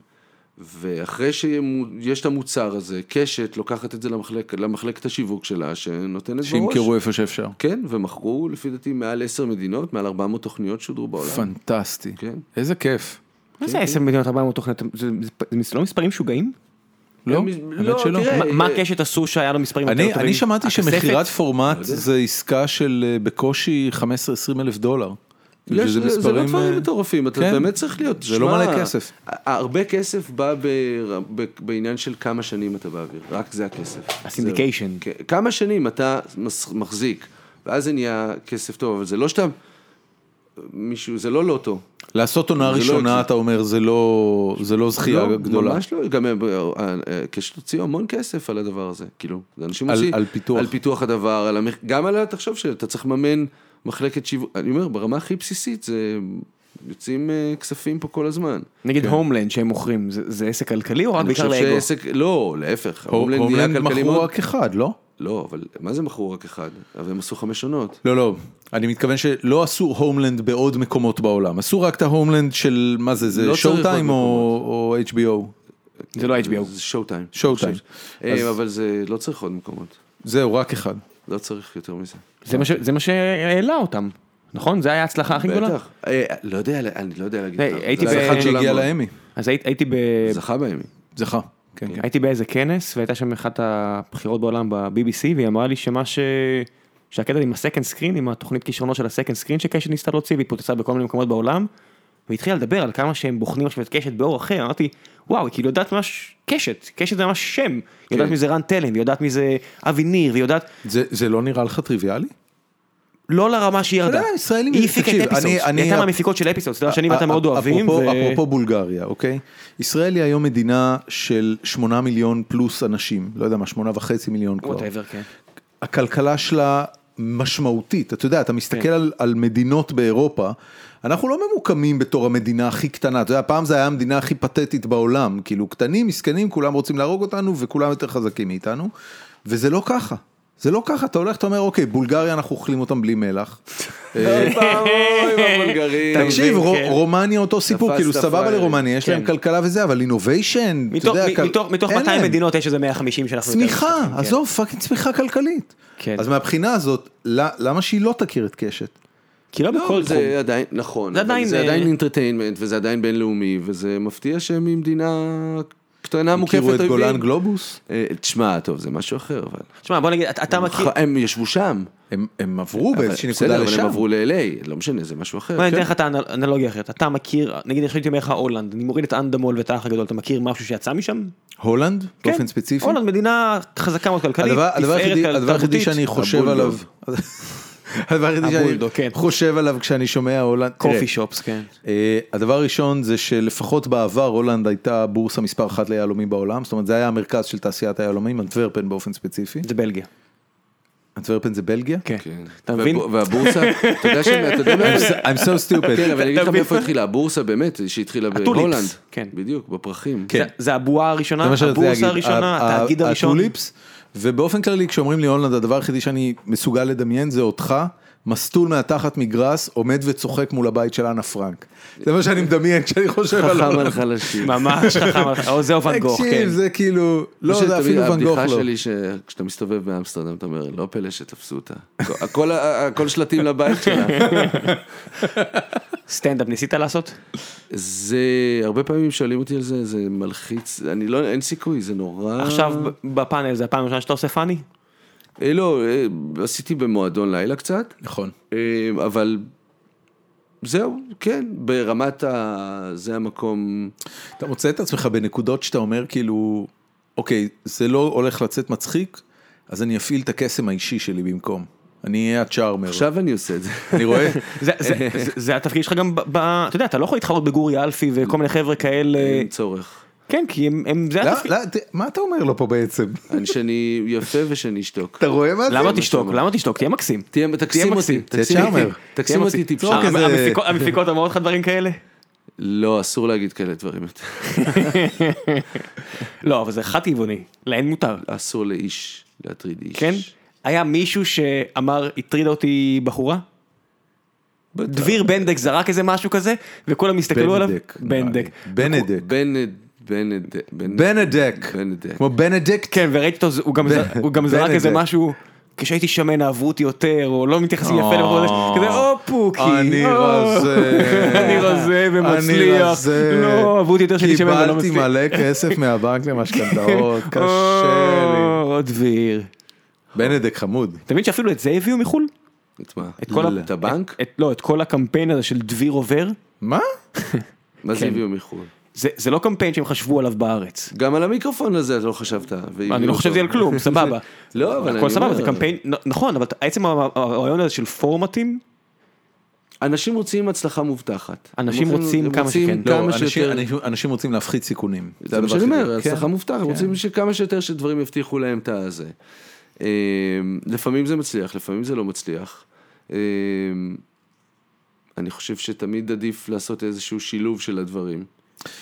C: ואחרי שיש את המוצר הזה, קשת לוקחת את זה למחלק, למחלקת השיווק שלה, שנותנת בראש.
A: שימכרו איפה שאפשר.
C: כן, ומכרו לפי דעתי מעל עשר מדינות, מעל 400 תוכניות שודרו בעולם.
A: פנטסטי.
C: כן.
A: איזה כיף.
B: מה זה 10 מדינות 400 תוכניות? זה זה- זה לא מספרים משוגעים?
A: לא,
C: הם-
A: האמת שלא.
C: תראה,
B: מה- מה הקשת עשו שהיה לו מספרים יותר
A: אני,
B: טובים?
A: אני שמעתי
B: הכספת?
A: שמכירת
C: לא
A: פורמט זה עסקה של אה, בקושי 15-20 אלף דולר. שזה
C: יש, זה לא
A: מספרים,
C: דברים
A: אה,
C: מטורפים, אתה
A: כן.
C: באמת צריך להיות.
A: זה לא
C: שמע,
A: מלא כסף.
C: ה- הרבה כסף בא בר- ב- בעניין של כמה שנים אתה באוויר, רק זה הכסף.
B: הסינדיקיישן.
C: זהו. כן, כמה שנים אתה מס- מחזיק, ואז זה נהיה כסף טוב, אבל זה לא שאתה... מישהו, זה לא לוטו.
A: לעשות עונה
C: זה לא
A: ראשונה,
C: אקזיט.
A: אתה אומר, זה לא, זה לא זכייה
C: לא,
A: גדולה.
C: ממש לא, גם הם, אה, אה, קשת הוציאו המון כסף על הדבר הזה, כאילו, זה אנשים
A: על-
C: מוציאים,
A: על פיתוח.
C: על פיתוח הדבר, על המח... גם על, תחשוב שאתה צריך לממן מחלקת שיווק, אני אומר, ברמה הכי בסיסית, זה יוצאים אה, כספים פה כל הזמן.
B: נגיד הומלנד שהם מוכרים, זה זה עסק כלכלי או רק
C: כן. אני
B: אה, בעיקר
C: חושב
B: לאגו?
C: שעסק, לא, להפך, הומלנד נהיה
A: הומלנד
C: כלכלי
A: מכרו
C: מאוד,
A: רק אחד, לא?
C: לא, אבל מה זה מכרו רק אחד? אבל הם עשו חמש עונות.
A: לא, לא. אני מתכוון שלא עשו הומלנד בעוד מקומות בעולם. עשו רק את ההומלנד של, מה זה, זה
C: לא צריך
A: שואו
C: עוד
A: טיים או HBO?
B: זה לא HBO.
C: אה, זה שואו טיים.
A: שואו טיים. אז-
C: אבל זה לא צריך עוד מקומות,
A: זהו, רק אחד.
C: לא צריך יותר מזה.
B: זה מה ש- זה מה שהעלה אותם, נכון? זה היה ההצלחה הכי גדולה?
C: בטח. אה, לא יודע, אני לא יודע להגיד.
B: אה,
C: כמה.
B: הייתי
C: זה
B: ב-
A: זה אחד
C: הצלחה גדולה
A: שהגיע
C: מאוד.
A: לאמי.
B: אז הייתי- הייתי ב...
C: זכה באמי.
A: זכה. כן, כן.
B: הייתי באיזה כנס והייתה שם אחת הבחירות בעולם ב-BBC והיא אמרה לי שמה ש... שהקטע עם הסקנד סקרין, עם התוכנית כישרונות של הסקנד סקרין שקשת ניסתה להוציא והיא פוצצה בכל מיני מקומות בעולם והתחילה לדבר על כמה שהם בוחנים עכשיו את קשת באור אחר, אמרתי וואו היא כאילו יודעת ממש קשת, קשת זה ממש שם, היא
A: כן.
B: יודעת מי זה רן תלם, היא יודעת מי זה אבי ניר, והיא יודעת
A: זה זה לא נראה לך טריוויאלי?
B: לא לרמה שהיא ירדה,
A: אתה יודע, ישראלים-
B: היא הפיקה
A: תקשיב,
B: את אפיסודס,
A: אני-
B: היא
A: אני-
B: הייתה מהמפיקות של אפיסודס, אתה יודע לא, שאני ואתה
A: אפ-
B: מאוד
A: אפ-
B: אוהבים,
A: אפרופו-
B: ו-
A: אפרופו בולגריה, אוקיי? ישראל היא היום מדינה של 8 מיליון פלוס אנשים, לא יודע מה, 8 וחצי מיליון כבר.
B: whatever, כן.
A: הכלכלה שלה משמעותית, אתה יודע, אתה
B: כן.
A: מסתכל על, על מדינות באירופה, אנחנו לא ממוקמים בתור המדינה הכי קטנה, אתה יודע, פעם זה היה המדינה הכי פתטית בעולם, כאילו קטנים, מסכנים, כולם רוצים להרוג אותנו וכולם יותר חזקים מאיתנו, וזה לא ככה. זה לא ככה, אתה הולך, אתה אומר, אוקיי, בולגריה אנחנו אוכלים אותם בלי
B: [LAUGHS]
A: מלח. אה, תקשיב,
B: כן.
A: רו- רומניה אותו סיפור,
C: תפסת
A: כאילו סבבה
C: פראיירים.
A: לרומניה, יש להם
B: כן.
A: כלכלה וזה, אבל אינוביישן, אתה
B: מתוך-
A: יודע,
B: מ-
A: כל-
B: מתוך- מתוך
A: אין
B: 200
A: להם.
B: מדינות יש איזה 150 שאנחנו... יותר
A: צמיחה,
B: מצליחים, כן.
A: עזוב, פאקינג צמיחה כלכלית.
B: כן.
A: אז מהבחינה הזאת, ל- למה שהיא לא תכיר את קשת?
B: כי לא
C: לא,
B: בכל תחום.
C: זה עדיין, נכון,
B: זה
C: אבל
B: עדיין,
C: זה
B: אה,
C: עדיין אינטרטיינמנט וזה עדיין בינלאומי וזה מפתיע שהם ממדינה קטנה מוקפת
A: הכירו
C: אויבים.
A: את גולן גלובוס?
C: אה, תשמע, טוב, זה משהו אחר, אבל...
B: תשמע, בוא נגיד, אתה- אתה
A: נכון,
B: מכיר...
A: כן.
C: ח- הם ישבו שם.
A: הם- הם עברו באיזושהי נקודה
C: בסדר, אבל
A: לשם.
C: הם עברו ל-LA, לא משנה, זה משהו אחר.
B: בוא אני
C: כן.
B: אתן לך את האנלוגיה אחרת. אתה מכיר, נגיד עכשיו הייתי אומר לך הולנד, אני מוריד את אנדמול ואת האח הגדול, אתה מכיר משהו שיצא משם?
A: הולנד?
B: כן.
A: באופן ספציפי?
B: הולנד מדינה חזקה מאוד כלכלית,
A: הדבר- הדבר
B: תפארת
A: היחידי- הדבר היחידי
B: תרבותית.
A: שאני חושב עליו, [LAUGHS]
C: הבולדוג.
A: הדבר היחידי
B: הבולדוג,
A: שאני
B: כן.
A: חושב עליו כשאני שומע הולנד, תראה,
B: קופי שופס, כן.
A: אה, הדבר הראשון זה שלפחות בעבר הולנד הייתה בורסה מספר אחת ליהלומים בעולם, זאת אומרת זה היה המרכז של תעשיית היהלומים, אנטוורפן באופן ספציפי,
B: זה בלגיה.
A: אנטוורפן זה בלגיה?
B: כן.
C: כן.
B: אתה מבין?
C: והב- והבורסה,
B: [LAUGHS]
C: אתה יודע ש... אתה יודע מאיפה-
A: I'm so stupid.
C: כן, אבל אני אגיד לך
B: אתה מבין?
C: מאיפה התחילה, הבורסה באמת, שהתחילה
B: הטוליפס,
C: בהולנד.
B: כן.
C: בדיוק, בפרחים.
A: כן.
B: זה- זה הבועה הראשונה,
A: זה מה שרציתי להגיד.
B: הבורסה הראשונה,
A: ה- ה-
B: התאגיד הראשון.
A: הטוליפס, ובאופן כללי כשאומרים לי הולנד הדבר היחידי שאני מסוגל לדמיין זה אותך. מסטול מהתחת מגרס עומד וצוחק מול הבית של אנה פרנק. זה מה שאני מדמיין כשאני חושב על
C: חכם על
A: הולנד.
C: חלשים.
B: ממש חכם,
A: [LAUGHS]
B: או זהו ואן גוך, כן.
A: תקשיב, זה כאילו, לא, זה
C: שתמיד
A: אפילו ואן גוך
C: הבדיחה
A: לא.
C: שלי שכשאתה מסתובב באמסטרדם אתה אומר לא פלא שתפסו אותה. הכל- הכל שלטים לבית שלה.
B: סטנדאפ ניסית לעשות?
A: אה.
C: זה הרבה פעמים שואלים אותי על זה זה מלחיץ אני לא אין סיכוי זה נורא.
B: עכשיו בפאנל זה הפעם הראשונה שאתה עושה פאני?
C: אה, לא אה, עשיתי במועדון לילה קצת
A: נכון.
C: אה, אבל. זהו כן ברמת ה... זה המקום.
A: אתה מוצא את עצמך בנקודות שאתה אומר כאילו, אוקיי, זה לא הולך לצאת מצחיק, אז אני אפעיל את הקסם האישי שלי במקום. אני אהיה הצ'ארמר.
C: עכשיו אני עושה את זה.
A: אני
B: [LAUGHS]
A: רואה,
B: זה-
A: [LAUGHS]
B: זה- זה- זה התפקיד שלך גם ב... ב- אתה יודע, אתה לא יכול להתחרות בגורי אלפי וכל מיני חבר'ה כאלה.
C: אין צורך.
B: כן, כי הם- הם... זה
A: אה, לא,
B: התפקיד.
A: לא, ת- מה אתה אומר לו פה בעצם?
C: אני שאני יפה ושאני אשתוק.
A: אתה רואה מה זה?
B: למה
C: מה
B: תשתוק?
C: שאומר.
B: למה תשתוק? תהיה מקסים.
C: תהיה, תקסים אותי,
B: מקסים,
A: תהיה
C: תקסים אותי,
A: צ'ארמר.
C: תקסים אותי
B: מקסים.
C: טיפשה.
A: צחוק
B: המ-
A: כזה-
B: המפיקות- המפיקות אומרות לך דברים כאלה?
C: לא, אסור להגיד כאלה דברים יותר.
B: לא, אבל זה חד כיווני. להן מותר.
C: אסור לאיש להטריד איש.
B: כן? היה מישהו שאמר, הטרידה אותי בחורה?
C: בטח.
B: דביר בנדק זרק איזה משהו כזה, וכולם הסתכלו עליו.
A: בנדק. בנדק.
B: בנדק.
C: בנד... בנד... בנד...
A: בנדק.
C: בנדק.
A: כמו בנדיקט.
B: כן, וראיתי אותו, הוא גם ז- הוא גם זרק
A: בנדק.
B: איזה משהו, כשהייתי שמן אהבו אותי יותר, או לא מתייחסים יפה למחוז, כזה, או פוקי,
A: אה. אני
B: או,
A: רזה,
B: אני רזה
A: אני
B: ומצליח,
A: רזה.
B: לא, אהבו אותי יותר שאני שמן ולא
A: קיבלתי
B: מצליח.
A: מלא כסף מהבנק למשכנתאות, קשה לי.
B: או, עוד דביר.
A: בנדק חמוד.
B: אתה מבין שאפילו את זה הביאו מחול?
C: את מה?
B: את כל ה-
C: את הבנק?
B: את- את- לא, את כל הקמפיין הזה של דביר עובר,
A: מה?
C: מה זה
B: כן.
C: הביאו מחו"ל?
B: זה זה לא קמפיין שהם חשבו עליו בארץ.
C: גם על המיקרופון הזה אתה לא חשבת. והביאו
B: אני לא
C: אותו.
B: חשבתי על
C: [LAUGHS]
B: כלום, סבבה.
C: לא, אבל
B: הכל
C: אני
B: סבבה,
C: אומר-
B: זה קמפיין, נ- נכון, אבל עצם ה- הרעיון הזה של פורמטים,
C: אנשים רוצים הצלחה מובטחת.
B: אנשים
C: הם
B: רוצים
C: הם
B: כמה
C: רוצים
B: שכן.
A: לא,
C: כמה
A: אנשים-
C: שיותר-
A: אנשים- אנשים רוצים להפחית סיכונים.
C: זה מה
A: הדבר
C: שאני
A: הכי-
C: אומר,
A: כן.
C: הצלחה מובטחת, רוצים שכמה שיותר שדברים יבטיחו להם את הזה. אה, לפעמים זה מצליח, לפעמים זה לא מצליח. אה, אני חושב שתמיד עדיף לעשות איזשהו שילוב של הדברים.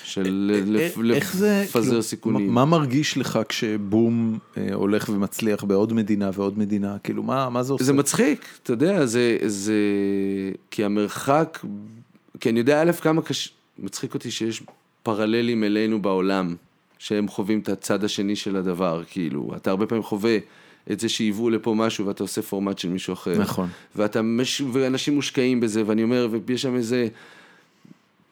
C: של לפ-
A: אה, איך זה,
C: לפזר
A: כאילו,
C: סיכונים.
A: מה מה מרגיש לך כשבום אה, הולך ומצליח בעוד מדינה ועוד מדינה? כאילו, מה מה זה עושה?
C: זה מצחיק, אתה יודע, זה, זה... כי המרחק, כי אני יודע א' כמה קשה, מצחיק אותי שיש פרללים אלינו בעולם, שהם חווים את הצד השני של הדבר, כאילו, אתה הרבה פעמים חווה את זה שהיוו לפה משהו ואתה עושה פורמט של מישהו אחר.
A: נכון.
C: ואתה, מש... ואנשים מושקעים בזה, ואני אומר, ויש שם איזה...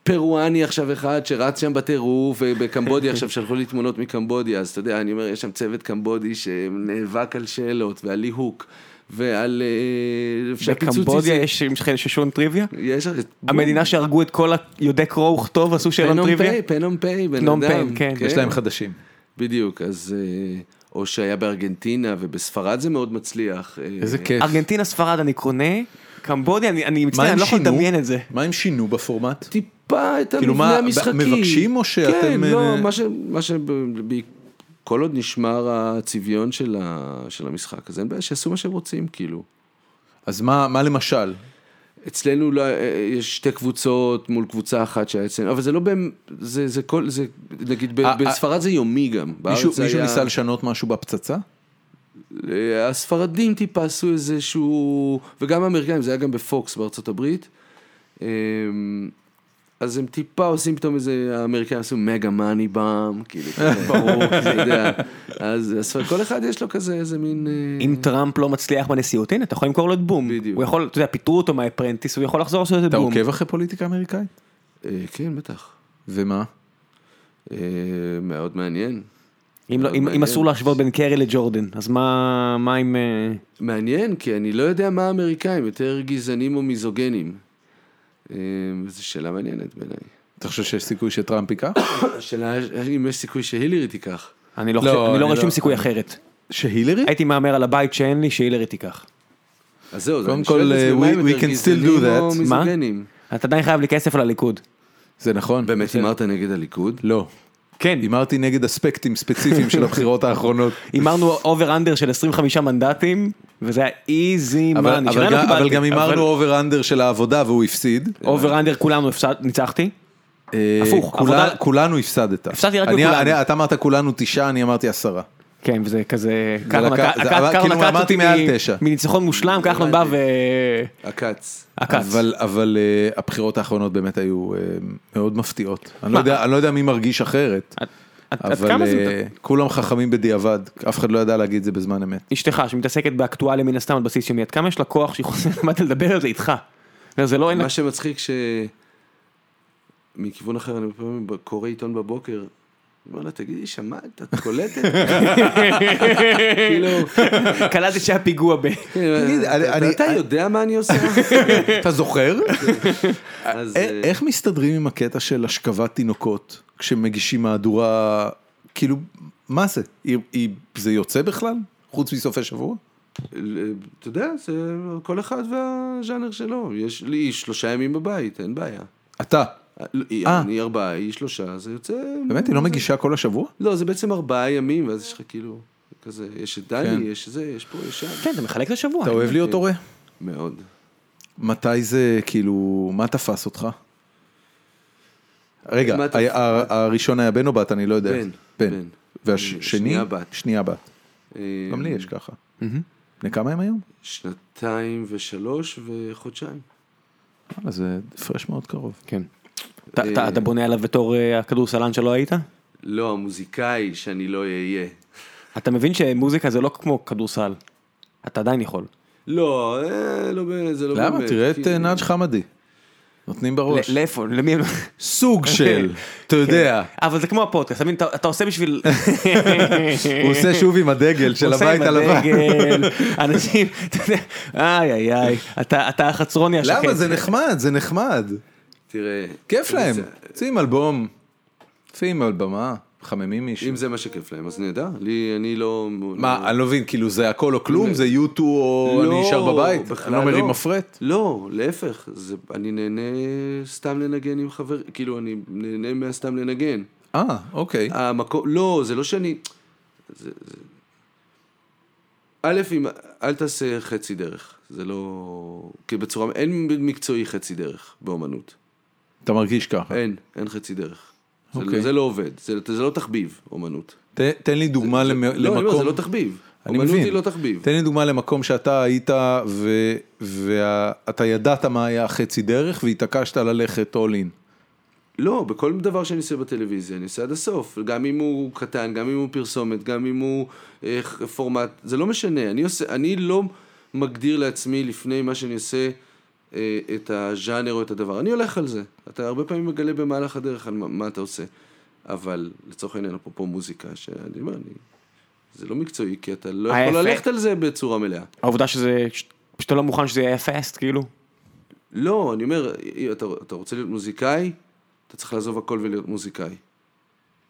C: פרואני עכשיו אחד שרץ שם בטירוף, ובקמבודיה עכשיו שלחו לי תמונות מקמבודיה, אז אתה יודע, אני אומר, יש שם צוות קמבודי שנאבק על שאלות ועל ליהוק ועל... אה, אפשר פיצוץ
B: בקמבודיה
C: עיזים.
B: יש יש ששון טריוויה?
C: יש...
B: המדינה שהרגו את כל היודק קרוא וכתוב עשו שאלון
C: פנום
B: טריוויה?
C: פיי, פנום פיי, בן
B: פנום פיי,
C: אדם.
B: כן.
A: יש להם חדשים.
C: בדיוק, אז... אה, או שהיה בארגנטינה, ובספרד זה מאוד מצליח. אה,
A: איזה כיף.
B: ארגנטינה, ספרד, אני קונה, קמבודיה, אני- אני
A: מה
B: מצטער, אני
A: הם
B: לא יכול
A: שינו?
B: לדמיין את זה.
A: מה הם שינו בפורמט?
C: טיפה את
A: כאילו,
C: המבנה
A: מה,
C: המשחקי.
A: מבקשים או
C: כן,
A: שאתם,
C: לא,
A: אה,
C: מה ש... מה ש... ב- ב- כל עוד נשמר הצביון של, ה... של המשחק, אז אין בעיה שיעשו מה שהם רוצים, כאילו.
A: אז מה מה למשל?
C: אצלנו לא, יש שתי קבוצות מול קבוצה אחת שהיה אצלנו, אבל זה לא באמת, זה, זה כל, זה, נגיד, ב,
A: אה,
C: בספרד זה יומי גם. בארץ
A: מישהו
C: זה
A: מישהו
C: היה-
A: ניסה לשנות משהו בפצצה?
C: אה, הספרדים טיפה עשו איזשהו, וגם האמריקאים, זה היה גם בפוקס בארצות הברית. אה, אז הם טיפה עושים פתאום איזה, האמריקאים עשו מגה מאני באם, כאילו, כזה, ברור, אתה יודע. אז הספר- כל אחד יש לו כזה איזה מין... אה,
B: אם טראמפ לא מצליח בנשיאות, הנה, אתה יכול למכור לו את בום.
C: בדיוק.
B: הוא יכול, אתה יודע, פיטרו אותו מהאפרנטיס, הוא יכול לחזור לעשות את
A: אתה
B: בום.
A: עוקב אחרי פוליטיקה אמריקאית?
C: אה, כן, בטח.
A: ומה?
C: אה, מאוד מעניין.
B: אם לא-
A: אה,
B: אם- אם
C: מעניין.
B: אסור להשוות בין קרי לג'ורדן, אז מה מה עם... אה,
C: מעניין, כי אני לא יודע מה האמריקאים, יותר גזענים או מיזוגנים. אה, זו שאלה מעניינת בעיניי.
A: אתה חושב שיש סיכוי שטראמפ ייקח?
B: [COUGHS]
C: השאלה אם יש סיכוי שהילרי תיקח.
B: אני לא
A: לא,
B: חושב, אני
A: אני
B: לא רואה
A: לא-
B: שום סיכוי אחרת.
A: שהילרי?
B: הייתי מהמר על הבית שאין לי, שהילרי תיקח.
C: אז זהו, אז
A: קודם
C: אני שואל את
A: כל,
C: עצמי,
A: אה,
C: מה
A: we-
C: הם
A: we
C: יותר
A: can still do
C: גזענים או
A: that.
B: מה?
C: מיזוגנים?
B: אתה עדיין חייב לי כסף על הליכוד.
A: זה נכון.
C: באמת הימרת נגד הליכוד?
B: [COUGHS]
A: לא.
B: כן,
A: הימרתי נגד אספקטים ספציפיים של הבחירות
B: [COUGHS]
A: האחרונות.
B: הימרנו אובר אנדר של 25 מנדטים, וזה היה איזי
A: אבל-
B: מאני.
A: אבל גם- אבל גם הימרנו אובר אנדר של העבודה והוא הפסיד.
B: אובר אנדר כולנו הפסד- ניצחתי.
A: אה,
B: הפוך,
A: כולה-
B: עבודה-
A: כולנו הפסדת.
B: הפסדתי רק
A: אני-
B: לכולנו.
A: אני- אתה אמרת כולנו תשעה, אני אמרתי עשרה.
B: כן, וזה כזה,
A: לקח-
B: כחלון
A: זה- אבל כאילו,
B: קט
A: אמרתי
B: אותי
A: מעל
B: מ-
A: תשע.
B: מניצחון מושלם, כחלון בא ו...
C: עקץ.
B: עקץ.
A: אבל, אבל uh, הבחירות האחרונות באמת היו uh, מאוד מפתיעות. אני לא, יודע, אני לא יודע מי מרגיש אחרת,
B: עד- עד- עד
A: אבל
B: כמה
A: uh,
B: זה...
A: כולם חכמים בדיעבד, אף אחד לא ידע להגיד את זה בזמן אמת.
B: אשתך שמתעסקת באקטואליה מן הסתם על בסיס יומי, עד כמה יש לה כוח שהיא חוזרת [LAUGHS] למדת לדבר על זה איתך. זה לא אין לה...
C: מה שמצחיק ש... מכיוון אחר, אני פעמים ב- קורא עיתון בבוקר, אני אומר לה, תגידי, שמעת? את קולטת? [LAUGHS] כאילו,
B: קלטת שהיה פיגוע ב... [LAUGHS]
A: תגיד,
C: אתה-
A: אני-
C: אתה-
A: אני-
C: אתה
A: אני-
C: יודע מה
A: [LAUGHS]
C: אני עושה?
B: כן.
A: אתה
B: [LAUGHS]
A: זוכר?
C: אז, אה,
A: איך מסתדרים עם הקטע של השכבת תינוקות כשמגישים מהדורה, כאילו, מה זה? היא, היא, זה יוצא בכלל? חוץ מסופי שבוע?
C: אתה יודע, זה כל אחד והז'אנר שלו. יש לי שלושה ימים בבית, אין בעיה.
A: אתה,
C: אה, לא, היא-
A: אה.
C: אני ארבעה, היא שלושה, זה יוצא...
A: באמת היא לא מגישה כל השבוע?
C: לא, זה בעצם ארבעה ימים, ואז יש לך כאילו, כזה, יש את
A: כן.
C: דני, יש זה, יש פה, יש שם.
B: כן, אתה מחלק לשבוע.
A: אתה אוהב להיות הורה?
C: מאוד.
A: מתי זה, כאילו, מה תפס אותך? רגע,
C: מה תפס-
A: היה- ה- הראשון היה בן או בת, אני לא יודע.
C: בן,
A: בן.
C: בן.
A: והשני?
C: שנייה בת.
A: שנייה בת. גם לי
C: אה,
A: יש ככה. בני כמה הם היום?
C: שנתיים ושלוש וחודשיים.
A: וואלה, זה הפרש מאוד קרוב.
B: כן. אתה- אתה- אתה בונה עליו בתור אה, הכדורסלן שלא היית?
C: לא, המוזיקאי שאני לא אהיה.
B: אתה מבין שמוזיקה זה לא כמו כדורסל. אתה עדיין יכול.
C: לא, אה, לא, ב- זה לא באמת.
A: למה? תראה את
C: כי-
A: אה, נאג' חמדי. נותנים בראש.
B: ל- לאיפה? למי?
C: [LAUGHS]
A: סוג של,
C: כן.
A: אתה יודע.
B: [LAUGHS] אבל זה כמו הפודקאסט, אתה מבין? אתה אתה עושה בשביל...
A: הוא עושה שוב עם הדגל [LAUGHS] של
B: עושה
A: הבית
B: עם
A: הלבן.
B: הדגל, אנשים, אתה יודע, איי איי איי, אתה אתה החצרוני השקט.
A: [LAUGHS] למה? זה נחמד, זה נחמד.
C: תראה.
A: כיף
C: אם
A: להם.
C: זה-
A: שים אלבום, שים על במה, מחממים מישהו.
C: אם זה מה שכיף להם, אז נהדר. לי, אני לא... לא-
A: מה, אני לא מבין, כאילו זה הכל או כלום? זה U2 או אני נשאר בבית?
C: בכלל
A: אני לא מרים
C: לא.
A: מפרט?
C: לא, להפך, זה, אני נהנה סתם לנגן עם חבר, כאילו אני נהנה מהסתם לנגן.
A: אה, אוקיי.
C: המקום, לא, זה לא שאני... זה, זה... א', אם, אל תעשה חצי דרך, זה לא... כי בצורה, אין מקצועי חצי דרך באומנות.
A: אתה מרגיש ככה.
C: אין, אין חצי דרך. זה,
A: אוקיי.
C: לא, זה לא עובד, זה, זה לא תחביב, אומנות.
A: ת- תן לי דוגמה למ-
C: לא, אני אומר,
A: למקום...
C: זה לא תחביב.
A: אני
C: אומנות
A: מבין.
C: היא לא תחביב.
A: תן לי דוגמה למקום שאתה היית ו- ואתה ידעת מה היה חצי דרך והתעקשת ללכת all in.
C: לא, בכל דבר שאני עושה בטלוויזיה, אני עושה עד הסוף. גם אם הוא קטן, גם אם הוא פרסומת, גם אם הוא אה, פורמט, זה לא משנה. אני, עושה, אני לא מגדיר לעצמי לפני מה שאני עושה אה, את הז'אנר או את הדבר. אני הולך על זה. אתה הרבה פעמים מגלה במהלך הדרך על מה, מה אתה עושה. אבל לצורך העניין, אפרופו מוזיקה, שאני אומר, אני... זה לא מקצועי, כי אתה לא יכול
B: ההפך.
C: ללכת על זה בצורה מלאה.
B: העובדה שזה, שאתה לא מוכן שזה יהיה פסט, כאילו.
C: לא, אני אומר, אתה, אתה רוצה להיות מוזיקאי, אתה צריך לעזוב הכל ולהיות מוזיקאי.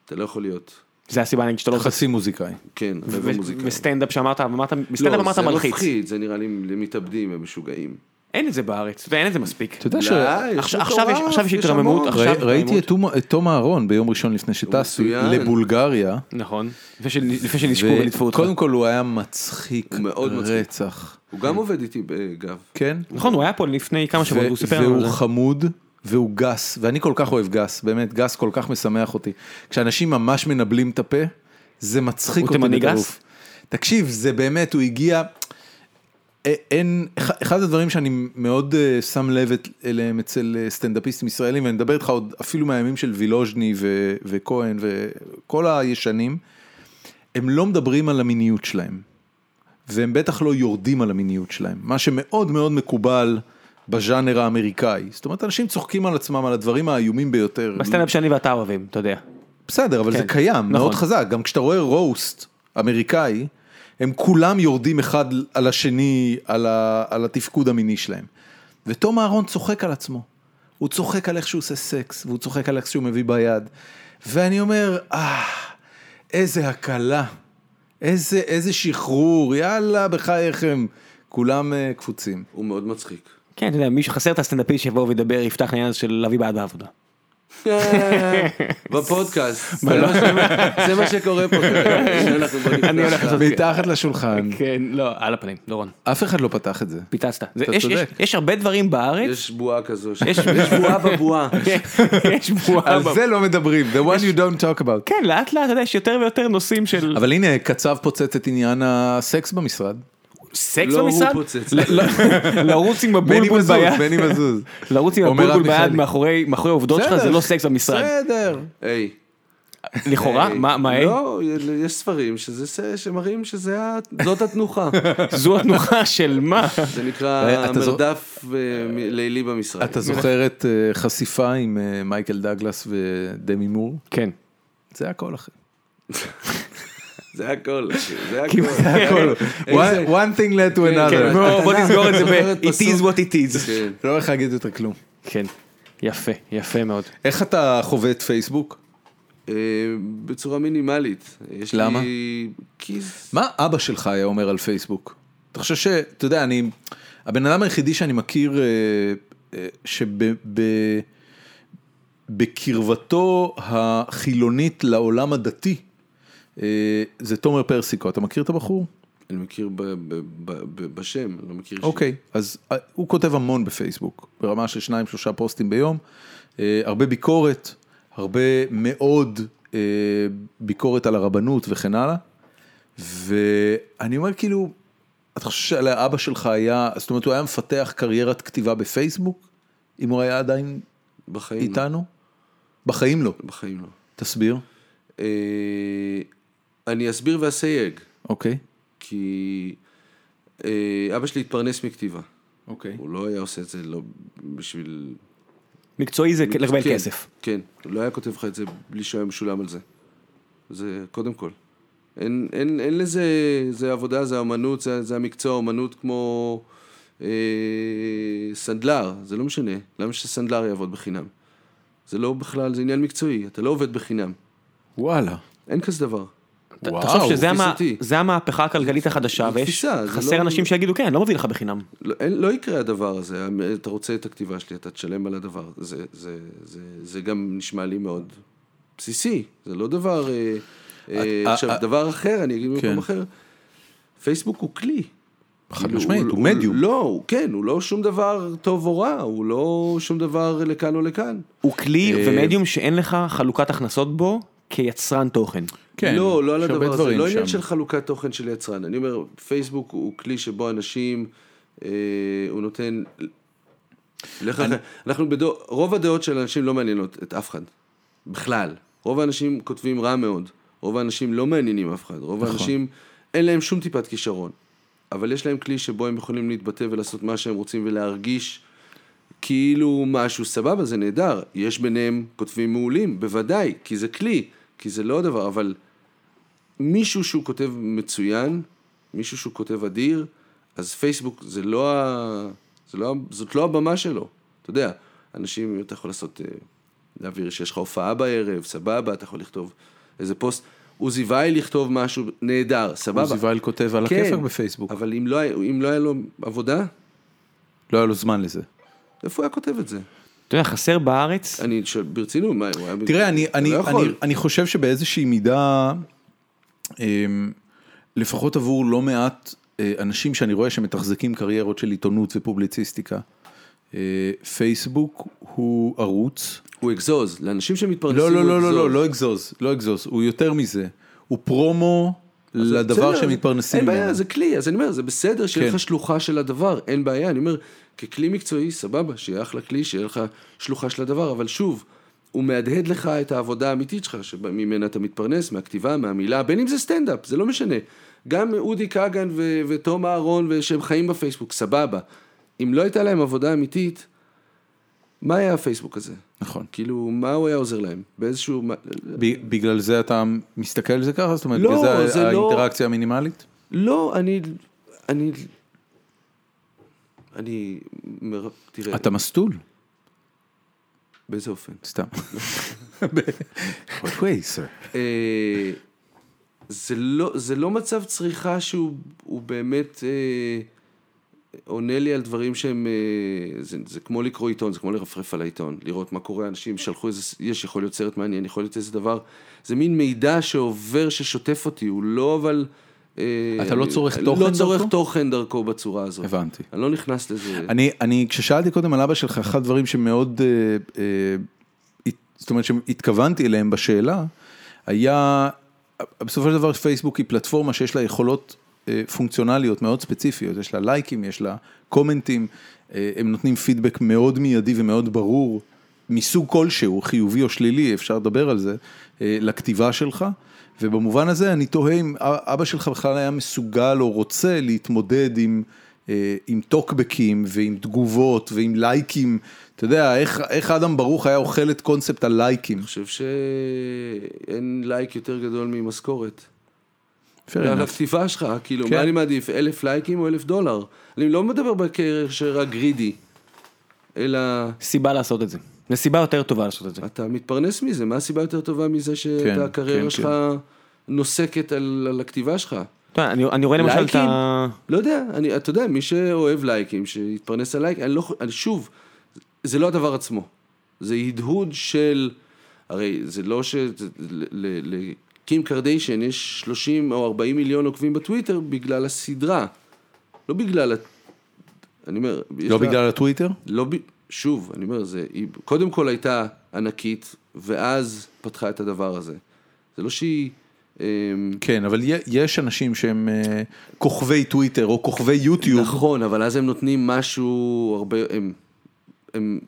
C: אתה לא יכול להיות.
B: זה הסיבה נגיד שאתה לא...
A: חצי מוזיקאי.
C: כן, אתה
B: ו-
C: לא מוזיקאי.
B: וסטנדאפ שאמרת, אמרת, בסטנדאפ אמרת
C: לא, זה
B: מלחיץ.
C: מפחיד, זה נראה לי למתאבדים, הם משוגעים.
B: אין את זה בארץ, אתה יודע, אין את זה מספיק.
A: אתה יודע ש...
C: די,
B: עכשיו-
C: לא, יש
B: עכשיו יש-
C: מטורף,
B: עכשיו יש
C: המון.
B: התרוממות, עכשיו-
A: ראי- ראיתי את תום- את תום אהרון ביום ראשון לפני שטסתי
C: מצוין.
A: לבולגריה.
B: נכון. לפני שנ- לפני שנשקו וליטפו אותך.
A: קודם כל הוא היה מצחיק
C: הוא מאוד מצחיק.
A: רצח.
C: הוא גם עובד איתי, אה, גב.
A: כן?
B: נכון, הוא היה פה לפני כמה שבועות, הוא
A: ו-
B: סיפר לנו על זה.
A: והוא חמוד והוא גס, ואני כל כך אוהב גס, באמת, גס כל כך משמח אותי. כשאנשים ממש מנבלים את הפה, זה מצחיק
B: הוא
A: אותי
B: תימני גס?
A: בטירוף. תקשיב, זה באמת, הוא הגיע... א- אין, אח- אחד הדברים שאני מאוד אה, שם לב את- אליהם אצל אה, סטנדאפיסטים ישראלים, ואני מדבר איתך עוד אפילו מהימים של וילוז'ני ו- וכהן וכל הישנים, הם לא מדברים על המיניות שלהם. והם בטח לא יורדים על המיניות שלהם, מה שמאוד מאוד מקובל בז'אנר האמריקאי. זאת אומרת, אנשים צוחקים על עצמם, על הדברים האיומים ביותר.
B: בסטנדאפ שאני ואתה אוהבים, אתה יודע.
A: בסדר, אבל זה קיים,
B: נכון.
A: מאוד חזק. גם כשאתה רואה רוסט אמריקאי, הם כולם יורדים אחד על השני, על, ה, על התפקוד המיני שלהם. ותום אהרון צוחק על עצמו. הוא צוחק על איך שהוא עושה סקס, והוא צוחק על איך שהוא מביא ביד. ואני אומר, אה, איזה הקלה, איזה, איזה שחרור, יאללה, בחייכם. כולם אה, קפוצים.
C: הוא מאוד מצחיק.
B: כן, אתה יודע, מי שחסר את הסטנדאפיסט שיבוא וידבר, יפתח לעניין הזה של להביא בעד בעבודה. כן.
C: [LAUGHS]
B: [LAUGHS]
C: בפודקאסט. זה מה ש- זה מה שקורה פה כרגע. שאנחנו בונים
B: אני הולך
C: ככה.
B: לעשות-
A: מתחת לשולחן,
B: כן, לא, על הפנים, דורון,
A: אף אחד לא פתח את זה.
B: פיצצת. זה-
A: אתה
B: יש-
A: צודק.
B: יש- יש הרבה דברים בארץ.
C: יש בועה כזו. ש-
B: יש-
C: יש בועה בבועה.
B: יש בועה.
A: על זה לא מדברים, the one you don't talk about.
B: כן, לאט לאט, אתה יודע, יש יותר ויותר נושאים של...
A: אבל הנה, קצב פוצץ את עניין הסקס במשרד.
B: סקס
C: לא, הוא
B: במשרד?
C: פוצץ.
B: לא, לא, לרוץ עם
A: בני
B: הבולבול
A: מזוז,
B: ביד.
A: בני
B: [LAUGHS]
A: מזוז.
B: לרוץ עם
A: אומר
B: הבולבול
A: רב
B: ביד
A: מיכאלי.
B: מאחורי מאחורי העובדות שלך זה
A: בסדר,
B: לא סקס במשרד.
A: בסדר.
C: היי.
B: לכאורה?
C: היי.
B: מה, מה, אה?
C: לא, יש ספרים שזה ס- שמראים שזה ה-
B: [LAUGHS]
C: זאת התנוחה.
B: זו התנוחה של מה? כן.
C: זה נקרא
A: אה, אתה זו-
C: מרדף אה, מ- לילי במשרד.
A: אתה זוכר את אה, חשיפה עם אה, מייקל דגלס ודמי מור?
B: כן.
A: זה הכל אחי.
C: זה הכל. אחי, זה
B: כאילו, [LAUGHS]
C: הכל.
B: זה
A: [LAUGHS]
B: הכל.
A: One- one thing led to
B: כן,
A: another.
B: בוא בוא
C: התנ"ך,
B: נסגור את זה
C: זוכרת
B: ב- it
C: פסוק.
B: is what it is.
C: כן.
A: לא הולך להגיד יותר כלום.
B: כן. יפה, יפה מאוד.
A: איך אתה חווה את פייסבוק?
C: אה, בצורה מינימלית. יש
A: למה?
C: לי... כי... זה-
A: מה אבא שלך היה אומר על פייסבוק? אתה חושב ש... אתה יודע, אני... הבן אדם היחידי שאני מכיר אה, אה, שב... ב- בקרבתו החילונית לעולם הדתי, אה, זה תומר פרסיקו. אתה מכיר את הבחור?
C: אני מכיר ב- ב- ב- ב- בשם, אני לא מכיר... אישית.
A: אוקיי, אז אה, הוא כותב המון בפייסבוק, ברמה של שניים שלושה פוסטים ביום, אה, הרבה ביקורת, הרבה מאוד אה, ביקורת על הרבנות וכן הלאה, ואני אומר כאילו, אתה חושב שלאבא שלך היה, זאת אומרת הוא היה מפתח קריירת כתיבה בפייסבוק, אם הוא היה עדיין
C: בחיים. לא.
A: איתנו? בחיים לא,
C: בחיים לא.
A: תסביר,
C: אה, אני אסביר ואסייג,
A: אוקיי.
C: כי אה, אבא שלי התפרנס מכתיבה.
A: אוקיי.
C: הוא לא היה עושה את זה לא בשביל...
B: מקצועי זה לקבל
C: כן,
B: כסף.
C: כן, הוא לא היה כותב לך את זה בלי שהוא היה משולם על זה. זה קודם כל. אין, אין, אין לזה, זה עבודה, זה אמנות, זה, זה המקצוע, אמנות כמו אה, סנדלר, זה לא משנה. למה שסנדלר יעבוד בחינם? זה לא בכלל, זה עניין מקצועי, אתה לא עובד בחינם.
A: וואלה.
C: אין כזה דבר.
B: תחשוב שזה
C: תפיס
B: המה-
C: אותי.
B: זה המהפכה הכלכלית החדשה,
C: זה
B: ויש
C: תפיסה, זה
B: חסר
C: לא-
B: אנשים שיגידו כן, לא מביא לך בחינם.
C: לא, אין, לא יקרה הדבר הזה, אתה רוצה את הכתיבה שלי, אתה תשלם על הדבר. זה, זה, זה, זה גם נשמע לי מאוד בסיסי, זה לא דבר... אה, אה,
A: אה,
C: עכשיו,
A: אה,
C: דבר אחר, אני אגיד
A: כן.
C: במקום אחר, פייסבוק הוא כלי.
A: חד
C: כאילו,
A: משמעית, הוא מדיום.
C: לא, הוא, כן, הוא לא שום דבר טוב או רע, הוא לא שום דבר לכאן או לכאן.
B: הוא כלי
A: אה,
B: ומדיום שאין לך חלוקת הכנסות בו כיצרן תוכן.
A: כן,
C: לא, לא על
A: יש הרבה
C: הדבר הזה,
A: דברים
C: לא עניין
A: שם.
C: של חלוקת תוכן של יצרן. אני אומר, פייסבוק הוא כלי שבו אנשים, אה, הוא נותן... לך- אנחנו בדור, רוב הדעות של אנשים לא מעניינות את אף אחד, בכלל. רוב האנשים כותבים רע מאוד, רוב האנשים לא מעניינים אף אחד, רוב
A: נכון.
C: האנשים אין להם שום טיפת כישרון, אבל יש להם כלי שבו הם יכולים להתבטא ולעשות מה שהם רוצים ולהרגיש כאילו משהו סבבה, זה נהדר. יש ביניהם כותבים מעולים, בוודאי, כי זה כלי, כי זה לא הדבר, אבל מישהו שהוא כותב מצוין, מישהו שהוא כותב אדיר, אז פייסבוק זה לא ה... זה לא... ה- זאת לא הבמה שלו. אתה יודע, אנשים, אתה יכול לעשות... אה, להעביר שיש לך הופעה בערב, סבבה, אתה יכול לכתוב איזה פוסט. עוזי וייל לכתוב משהו נהדר, סבבה.
A: עוזי וייל כותב על
C: כן,
A: הכיפאק בפייסבוק.
C: אבל אם לא, היה- אם לא היה לו עבודה,
A: לא היה לו זמן לזה.
C: איפה הוא היה כותב את זה?
B: אתה יודע, חסר בארץ,
C: אני שואל, ברצינות, מה, הוא היה... ב-
A: תראה, אני,
C: אתה
A: אני,
C: לא
A: אני,
C: יכול.
A: אני חושב שבאיזושהי מידה, אמ, לפחות עבור לא מעט אה, אנשים שאני רואה שמתחזקים קריירות של עיתונות ופובליציסטיקה, אה, פייסבוק הוא ערוץ.
C: הוא אגזוז, לאנשים שמתפרנסים
A: לא,
C: הוא
A: לא, לא, לא, לא, לא
C: אגזוז.
A: אגזוז, לא אגזוז, הוא יותר מזה. הוא פרומו לדבר
C: בסדר,
A: שמתפרנסים
C: אין בעיה, זה כלי, אז אני אומר, זה בסדר שיהיה
A: כן.
C: לך שלוחה של הדבר, אין בעיה, אני אומר, ככלי מקצועי, סבבה, שיהיה אחלה כלי, שיהיה לך שלוחה של הדבר, אבל שוב, הוא מהדהד לך את העבודה האמיתית שלך, שממנה אתה מתפרנס, מהכתיבה, מהמילה, בין אם זה סטנדאפ, זה לא משנה. גם אודי כגן ו- ותום אהרון, שהם חיים בפייסבוק, סבבה. אם לא הייתה להם עבודה אמיתית, מה היה הפייסבוק הזה?
A: נכון.
C: כאילו, מה הוא היה עוזר להם? באיזשהו...
A: ב- בגלל זה אתה מסתכל על זה ככה? זאת אומרת,
C: לא,
A: בגלל זה,
C: זה לא-
A: האינטראקציה המינימלית?
C: לא, אני... אני... אני... מר- תראה,
A: אתה מסטול,
C: באיזה אופן? [LAUGHS]
A: סתם. [LAUGHS] What way, sir?
C: אה, זה לא, זה לא מצב צריכה שהוא הוא באמת אה, עונה לי על דברים שהם... אה, זה, זה כמו לקרוא עיתון, זה כמו לרפרף על העיתון, לראות מה קורה, אנשים שלחו איזה... יש, יכול להיות סרט מעניין, יכול להיות איזה דבר. זה מין מידע שעובר, ששוטף אותי, הוא לא אבל... אה,
A: אתה לא צורך
C: אני-
A: תוכן
C: לא צורך
A: דרכו?
C: תוכן דרכו בצורה הזאת.
A: הבנתי.
C: אני לא נכנס לזה.
A: אני, אני, כששאלתי קודם על אבא שלך, אחד הדברים שמאוד, אה, אה, הת- זאת אומרת שהתכוונתי אליהם בשאלה, היה, בסופו של דבר פייסבוק היא פלטפורמה שיש לה יכולות אה, פונקציונליות מאוד ספציפיות, יש לה לייקים, יש לה קומנטים, אה, הם נותנים פידבק מאוד מיידי ומאוד ברור, מסוג כלשהו, חיובי או שלילי, אפשר לדבר על זה, אה, לכתיבה שלך. ובמובן הזה אני תוהה אם אבא שלך בכלל היה מסוגל או רוצה להתמודד עם אה, עם טוקבקים ועם תגובות ועם לייקים. אתה יודע, איך, איך אדם ברוך היה אוכל את קונספט הלייקים.
C: חושב שאין לייק יותר גדול ממשכורת.
A: Fair
C: על
A: enough.
C: הכתיבה שלך, כאילו,
A: כן.
C: מה אני מעדיף, אלף לייקים או אלף דולר? אני לא מדבר בהקשר הגרידי, אלא
B: סיבה לעשות את זה. זו סיבה יותר טובה לעשות את זה.
C: אתה מתפרנס מזה, מה הסיבה יותר טובה מזה
A: כן,
C: שאתה
A: כן,
C: הקריירה שלך נוסקת על על הכתיבה שלך?
B: אתה יודע, אני אני רואה למשל את ה...
C: לייקים? לא יודע, אני, אתה יודע, מי שאוהב לייקים, שיתפרנס על לייק, אני לא, חו- אני שוב, זה לא הדבר עצמו. זה הדהוד של, הרי זה לא ש... זה- ל- ל- לקים קרדיישן יש 30 או 40 מיליון עוקבים בטוויטר בגלל הסדרה. לא בגלל, ה- אני אומר, יש
A: לא
C: לה-
A: בגלל הטוויטר?
C: לא ב... שוב, אני אומר, זה... היא קודם כל הייתה ענקית, ואז פתחה את הדבר הזה. זה לא שהיא... אמ,
A: כן, אבל יה- יש אנשים שהם אה, כוכבי טוויטר או כוכבי יוטיוב.
C: נכון, אבל אז הם נותנים משהו הרבה, הם, הם,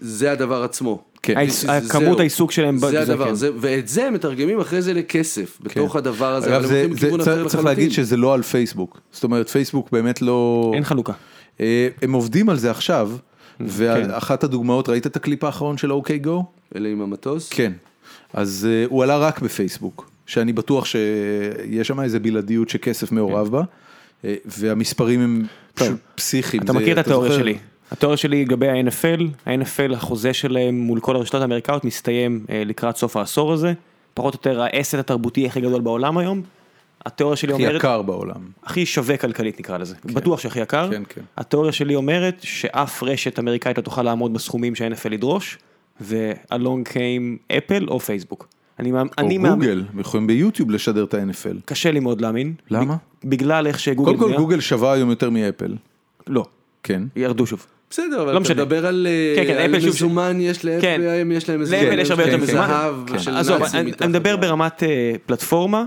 C: זה הדבר עצמו.
A: כן.
B: העיס-
C: זה-
B: הכמות
C: זהו.
B: העיסוק שלהם ב-
C: זה
B: זה
C: הדבר,
B: כן.
C: זה, ואת זה הם מתרגמים אחרי זה לכסף, בתוך הדבר הזה,
A: כן. אגב,
C: אבל הם
A: זה,
C: הולכים
A: זה,
C: לכיוון אחר
A: צריך, צריך להגיד
C: לחלוטין.
A: שזה לא על פייסבוק. זאת אומרת, פייסבוק באמת לא...
B: אין חלוקה.
A: אה, הם עובדים על זה עכשיו,
C: Mm, כן.
A: ואחת הדוגמאות, ראית את הקליפ האחרון של אוקיי גו?
C: אלה עם המטוס?
A: כן. אז אה, הוא עלה רק בפייסבוק, שאני בטוח שיש שם איזה בלעדיות שכסף מעורב
B: כן.
A: בה, אה, והמספרים הם פשוט פסיכיים.
B: אתה
A: זה-
B: מכיר את התיאוריה
A: זוכר?
B: שלי. התיאוריה שלי לגבי ה-NFL, ה-NFL החוזה שלהם מול כל הרשתות האמריקאיות מסתיים אה, לקראת סוף העשור הזה, פחות או יותר העסק התרבותי הכי גדול בעולם היום. התיאוריה שלי
A: הכי
B: אומרת,
A: יקר בעולם.
B: הכי שווה כלכלית נקרא לזה, בטוח שהכי יקר.
A: כן, כן.
B: התיאוריה שלי אומרת שאף רשת אמריקאית לא תוכל לעמוד בסכומים שה-NFL ידרוש, ואלונג קיים אפל או פייסבוק. אני, מאמ-
A: או
B: אני מאמין-
A: גוגל, הם יכולים ביוטיוב לשדר את ה-NFL.
B: קשה לי מאוד להאמין.
A: למה?
B: ב- בגלל איך שגוגל
A: קודם כל
B: נראה.
A: גוגל שווה היום יותר מאפל,
B: לא,
A: כן.
B: ירדו שוב.
C: בסדר, אבל
B: לא
C: אתה
B: משנה.
C: מדבר על אה,
B: כן, כן,
C: על
B: אפל שוב-
C: מזומן, יש לאפל
B: כן.
C: יש להם איזה...
B: לאפל יש הרבה
A: כן,
B: יותר
A: כן,
B: מזומן.
C: זהב של
B: עזוב,
C: נאצים
B: אני
C: מתחת
B: אני מדבר
C: לים.
B: ברמת אה, פלטפורמה,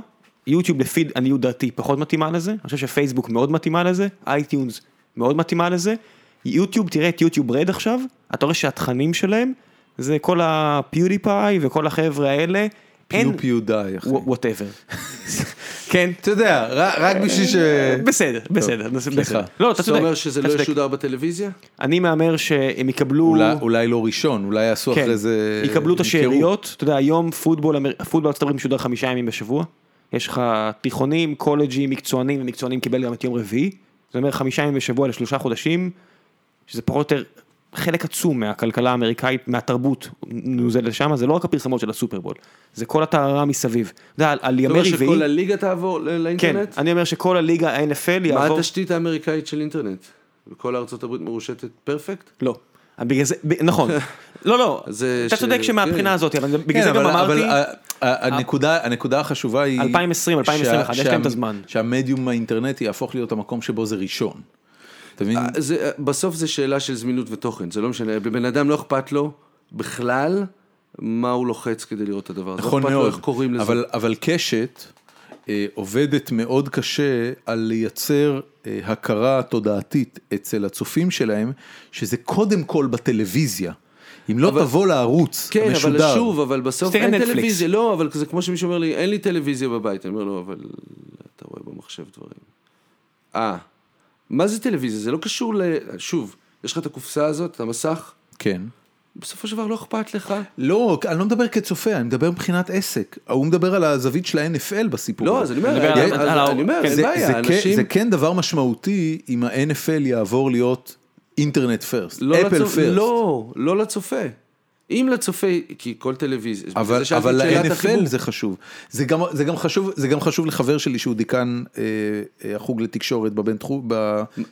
B: יוטיוב לפיד עניות דעתי פחות מתאימה לזה, אני חושב שפייסבוק מאוד מתאימה לזה, אייטיונס מאוד מתאימה לזה, יוטיוב, תראה את יוטיוב רד עכשיו, אתה רואה שהתכנים שלהם זה כל הפיודיפאי וכל החבר'ה האלה, אין,
A: פיו פיו די, אחי.
B: וואטאבר, [LAUGHS] כן,
A: אתה יודע, ר- רק בשביל ש...
B: בסדר, בסדר,
A: סליחה.
B: בסדר, לא, אתה
C: אתה
B: צודק,
C: אומר שזה
B: אתה
C: לא
B: צודק.
C: ישודר בטלוויזיה?
B: אני מהמר שהם יקבלו,
A: אולי- אולי לא ראשון, אולי יעשו
B: כן,
A: אחרי זה...
B: יקבלו את
A: ימכרו.
B: השאריות, אתה יודע, היום פוטבול, אמר- הפוטבול בארצות הברית משודר חמישה ימים בשבוע, יש לך תיכונים, קולג'ים, מקצוענים, ומקצוענים קיבל גם את יום רביעי, זה אומר חמישה ימים בשבוע לשלושה חודשים, שזה פחות או יותר חלק עצום מהכלכלה האמריקאית, מהתרבות, נוזל לשם, זה לא רק הפרסמות של הסופרבול, זה כל הטהרה מסביב, אתה יודע, על- על
C: אתה אומר
B: ימי רביעי,
C: שכל הליגה תעבור ל-
B: כן,
C: לאינטרנט?
B: אני אומר שכל הליגה, ה-NFL
C: מה
B: יעבור,
C: התשתית האמריקאית של אינטרנט? וכל ארצות הברית מרושתת פרפקט?
B: לא. בגלל זה, ב-
C: [LAUGHS]
B: נכון, לא לא,
C: אז זה
B: אתה
C: ש-
B: צודק
C: כן.
B: שמהבחינה הזאת, אבל
A: כן,
B: בגלל זה גם
A: אבל-
B: אמרתי,
C: אה,
A: אבל ה- ה- הנקודה- הנקודה החשובה היא...
B: 2020, 2021,
A: שה-
B: יש להם את
A: שה-
B: הזמן.
A: שהמדיום האינטרנטי יהפוך להיות המקום שבו זה ראשון. אתה מבין?
C: אה, זה, אה, בסוף זה שאלה של זמינות ותוכן, זה לא משנה, לבן אדם לא אכפת לו בכלל מה הוא לוחץ כדי לראות את הדבר הזה.
A: נכון
C: לא אכפת לו
A: מאוד.
C: איך קוראים לזה.
A: אבל- אבל קשת אה, עובדת מאוד קשה על לייצר אה, הכרה תודעתית אצל הצופים שלהם, שזה קודם כל בטלוויזיה. אם לא תבוא לערוץ
C: כן,
A: המשודר.
C: אבל שוב, אבל בסוף
B: תראה
C: אין
B: נטפליקס.
C: טלוויזיה, לא, אבל זה כמו שמישהו אומר לי, אין לי טלוויזיה בבית, אני אומר לו, אבל אתה רואה במחשב דברים. אה, מה זה טלוויזיה? זה לא קשור ל... שוב, יש לך את הקופסה הזאת, את המסך,
A: כן.
C: בסופו של דבר לא אכפת לך.
A: לא, אני לא מדבר כצופה, אני מדבר מבחינת עסק. הוא מדבר על הזווית של ה-NFL בסיפור.
C: לא,
A: הזה.
C: אז אני אומר,
B: מדבר על-
C: אני-
B: על-
C: אז
B: על-
C: אני אומר,
B: כן,
C: אין
A: זה, זה,
C: בעיה,
A: כן,
C: אנשים...
A: זה כן דבר משמעותי אם ה-NFL יעבור להיות אינטרנט פרסט,
C: לא
A: אפל
C: לצופ-
A: פרסט.
C: לא, לא לצופה. אם לצופה, כי כל טלוויזיה,
A: אבל,
C: זה שאלתי
A: אבל
C: את שאלת החיבור.
A: ל-NFL זה חשוב. זה גם, זה, גם חשוב, זה גם חשוב לחבר שלי שהוא דיקן אה, אה, החוג לתקשורת בבינתחום,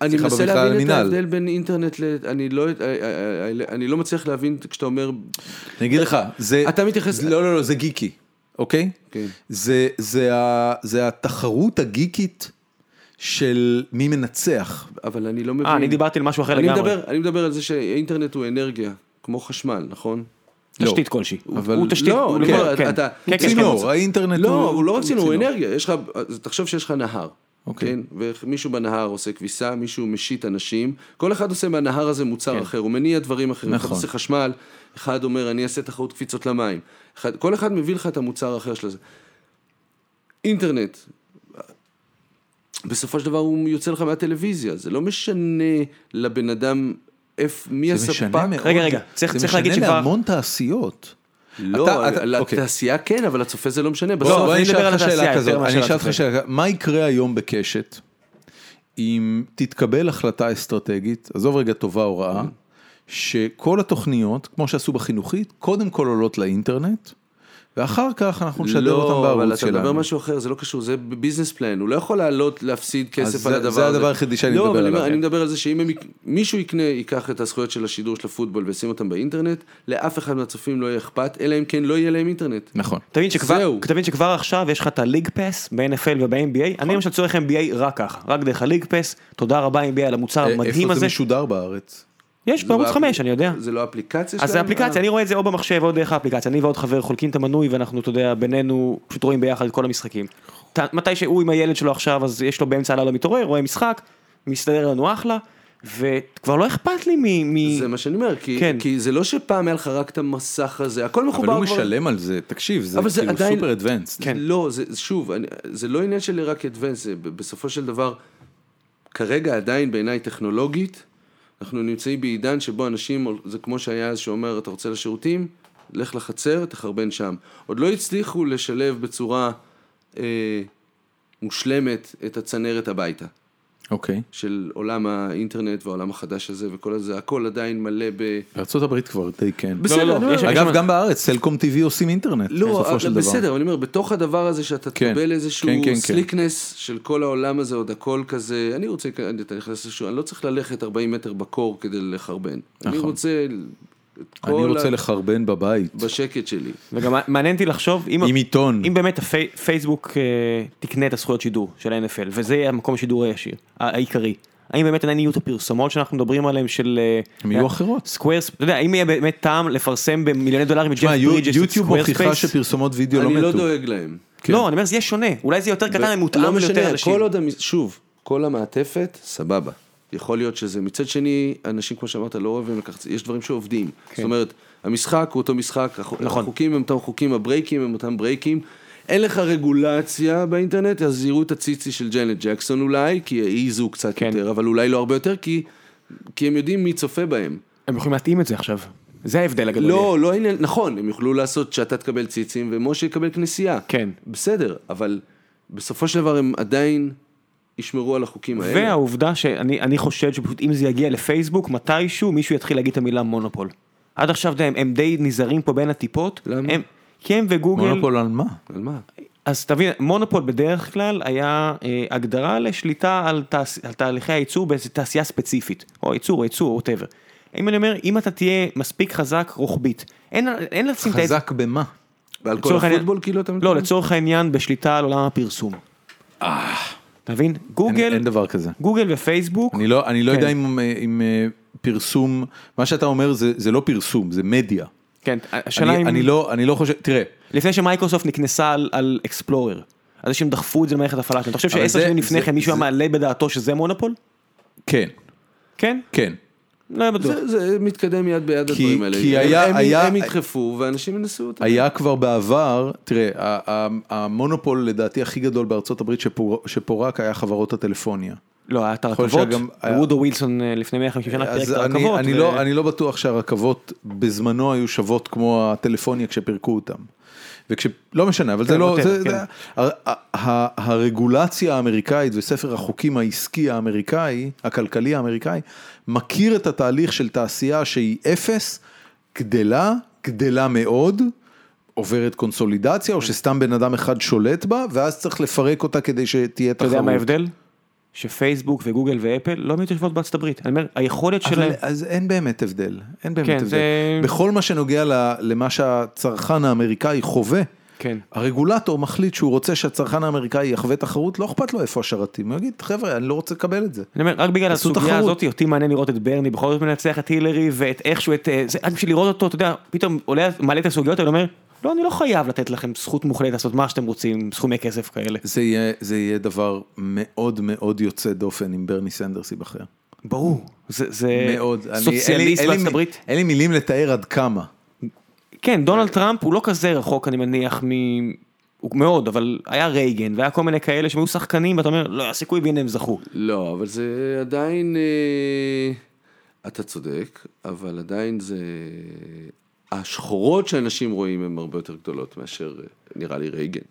C: אני
A: סליחה,
C: מנסה
A: במכלל
C: להבין את
A: המינהל.
C: ההבדל בין אינטרנט ל... אני לא, אה, אה, אה, אני לא מצליח להבין כשאתה אומר...
A: אני אגיד לך, זה...
C: אתה מתייחס-
A: לא, לא, לא, זה גיקי, אוקיי?
C: כן.
A: זה, זה, ה, זה התחרות הגיקית של מי מנצח.
C: אבל אני לא מבין.
B: אה, אני דיברתי על משהו אחר
C: אני
B: לגמרי.
C: מדבר, אני מדבר על זה שהאינטרנט הוא אנרגיה, כמו חשמל, נכון?
B: תשתית כלשהי.
A: אבל-
B: הוא תשתית,
C: לא,
B: הוא
C: לא,
B: לכל-
C: אתה-
B: כן.
C: אתה-
B: כן, כן, כן.
A: צינור, האינטרנט
C: לא, הוא לא רק צינור, הוא
A: צינור.
C: אנרגיה, יש לך, אז תחשוב שיש לך נהר,
A: אוקיי.
C: כן? ומישהו בנהר עושה כביסה, מישהו משית אנשים, כל אחד עושה מהנהר הזה מוצר אחר, הוא מניע דברים אחרים, אחד
A: כן. נכון.
C: עושה חשמל, אחד אומר אני אעשה תחרות קפיצות למים, אחד- כל אחד מביא לך את המוצר האחר של זה. אינטרנט, בסופו של דבר הוא יוצא לך מהטלוויזיה, זה לא משנה לבן אדם איפה, מי
A: זה משנה
C: הספק.
A: מאוד.
B: רגע, רגע, צריך- צריך להגיד
A: זה
B: שכבר-
A: משנה להמון תעשיות.
C: לא,
A: אתה- אתה- אוקיי.
C: לתעשייה כן, אבל לצופה זה לא משנה,
A: בוא,
B: לא,
A: בוא
B: אבל
A: אני
B: אני מדבר
A: אשאל
B: על
A: אותך
B: התעשייה
A: שאלה
B: יותר
A: כזאת,
B: מאשר
A: אני אשאל
B: על
A: אותך
B: הצופה.
A: שאלה, כזאת. מה יקרה היום בקשת אם תתקבל החלטה אסטרטגית, עזוב רגע טובה או רעה, שכל התוכניות, כמו שעשו בחינוכית, קודם כל עולות לאינטרנט, ואחר כך אנחנו נשדר
B: לא,
A: אותן
C: לא, אבל
A: בערוץ
C: אתה מדבר
A: שלנו.
C: משהו אחר, זה לא קשור, זה ביזנס פלן, הוא לא יכול לעלות, להפסיד
A: אז
C: כסף
A: זה-
C: על
A: זה
C: הדבר הזה.
A: הדבר היחידי שאני
C: לא,
A: מדבר
C: אבל אני-
A: עליו.
C: אני מדבר על זה שאם הם יק- מישהו יקנה, ייקח את הזכויות של השידור של הפוטבול וישים אותם באינטרנט, לאף אחד מהצופים לא יהיה אכפת, אלא אם כן לא יהיה להם אינטרנט.
A: נכון.
B: תבין שכבר,
C: זהו.
B: תבין שכבר עכשיו יש לך את הליג פס ב-NFL וב-NBA, אני למשל צורך NBA רק ככה, רק דרך הליג פס, תודה רבה NBA על המוצר
A: אה,
B: המדהים
A: איפה זה
B: הזה,
A: משודר בארץ?
B: יש
C: זה
B: בערוץ
C: באפ-
B: 5 אני יודע,
C: זה לא אפליקציה שלהם?
B: אז זה אפליקציה,
C: אה.
B: אני רואה את זה או במחשב או דרך האפליקציה, אני ועוד חבר חולקים את המנוי ואנחנו, אתה יודע, בינינו פשוט רואים ביחד את כל המשחקים. ת- מתי שהוא עם הילד שלו עכשיו, אז יש לו באמצע הלילה מתעורר, רואה משחק, מסתדר לנו אחלה, וכבר לא אכפת לי מ... מ...
C: זה מה שאני אומר, כי,
B: כן.
C: כי זה לא שפעם היה לך רק את המסך הזה, הכל מחובר
A: אבל
C: כבר...
A: הוא משלם על זה, תקשיב, זה
C: אבל זה
A: כאילו
C: עדיין-
A: סופר אדוונסט.
B: כן.
C: לא, זה, שוב, אני, זה לא עניין של רק אדוונס, זה ב- בסופו של דבר, כרגע עדיין בעיניי טכנולוגית, אנחנו נמצאים בעידן שבו אנשים, זה כמו שהיה אז שאומר, אתה רוצה לשירותים, לך לחצר, תחרבן שם. עוד לא הצליחו לשלב בצורה אה, מושלמת את הצנרת הביתה.
A: אוקיי.
C: של עולם האינטרנט והעולם החדש הזה וכל הזה, הכל עדיין מלא ב...
A: בארה"ב כבר די כן.
C: בסדר,
B: לא,
C: אני אומר-
B: יש-
A: אגב,
B: יש-
A: גם בארץ, סלקום TV עושים אינטרנט,
C: לא,
A: בסופו של דבר.
C: בסדר, אבל אני אומר, בתוך הדבר הזה שאתה
A: כן,
C: תקבל איזשהו
A: כן, כן, כן.
C: סליקנס של כל העולם הזה, עוד הכל כזה, אני רוצה, אני- אתה נכנס לשוק, אני לא צריך ללכת 40 מטר בקור כדי לחרבן. אני
A: נכון.
C: רוצה את
A: אני
C: כל
A: רוצה
C: ה-
A: לחרבן בבית,
C: בשקט שלי.
B: וגם מעניין אותי לחשוב, אם,
A: עם עיתון.
B: אם באמת הפייסבוק אה, תקנה את הזכויות שידור של ה-NFL, וזה יהיה המקום השידור הישיר, ה- העיקרי, האם באמת עדיין יהיו את הפרסומות שאנחנו מדברים עליהן של... אה,
A: הם יהיו אחרות.
B: סקוורס, אתה יודע, אם יהיה באמת טעם לפרסם במיליוני דולרים את ג'ף
A: תשמע, יו-
B: ברידג'ס, את
A: יוטיוב מוכיחה
B: סקוורספייס,
A: שפרסומות וידאו לא
C: אני לא
A: מתו.
C: דואג להם.
A: כן.
B: לא, אני אומר, זה יהיה שונה, אולי זה יהיה יותר קטן ומותאם
C: לא משנה,
B: ליותר אנשים.
C: כל עוד, המ- שוב, כל המעטפת, סבבה. יכול להיות שזה. מצד שני, אנשים, כמו שאמרת, לא אוהבים לקחת, יש דברים שעובדים. זאת אומרת, המשחק הוא אותו משחק, הח-
B: כן. נכון.
C: החוקים הם אותם חוקים, הברייקים הם אותם ברייקים. אין לך רגולציה באינטרנט, אז יראו את הציצי של ג'נט ג'קסון אולי, כי העיזו קצת
B: כן.
C: יותר, אבל אולי לא הרבה יותר, כי, כי הם יודעים מי צופה בהם.
B: הם יכולים להתאים את זה עכשיו, זה ההבדל הגדול.
C: לא, לא עניין, נכון, הם יוכלו לעשות שאתה תקבל ציצים ומשה יקבל כנסייה.
B: כן.
C: בסדר, אבל בסופו של דבר הם עדיין ישמרו על החוקים האלה.
B: והעובדה שאני אני חושב שפשוט אם זה יגיע לפייסבוק מתישהו מישהו יתחיל להגיד את המילה מונופול. עד עכשיו די, הם, הם די נזהרים פה בין הטיפות.
C: למה?
B: הם, כי הם וגוגל, מונופול.
A: מונופול על מה?
C: על מה?
B: אז תבין, מונופול בדרך כלל היה אה, הגדרה לשליטה על, תעש, על תהליכי הייצור באיזו תעשייה ספציפית, או הייצור, או ייצור, או ווטאבר. אם אני אומר, אם אתה תהיה מספיק חזק רוחבית, אין, אין לשים את האצבע-
A: חזק במה?
C: ועל כל
B: לצורך העניין-
C: הפוטבול כאילו אתה
B: לא, לצורך העניין בשליטה על עולם הפרסום. אתה מבין?
A: אה. אין-
B: גוגל,
A: אין דבר כזה.
B: גוגל ופייסבוק,
A: אני לא, אני לא
B: כן.
A: יודע אם, אה, אם אה, פרסום, מה שאתה אומר זה, זה לא פרסום, זה מדיה.
B: כן, השאלה
A: אני,
B: אם...
A: אני, לא, אני לא חושב, תראה,
B: לפני שמייקרוסופט נכנסה על, על אקספלורר. אז זה שהם דחפו את זה למערכת הפעלה, שלהם. אתה חושב
A: אבל
B: שעשר
A: זה-
B: שנים לפני
A: זה-
B: כן מישהו היה
A: זה-
B: מעלה בדעתו שזה מונופול?
A: כן,
B: כן?
A: כן.
B: לא היה בטוח.
C: זה, זה מתקדם יד ביד
A: כי-
C: הדברים האלה.
A: כי
C: הם-
A: היה-
C: הם,
A: היה-
C: הם ידחפו ואנשים ינסו אותם.
A: היה כבר בעבר, תראה, ה- ה- המונופול לדעתי הכי גדול בארצות הברית שפור- שפורק היה חברות הטלפוניה.
B: לא, היה את
A: יכול
B: הרכבות,
A: להיות שגם-
B: וודו ווילסון אה, לפני 150 שנה פירק את
A: אז
B: הרכבות.
A: אני, אני,
B: ו-
A: לא, אני לא בטוח שהרכבות בזמנו היו שוות כמו הטלפוניה כשפירקו אותם. וכש... לא משנה, אבל זה לא...
B: בסדר,
A: זה,
B: כן.
A: זה, הר, ה, הרגולציה האמריקאית וספר החוקים העסקי האמריקאי, הכלכלי האמריקאי, מכיר את התהליך של תעשייה שהיא אפס, גדלה, גדלה מאוד. עוברת קונסולידציה
B: כן.
A: או שסתם בן אדם אחד שולט בה ואז צריך לפרק אותה כדי שתהיה
B: אתה
A: תחרות.
B: יודע מה ההבדל? שפייסבוק וגוגל ואפל לא מתיישבות בארצות הברית. אני אומר, היכולת שלהם...
A: אבל אז אין באמת הבדל, אין באמת
B: כן,
A: הבדל.
B: זה-
A: בכל מה שנוגע ל- למה שהצרכן האמריקאי חווה,
B: כן.
A: הרגולטור מחליט שהוא רוצה שהצרכן האמריקאי יחווה תחרות, לא אכפת לו איפה השרתים, הוא יגיד חבר'ה אני לא רוצה לקבל את זה.
B: אני אומר, רק בגלל
A: תעשו
B: הסוגיה
A: תחרות.
B: הזאת, אותי מעניין לראות את ברני בכל זאת מנצח את הילרי ואת איכשהו את... אה, זה, רק בשביל לראות אותו, אתה יודע, פתאום עולה, מעלה את הסוגיות האלה, אומר, לא, אני לא חייב לתת לכם זכות מוחלטת לעשות מה שאתם רוצים, עם סכומי כסף כאלה.
A: זה יהיה, זה יהיה דבר מאוד מאוד יוצא דופן אם ברני סנדרס ייבחר.
B: ברור. זה, זה
A: מאוד. אני- אין לי-
B: אה, סוציאליסט
A: אין לי
B: בארצות
A: מ-
B: הברית.
A: אין לי מילים לתאר עד כמה.
B: כן, דונלד טראמפ הוא לא כזה רחוק, אני מניח, מ... הוא מאוד, אבל היה רייגן, והיה כל מיני כאלה שהם היו שחקנים, ואתה אומר, לא, היה סיכוי, והנה הם זכו.
C: לא, אבל זה עדיין... אה, אתה צודק, אבל עדיין זה... השחורות שאנשים רואים הן הרבה יותר גדולות מאשר, אה, נראה לי, רייגן.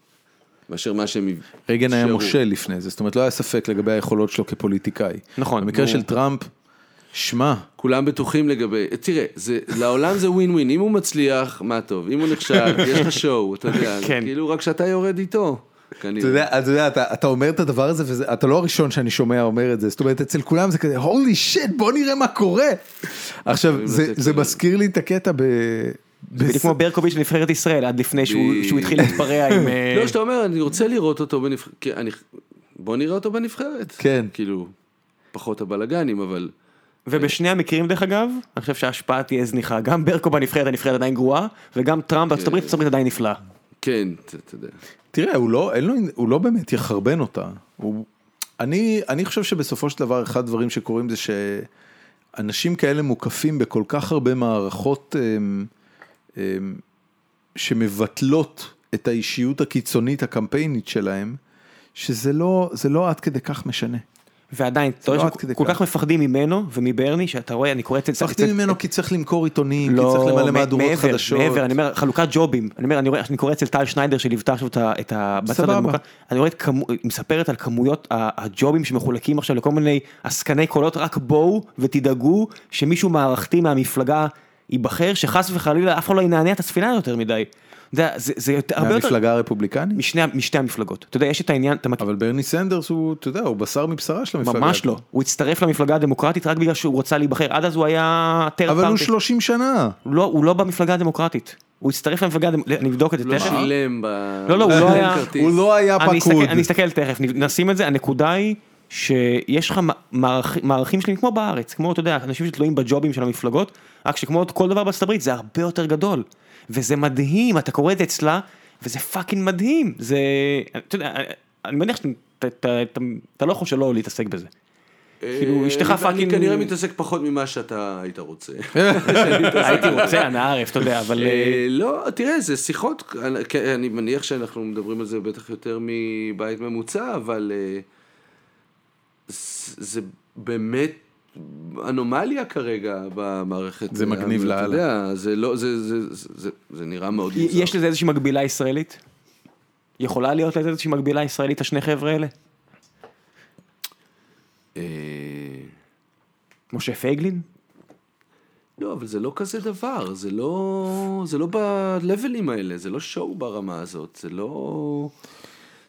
C: מאשר מה שהם...
A: רייגן היה
C: שאו.
A: מושל לפני זה, זאת אומרת לא היה ספק לגבי היכולות שלו כפוליטיקאי.
B: נכון,
A: במקרה
B: ברור.
A: של טראמפ, שמע,
C: כולם בטוחים לגבי, תראה, זה, לעולם זה ווין ווין, אם הוא מצליח, מה טוב, אם הוא נכשל,
B: [LAUGHS]
C: יש לך שואו, אתה יודע,
B: כן.
C: כן. כאילו רק שאתה יורד איתו,
A: אתה
C: כנראה.
A: יודע, אתה, יודע אתה, אתה אומר את הדבר הזה ואתה לא הראשון שאני שומע אומר את זה זאת אומרת אצל כולם זה כזה הולי שיט בוא נראה מה קורה. עכשיו זה,
C: לתת
A: זה
C: לי-
A: מזכיר לי את הקטע ב...
B: בדיוק
A: בס-
B: כמו ברקוביץ' בנבחרת ישראל, עד לפני שהוא
C: ב-
B: שהוא התחיל להתפרע
A: [LAUGHS]
B: עם... אה,
C: לא, שאתה אומר, אני רוצה לראות אותו בנבחרת, אני... בוא נראה אותו בנבחרת.
A: כן.
C: כאילו, פחות הבלגנים, אבל...
B: ובשני המקרים דרך אגב, אני חושב שההשפעה תהיה זניחה, גם ברקו בנבחרת הנבחרת עדיין גרועה, וגם טראמפ בארצות הברית, ארצות הברית עדיין נפלאה.
C: כן, אתה אתה יודע.
A: תראה הוא לא, אין לו, הוא לא באמת יחרבן אותה. הוא, אני, אני חושב שבסופו של דבר אחד הדברים שקורים זה שאנשים כאלה מוקפים בכל כך הרבה מערכות אמ, אמ, שמבטלות את האישיות הקיצונית הקמפיינית שלהם, שזה לא, זה לא עד כדי כך משנה.
B: ועדיין, אתה
A: לא
B: רואה
A: עד כדי
B: שכל
A: כך.
B: כך מפחדים ממנו ומברני, שאתה רואה, אני קורא את זה,
A: מפחדים ממנו כי צריך למכור עיתונים, כי צריך למלא
B: אה, לא, מ-
A: מהדורות
B: מעבר,
A: חדשות.
B: מעבר, אני אומר, חלוקת ג'ובים. אני אומר, אני רואה, אני קורא אצל טל שניידר שליוותה עכשיו את ה- את ה... בצד
A: סבבה.
B: הדמוקרטי. אני רואה את כמו... היא מספרת על כמויות ה- הג'ובים שמחולקים עכשיו לכל מיני עסקני קולות, רק בואו ותדאגו שמישהו מערכתי מהמפלגה ייבחר, שחס וחלילה אף אחד לא ינענע את הספינה יותר מדי. אתה יודע, זה, זה יותר, הרבה יותר...
A: מהמפלגה הרפובליקנית?
B: משני, ה- משתי המפלגות. אתה יודע, יש את העניין, אתה מכיר...
A: אבל ברני סנדרס הוא, אתה יודע, הוא בשר מבשרה של המפלגה.
B: ממש לא. הוא הצטרף למפלגה הדמוקרטית רק בגלל שהוא רוצה להיבחר. עד אז הוא היה... third
A: אבל הוא
B: party.
A: 30 שנה.
B: לא, הוא לא במפלגה הדמוקרטית. הוא הצטרף למפלגה, הדמ- אני אבדוק את זה
C: לא
B: תכף.
C: שילם ב...
B: לא, לא, הוא לא היה-
C: כרטיס.
A: הוא לא היה
B: אני אסתכל-
A: פקוד.
B: אני אסתכל תכף, נ- נשים את זה, הנקודה היא שיש לך מ- מערכ- מערכים שלמים כמו בארץ, כמו אתה יודע, אנשים שתלויים בג'ובים של המפלגות, רק שכמו כל דבר בארצות הברית זה הרבה יותר גדול, וזה מדהים, אתה קורא את זה אצלה, וזה פאקינג מדהים, זה, אתה יודע, אני- אני מניח שאתה אתה- אתה- אתה לא יכול שלא להתעסק בזה. כאילו,
C: אה,
B: אשתך
C: אני-
B: פאקינג-
C: אני כנראה מתעסק פחות ממה שאתה היית רוצה.
B: הייתי רוצה, אנא ערף, אתה יודע, אבל...
C: אה, לא, תראה, זה שיחות, אני- כן, אני מניח שאנחנו מדברים על זה בטח יותר מבית ממוצע, אבל אה, זה זה באמת אנומליה כרגע במערכת.
A: זה מגניב
C: אתה
A: לאללה.
C: יודע, זה לא, זה- זה- זה- זה- זה נראה מאוד
B: י-
C: מוזר.
B: יש לזה איזושהי מקבילה ישראלית? יכולה להיות לזה איזושהי מקבילה ישראלית, השני חבר'ה האלה?
C: אה,
B: משה פייגלין?
C: לא, אבל זה לא כזה דבר, זה לא, זה לא בלבלים האלה, זה לא שואו ברמה הזאת, זה לא...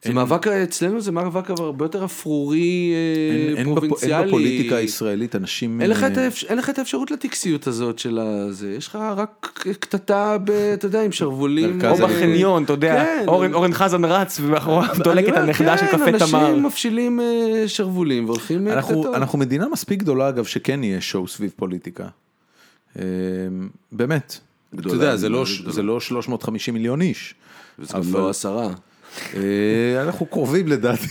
C: זה מאבק, אצלנו זה מאבק הרבה יותר אפרורי, אה,
A: אין- אין בפ-
C: פרובינציאלי.
A: אין בפוליטיקה הישראלית אנשים...
C: אין לך, את
A: אה,
C: האפ... אין לך את האפשרות לטקסיות הזאת של הזה, יש לך רק קטטה, ב... אתה יודע, עם שרוולים.
A: מרכז
B: או
A: אז אני-
B: בחניון, אתה יודע,
C: כן.
B: אורן- אורן חזן רץ ומאחוריו
C: אני
B: דולקת
C: אומר,
B: הנכדה של
C: כן,
B: קפה תמר.
C: אנשים מפשילים אה, שרוולים והולכים אה,
A: אנחנו,
C: קטטות.
A: אנחנו מדינה מספיק גדולה אגב שכן יהיה שואו סביב פוליטיקה. אה, באמת. אתה
C: גדולה,
A: יודע, זה לא,
C: מאוד גדולה.
A: זה לא 350 מיליון איש.
C: וזה גם
A: אבל-
C: לא עשרה.
A: אה, אנחנו קרובים
C: [LAUGHS]
A: לדעתי.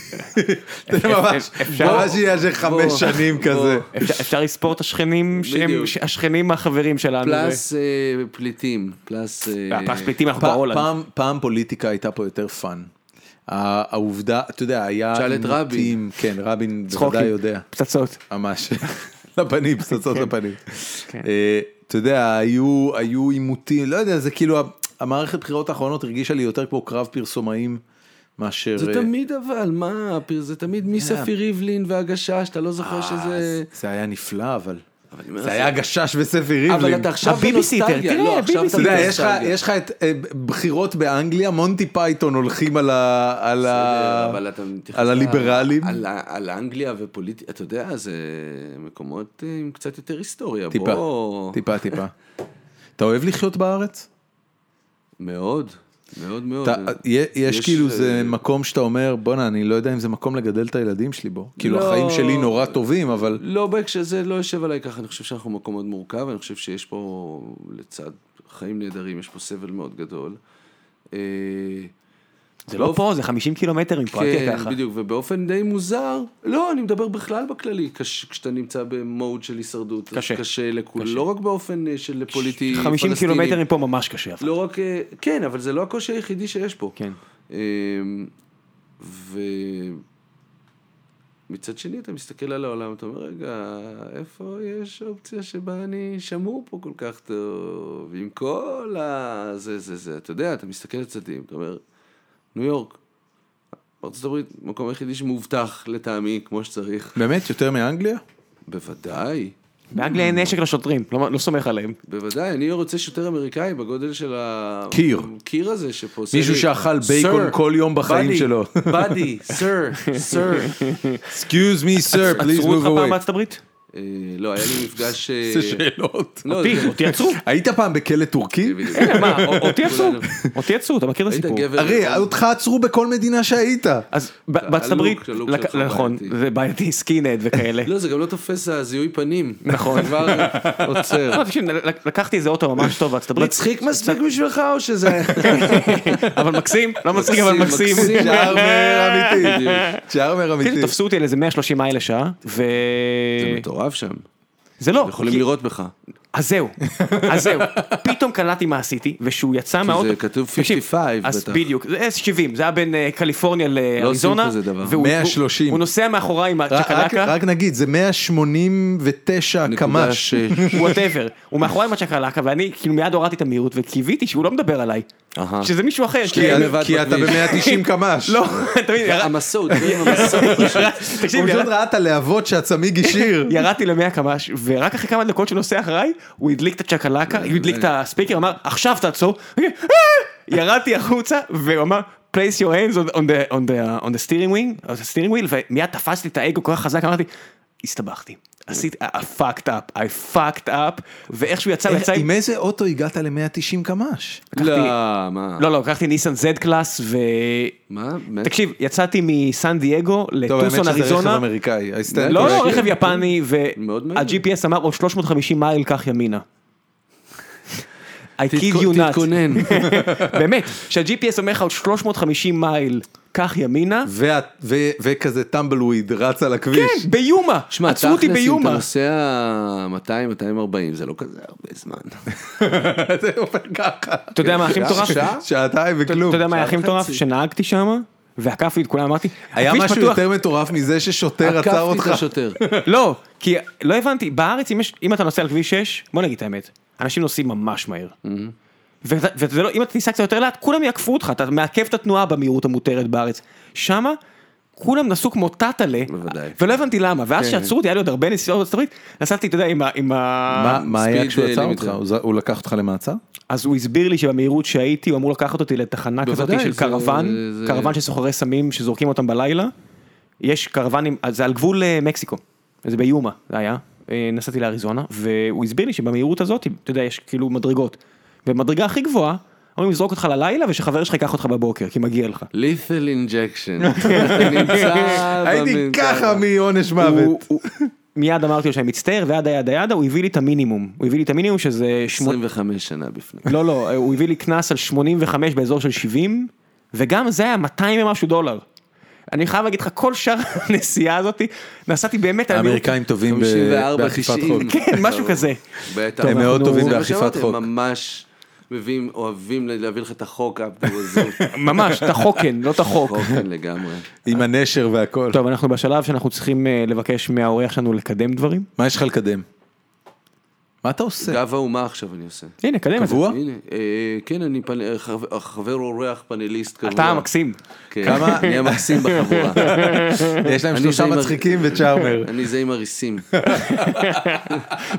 A: זה ממש,
B: אפשר-
A: ממש יהיה איזה חמש שנים כזה.
B: אפשר- אפשר לספור את השכנים שהם
C: בדיוק.
B: השכנים החברים שלנו.
C: פלאס אה, פליטים, פלאס... אה,
B: פלאס פליטים אנחנו
A: פ-
B: בהולנד.
A: פעם, פעם פוליטיקה הייתה פה יותר פאן. ה- העובדה, אתה יודע, היה...
C: תשאל את רבין.
A: עימותים, כן, רבין בוודאי
B: צחוקים, כן.
A: יודע.
B: פצצות.
A: ממש. [LAUGHS] לפנים, פצצות לפנים. אה, אתה יודע, היו היו עימותים, לא יודע, זה כאילו, ה- המערכת בחירות האחרונות הרגישה לי יותר כמו קרב פרסומאים מאשר...
C: זה
A: אה,
C: תמיד אבל, מה, פיר- זה תמיד מספי ריבלין והגשש, אתה לא
A: אה,
C: זוכר שזה...
A: זה היה נפלא, אבל...
C: אומר,
A: זה היה גשש וספי ריבלין.
C: אבל אתה עכשיו
B: הביביסיטר,
C: בנוסטלגיה,
B: תראה,
C: לא, עכשיו אתה
A: אתה יודע, יש לך-
C: בנוסטלגיה.
A: יש לך את אה, בחירות באנגליה, מונטי פייתון הולכים על ה... על ה-
C: בסדר, אבל אתה מתייחס
A: על
C: ל-
A: הליברלים.
C: על ה- על אנגליה ופוליטיקה, אתה יודע, זה מקומות אה, עם קצת יותר היסטוריה.
A: טיפה,
C: בוא-
A: טיפה, טיפה. אתה אוהב לחיות בארץ?
C: מאוד, מאוד מאוד.
A: אתה, יש, יש
C: לא, יש,
A: כאילו זה
C: אה,
A: מקום שאתה אומר בואנה אני לא יודע אם זה מקום לגדל את הילדים שלי בו כאילו
C: לא.
A: החיים שלי נורא טובים אבל
C: לא, בהקשר זה לא יושב עליי ככה, אני חושב שאנחנו מקום מאוד מורכב, אני חושב שיש פה, לצד חיים נהדרים, יש פה סבל מאוד גדול. אה,
B: זה לא פה, זה 50 קילומטר מפה, אל תהיה
C: כן,
B: ככה.
C: בדיוק, ובאופן די מוזר, לא, אני מדבר בכלל בכללי, קש, כשאתה נמצא במוד של הישרדות, אז
B: קשה.
C: קשה לכולם, לא רק באופן אה, של פוליטי
B: 50
C: פלסטיני.
B: קילומטר מפה ממש קשה. אבל.
C: לא רק, אה, כן, אבל זה לא הקושי היחידי שיש פה.
B: כן.
C: אמ, ו... מצד שני, אתה מסתכל על העולם, אתה אומר, רגע, איפה יש אופציה שבה אני שמור פה כל כך טוב, עם כל ה... זה, זה, זה. אתה יודע, אתה מסתכל לצדדים, אתה אומר, ניו יורק, ארצות הברית, המקום היחידי שמאובטח לטעמי כמו שצריך.
A: באמת יותר מאנגליה?
C: בוודאי.
B: באנגליה אין נשק לשוטרים, לא לא סומך עליהם.
C: בוודאי, אני רוצה שוטר אמריקאי בגודל של ה...
A: קיר.
C: קיר הזה שפה. עושה
A: מישהו
C: לי,
A: שאכל בייקון
C: "Sir,
A: כל יום בחיים
C: buddy,
A: שלו.
B: [LAUGHS]
C: buddy, sir, sir.
A: Excuse me sir, please
B: עצרו
A: move
B: אותך פעם
A: away.
C: [LAUGHS]
B: בארצות הברית?
C: אה, לא, היה לי מפגש... אה,
A: איזה שאלות.
C: לא,
B: אותי,
C: זה- אה,
B: אותי עצרו.
A: היית פעם בכלא טורקי?
C: בדיוק.
B: רגע, מה, אותי עצרו,
C: כולנו.
B: אותי עצרו, אתה מכיר את
C: היית
B: הסיפור.
C: גבר...
A: הרי אותך עצרו בכל מדינה שהיית.
B: אז ב- בארצות הברית,
C: הלוק
B: לק-
C: שלך הוא
B: נכון,
C: בעייתי.
B: זה בעייתי, סקינד וכאלה.
C: לא, זה גם לא תופס הזיהוי פנים.
B: נכון.
C: כבר
B: [LAUGHS]
C: עוצר.
B: לא, תקשיב, לק- לקחתי איזה אוטו ממש טוב בארצות הברית,
C: מצחיק מספיק בשבילך או שזה...
B: אבל מקסים, לא מצחיק אבל מקסים.
A: צ'ארמר אמיתי.
C: בדיוק.
A: צ'ארמר אמיתי.
B: כאילו, תפסו אותי על איזה 130 מייל לשעה, ו...
C: [LAUGHS] זה מטורף שם.
B: זה לא,
C: יכולים
B: כי-
C: לראות בך.
B: אז זהו, אז זהו, פתאום קלטתי מה עשיתי, ושהוא יצא מהאוטו,
C: כתוב
B: תקשיב,
C: 55
B: אז
C: בטח. לא
B: בדיוק, זה S 70, זה היה בין אה, קליפורניה לאריזונה,
C: כזה דבר.
B: והוא-
A: 130.
B: הוא- הוא נוסע מאחוריי עם
A: רק- רק-
B: הצ'קלקה,
A: רק נגיד, זה 189
C: נקודה
A: קמ"ש. [LAUGHS]
C: שש.
B: וואטאבר, הוא מאחוריי עם הצ'קלקה, ואני כאילו מיד הורדתי את המהירות, וקיוויתי שהוא לא מדבר עליי,
C: אהה.
B: שזה מישהו אחר, כאילו,
A: כי-
C: כן, לבד
A: כי אתה
C: בכביש.
A: ב-190 קמ"ש.
B: [LAUGHS] לא, אתה מבין, ירד-
C: המסעות, תראה עם המסעות.
B: [LAUGHS] תקשיב,
A: הוא
B: ירד-
A: פשוט ראה את הלהבות שהצמיג
B: [LAUGHS]
A: השאיר.
B: ירדתי למאה קמ"ש, ורק אחרי כמה דקות שהוא נוסע אחריי, הוא הדליק את הצ'קלקה,
A: לא,
B: הוא הדליק את הספיקר, אמר, עכשיו תעצור. "אה!" ירדתי החוצה, והוא אמר, place your hands on- on the- on the- on the steering wheel, on the steering wheel, ומיד תפס לי את האגו כל כך חזק, אמרתי, הסתבכתי. עשיתי, I fucked up, I fucked up, ואיכשהו יצא, הוא יצא עם...
A: עם איזה אוטו הגעת ל-190 קמ"ש?
C: לא,
B: לקחתי-
C: מה?
B: לא, לא, לקחתי ניסן זד קלאס, ו...
C: מה? באמת?
B: תקשיב, יצאתי מסן דייגו
A: אה. טוב, לא, האמת
B: לטוסון
A: שזה רכב
B: אריזונה.
A: אמריקאי. כן. I stand
B: לא, לא,
A: corrected.
B: רכב יפני,
C: אוקיי. כן, מאוד מהיר.
B: וה-GPS אמר, או 350 מייל, קח ימינה. I kid you not,
C: תתכונן.
B: [LAUGHS] באמת, שה-GPS אומר לך עוד 350 מייל, קח ימינה,
A: וה- ו- וכזה טמבלוויד רץ על הכביש.
B: כן, ביומה,
C: שמע,
B: עצרו אותי
C: תכלס, אם אתה
B: ביומה,
C: נוסע 200, 240, זה לא כזה הרבה זמן.
A: [LAUGHS] זה עובד ככה.
B: אתה יודע מה הכי מטורף?
C: שעה?
A: שעתיים
C: לא
A: וכלום.
B: אתה יודע מה הכי
C: שעה
B: מטורף?
C: וחצי.
B: שנהגתי שם, ועקפתי את כולם, אמרתי,
A: היה
B: "הכביש
A: משהו
B: פתוח."
A: יותר מטורף מזה ששוטר עצר
C: עקפתי את
A: אותך.
C: השוטר.
B: לא, כי לא הבנתי, בארץ אם, יש, אם אתה נוסע על כביש 6, בוא נגיד את האמת, אנשים נוסעים ממש מהר. ואתה- וזה לא, אם אתה תיסע קצת יותר לאט, כולם יעקפו אותך, אתה מעכב את התנועה במהירות המותרת בארץ. שמה, כולם נסעו כמו טאטלה,
C: בוודאי.
B: ולא הבנתי למה, ואז שעצרו אותי, היה לי עוד הרבה נסיעות בארצות הברית, נסעתי, אתה יודע, עם ה... עם ה...
A: מה- מה היה
C: ספיד,
A: כשהוא
C: אה,
A: עצר
C: לימיט.
A: אותך? הוא ז- הוא לקח אותך למעצר?
B: אז הוא הסביר לי שבמהירות שהייתי, הוא אמור לקחת אותי לתחנה כזאת
C: בוודאי,
B: של
C: זה-
B: קרוון,
C: זה-
B: קרוון של סוחרי סמים שזורקים אותם בלילה. יש קרוונים, אז זה על גבול אה, מקסיקו, זה ביומה זה היה, אה, נסעתי לאריזונה, והוא הסביר לי שבמהירות הזאת, אתה יודע, יש כאילו מדרגות. במדרגה הכי גבוהה, אומרים לזרוק אותך ללילה ושחבר שלך ייקח אותך בבוקר, כי מגיע לך.
C: לית'ל
A: [LAUGHS]
C: אינג'קשן. אתה
B: אה, לא,
C: נמצא
A: הייתי
C: במנזר.
A: ככה מעונש
B: הוא-
A: מוות.
B: הוא- מיד אמרתי לו שאני מצטער, וידה ידה ידה, הוא הביא לי את המינימום, הוא הביא לי את המינימום שזה שמונה-
C: 25 שנה בפנים.
B: לא, לא, הוא הביא לי קנס על 85 באזור של 70, וגם זה היה 200 ומשהו דולר. אני חייב להגיד לך, כל שאר [LAUGHS] הנסיעה הזאת, נסעתי באמת על המהירות.
A: האמריקאים טובים ב-
C: 54,
A: באכיפת
C: 90.
A: חוק. [LAUGHS]
B: כן, משהו כזה.
C: בטח.
A: הם מאוד
B: טובים
C: זה מה
A: באכיפת
C: שאמרתי,
A: חוק.
C: הם ממש מביאים, אוהבים להביא לך את החוק, עבדו עזוב.
A: [LAUGHS]
B: ממש, את החוקן, לא את החוק.
A: אוקיי.
C: חוקן לגמרי.
A: עם הנשר והכל.
B: טוב, אנחנו בשלב שאנחנו צריכים אה, לבקש מהאורח שלנו לקדם דברים.
A: מה יש לך לקדם? מה אתה עושה?
C: גב האומה עכשיו אני עושה.
B: הנה, קדם את זה.
A: קבוע?
C: הנה, אה, כן, אני פנ- אה, חבר- חבר אורח, פאנליסט קבוע.
B: אתה המקסים.
C: כן,
A: כמה-
C: אני המקסים בחבורה.
A: [LAUGHS] לא, יש להם
C: אני
A: שלושה
C: זה עם הר-
A: מצחיקים
C: [LAUGHS]
A: וצ'ארמר.
C: אני זה
A: [LAUGHS]
C: עם הריסים.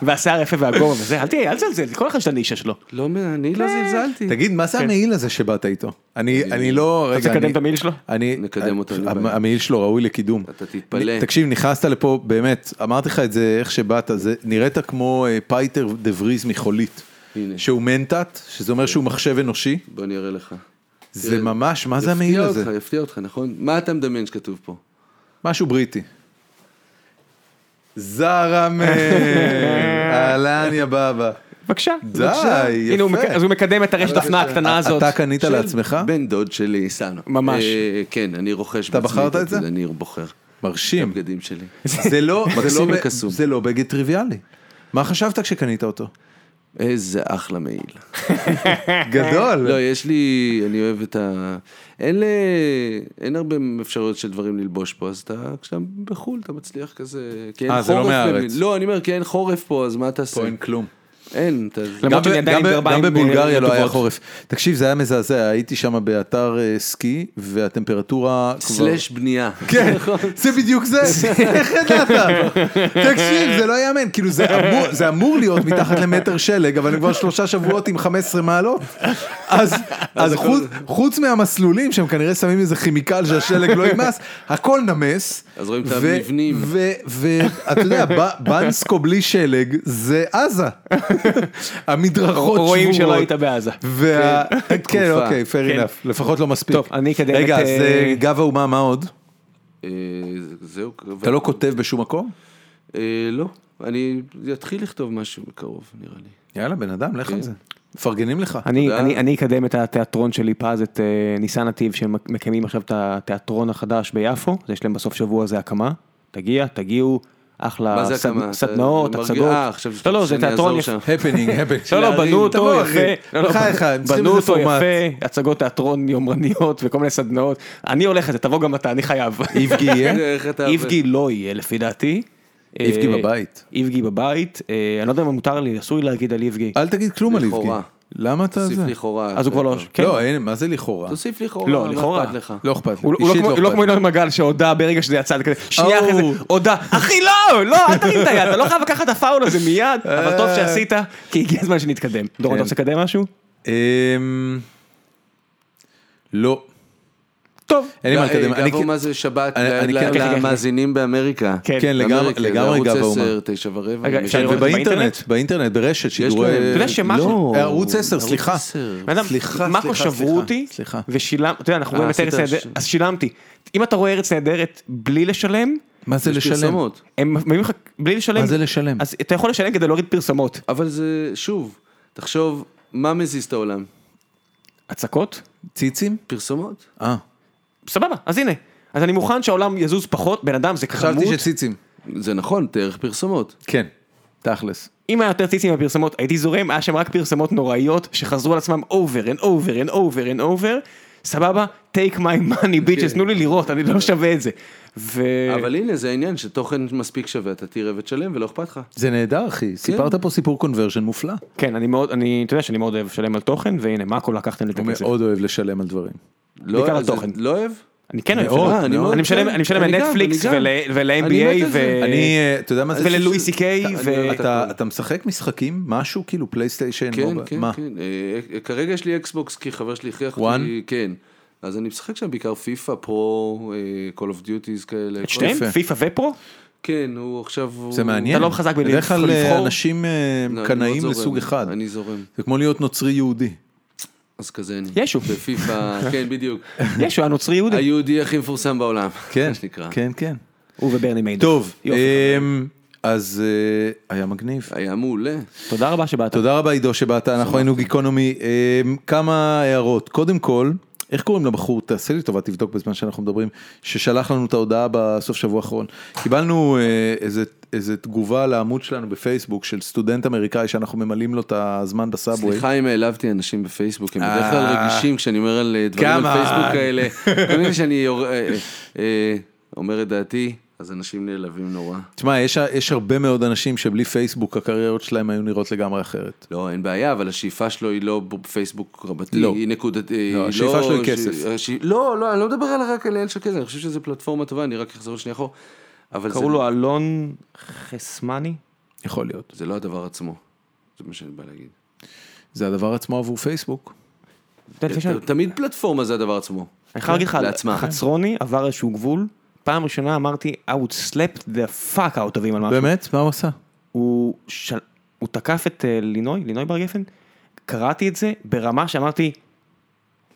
B: והשיער יפה והגובה וזה, אל תהיה, אל תזלזל, כל אחד יש את הנישה שלו. אתה
C: לא, אני לא זלזלתי.
A: כן. תגיד, מה זה המעיל הזה שבאת איתו? אני אני לא... רגע,
B: רוצה לקדם
A: אני-
B: את המיל שלו?
A: אני...
C: נקדם אותו, אין לי
A: המ-
C: בעיה.
A: המעיל שלו ראוי לקידום.
C: אתה תתפלא.
A: נ- תקשיב, נכנסת לפה, באמת, אמרתי לך את זה איך שבאת, זה נראית כמו אה, פייטר דה וריז מחולית.
C: הנה.
A: שהוא מנטט, שזה אומר שהוא מחשב אנושי,
C: בוא אני אראה לך.
A: זה
C: תראה,
A: ממש, מה זה המעיל הזה?
C: יפתיע אותך, יפתיע אותך, נכון? מה אתה מדמיין שכתוב פה?
A: משהו בריטי. זרמה,
B: [LAUGHS]
A: אהלן יא בבא.
B: בבקשה.
A: די,
B: בבקשה. הנה, הוא
A: יפה.
B: מק- אז הוא מקדם את הרשת אופנה הקטנה הזאת.
A: אתה קנית
C: של
A: לעצמך?
C: בן דוד שלי, סנו.
B: ממש.
C: אה, כן, אני רוכש
A: אתה בחרת את זה? כן.
C: אני בוחר.
A: מרשים.
B: כן.
C: הבגדים שלי.
A: זה לא, זה לא
C: מקסים
A: ב-
C: וקסום.
A: זה לא בגד טריוויאלי. מה חשבת כשקנית אותו?
C: איזה אחלה מעיל.
A: כן. גדול.
C: לא, יש לי, אני אוהב את ה... אין, ל... אין הרבה אפשרויות של דברים ללבוש פה, אז אתה, כשאתה בחו"ל אתה מצליח כזה... כי אין
A: אה, זה לא
C: חורף
A: מהארץ.
C: במ- לא, אני אומר, כי אין חורף פה, אז מה תעשה?
A: פה אין כלום.
C: אין, אתה...
B: למרות שאני
A: גם ב-
B: עדיין עם
A: גם ב-
B: גרביים,
A: גם
B: אה,
A: בבולגריה לא היה
B: רטובות.
A: חורף. תקשיב, זה היה מזעזע, הייתי שם באתר אה, סקי, והטמפרטורה כבר...
C: סלאש בנייה.
A: כן, זה בדיוק זה, איך ידעת? תקשיב, זה לא ייאמן, כאילו זה אמור- זה אמור להיות מתחת למטר שלג, אבל הם כבר שלושה שבועות עם 15 מעלות. אז אז חוץ- חוץ מהמסלולים שהם כנראה שמים איזה כימיקל שהשלג לא ימס, הכל נמס.
C: אז רואים את
A: ו-
C: המבנים.
A: ו- ואתה יודע, ב- בנסקו בלי שלג זה עזה. המדרכות שבורות.
B: רואים שלא היית בעזה.
A: וה... כן,
C: תקופה.
A: אוקיי, fair
B: כן.
A: enough, לפחות לא מספיק.
B: טוב, אני כדי...
A: רגע,
B: באמת,
A: אז
B: אה,
A: אה, גב האומה, מה עוד?
C: אה, זהו.
A: אתה לא כותב בשום מקום?
C: אה, לא. אני אתחיל לכתוב משהו בקרוב, נראה לי.
A: יאללה, בן אדם, לך על זה. מפרגנים לך.
B: כן. אני,
C: תודה.
B: אני, אני אקדם את התיאטרון שלי פז, את אה, ניסן נתיב, שמקיימים עכשיו את התיאטרון החדש ביפו, אז יש להם בסוף שבוע הזה הקמה, תגיע, תגיעו, אחלה,
C: מה זה
B: סד-
C: הקמה?
B: סדנאות,
C: אתה מרגיע-
B: הצגות,
C: אה, עכשיו
B: לא לא זה
C: שאני
B: תיאטרון
C: אעזור
B: יפה, [LAUGHS]
C: שם.
A: הפנינג, הפנינג.
B: לא לא בנו אותו
A: תבוא,
B: יפה,
A: אחי.
B: לא, לא,
A: בחייך, הם צריכים
B: בנו
A: איזה
B: אותו
A: פורמט.
B: יפה, הצגות תיאטרון יומרניות וכל מיני סדנאות, אני הולך לזה, תבוא גם אתה, אני חייב,
A: איבגי יהיה?
C: [LAUGHS] איך אתה...
B: איבגי לא יהיה לפי דעתי,
A: איבגי
B: אה,
A: בבית.
B: איבגי בבית, אה, אני לא יודע אם מותר לי, אסור לי להגיד על איבגי,
A: אל תגיד כלום על איבגי.
C: לכאורה.
A: למה אתה
C: תוסיף
A: זה?
C: לכאורה. אה,
B: אז הוא כבר לא, כן.
A: לא, אין, מה זה לכאורה?
C: תוסיף לכאורה.
B: לא,
C: מה
B: לכאורה.
C: אכפת לך?
A: לא אכפת לי.
B: הוא הוא לא
A: אישית
B: כמו- הוא לא
A: אכפת
B: כמו
A: לי.
B: ינון מגל שהודה ברגע שזה יצא, זה כזה, שנייה
A: או.
B: אחרי זה, הודה, אחי לא, לא, אל תרים את היד, אתה לא חייב לקחת את הפאול הזה מיד, אבל
A: אה.
B: טוב שעשית, כי הגיע הזמן שנתקדם. דורון,
A: כן.
B: אתה רוצה לקדם משהו?
A: אמ, לא.
B: טוב.
A: אין לי מה לקדם. אני
C: גב
A: כן-
C: האומה אה, זה שבת
A: אני- אני כן-
C: ל-
B: כן, כן,
C: למאזינים באמריקה.
B: כן,
A: כן, לגמרי
C: באמריקה, זה
A: לגמרי גב
C: ערוץ
A: האומה. כן,
C: 10, תשע ורבע.
B: רגע,
C: מי
B: אפשר
C: ש-
B: לראות את זה באינטרנט?
A: ובאינטרנט, באינטרנט, ברשת, שידורי...
C: להם- אתה
B: יודע שמה
A: לא,
B: ש-
A: ערוץ 10,
C: ערוץ
A: סליחה.
C: 10.
B: בן אדם,
A: סליחה,
B: מאקו
A: סליחה,
B: שברו
A: סליחה,
B: אותי,
A: סליחה. אה,
B: ושילם, אתה יודע, אנחנו רואים את
C: עשית
B: ארץ נהדרת,
C: ש-
B: אז שילמתי. אם אתה רואה ארץ נהדרת בלי לשלם,
A: מה זה
C: יש
A: לשלם?
C: פרסומות.
B: הם מביאים לך, בלי לשלם,
A: מה זה לשלם?
B: אז אתה יכול לשלם כדי להוריד פרסומות.
C: אבל זה, שוב, תחשוב, מה מזיז את העולם?
B: הצקות?
A: ציצים?
C: פרסומות?
A: אה,
B: סבבה, אז הנה. אז אני מוכן שהעולם יזוז פחות, בן אדם זה כמות.
A: חשבתי שציצים.
C: זה נכון, דרך פרסומות.
A: כן, תכלס.
B: אם היה יותר ציצים בפרסמות הייתי זורם, היה שם רק פרסמות נוראיות שחזרו על עצמם over and over and over and over, סבבה, take my
A: כן.
B: money bitches, תנו לי לראות, אני לא שווה את זה. ו...
A: אה.
C: אבל הנה, זה העניין שתוכן מספיק שווה, אתה תראה ותשלם ולא אכפת לך.
A: זה נהדר,
C: כן.
A: אחי. סיפרת פה סיפור קונברז'ן מופלא.
B: כן, אני מאוד, אני, אתה יודע שאני מאוד אוהב לשלם על תוכן, והנה, מה הכל לקחתם לי את
A: הוא
B: הכסף.
A: מאוד אוהב לשלם על דברים.
C: לא-
B: בעיקר
C: זה-
B: התוכן.
C: לא אוהב?
B: אני כן אוהב
A: מאוד,
B: לשלם.
A: אה, אני מאוד,
B: אני משלם,
C: כן.
B: אני משלם
C: אני גם,
B: לנטפליקס
C: אני גם. אני מת
B: ול-NBA
C: על
B: ו...
C: זה.
A: אני, אה, אתה יודע מה זה?
B: וללואי סי קיי,
A: אתה-
B: ו-
A: אתה- אתה משחק משחקים? משהו כאילו פלייסטיישן?
C: כן,
A: מובייל?
C: כן,
A: מה?
C: כן. אה, אה, כרגע יש לי אקסבוקס כי חבר שלי הכריח
A: One?
C: אותי. כן. אז אני משחק שם בעיקר אה, פיפא, פרו, קול אוף דיוטיז כאלה. כל-
B: שתיהם?
A: יפה.
B: פיפא ופרו?
C: כן, הוא עכשיו... הוא-
A: זה מעניין.
B: אתה לא חזק בלבחור.
A: בדרך כלל אה, אנשים אה,
C: לא, אני מאוד
A: קנאים
C: זורם,
A: לסוג אחד.
C: אני זורם.
A: זה כמו להיות נוצרי יהודי.
C: אז כזה אני.
B: ישו.
A: [LAUGHS]
C: בפיפא, כן, בדיוק.
B: יש, הוא היה נוצרי יהודי.
C: היהודי הכי מפורסם בעולם.
A: [LAUGHS] כן,
C: מה שנקרא.
A: כן, כן.
B: הוא וברני מיינדור.
A: טוב,
B: יופי,
A: אמ, אז אה, היה מגניב.
C: היה מעולה.
B: תודה רבה שבאת.
A: תודה רבה עידו שבאת, אנחנו היינו גיקונומי. אמ, כמה הערות, קודם כל, איך קוראים לבחור, תעשה לי טובה, תבדוק בזמן שאנחנו מדברים, ששלח לנו את ההודעה בסוף שבוע האחרון. קיבלנו אה, איזה, איזה תגובה לעמוד שלנו בפייסבוק של סטודנט אמריקאי שאנחנו ממלאים לו את הזמן בסאבווי.
C: סליחה אם העלבתי אנשים בפייסבוק, הם בדרך כלל
A: אה.
C: רגישים כשאני אומר על אה, דברים על
A: כמה?
C: פייסבוק כאלה. [LAUGHS] כל מיני שאני יור- אה, אה, אה, אומר את דעתי, אז אנשים נעלבים נורא.
A: תשמע, יש, יש הרבה מאוד אנשים שבלי פייסבוק הקריירות שלהם היו נראות לגמרי אחרת.
C: לא, אין בעיה, אבל השאיפה שלו היא לא ב- פייסבוק רבתי,
A: לא.
C: היא נקודת... אה, היא
A: השאיפה שלו היא
C: ש-
A: כסף.
C: השאי- לא, לא, אני לא מדבר על רק על אייל שקד, אני חושב שזו פלטפורמה טובה, אני רק אחזור שנייה אחורה. אבל זה-
B: קראו לו אלון חסמני.
A: יכול להיות.
C: זה לא הדבר עצמו, זה מה שאני בא להגיד.
A: זה הדבר עצמו עבור פייסבוק.
B: אתה יודע, לפני שאני-
C: ת- תמיד פלטפורמה זה הדבר עצמו.
B: אני חייב להגיד לך,
C: לעצמה.
B: חצרוני עבר איזשהו גבול, פעם ראשונה אמרתי, I would slap the fuck out of him על משהו.
A: באמת? מה הוא עשה?
B: הוא של- הוא תקף את אה, לינוי, לינוי בר גפן, קראתי את זה ברמה שאמרתי,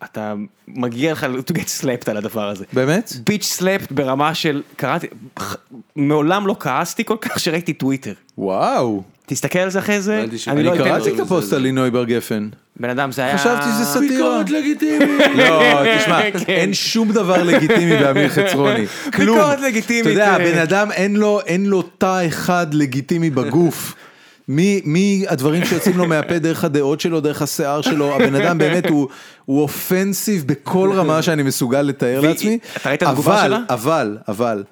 B: אתה מגיע לך to get slapped על הדבר הזה.
A: באמת?
B: ביץ' slapped ברמה של, קראתי, ח- מעולם לא כעסתי כל כך שראיתי טוויטר.
A: וואו. כן.
B: תסתכל על זה אחרי זה,
C: הבנתי ש-
B: אני
C: אני
B: לא
A: אני
B: אתן,
A: קראתי את הפוסט על לינוי בר גפן.
B: בן אדם זה היה,
A: חשבתי שזה סאטירה.
C: ביקורת לגיטימית.
B: [LAUGHS]
A: לא, תשמע,
B: כן.
A: אין שום דבר לגיטימי באמיר חצרוני. כלום.
B: ביקורת לגיטימית.
A: אתה יודע,
B: אה.
C: כן.
A: הבן אדם אין לו, אין לו תא אחד לגיטימי בגוף. מי, מי הדברים שיוצאים לו מהפה דרך הדעות שלו, דרך השיער שלו, הבן אדם באמת הוא, הוא אופנסיב בכל רמה שאני מסוגל לתאר
B: והיא-
A: לעצמי.
B: אתה ראית את התגובה
A: אבל-
B: שלה?
A: אבל, אבל,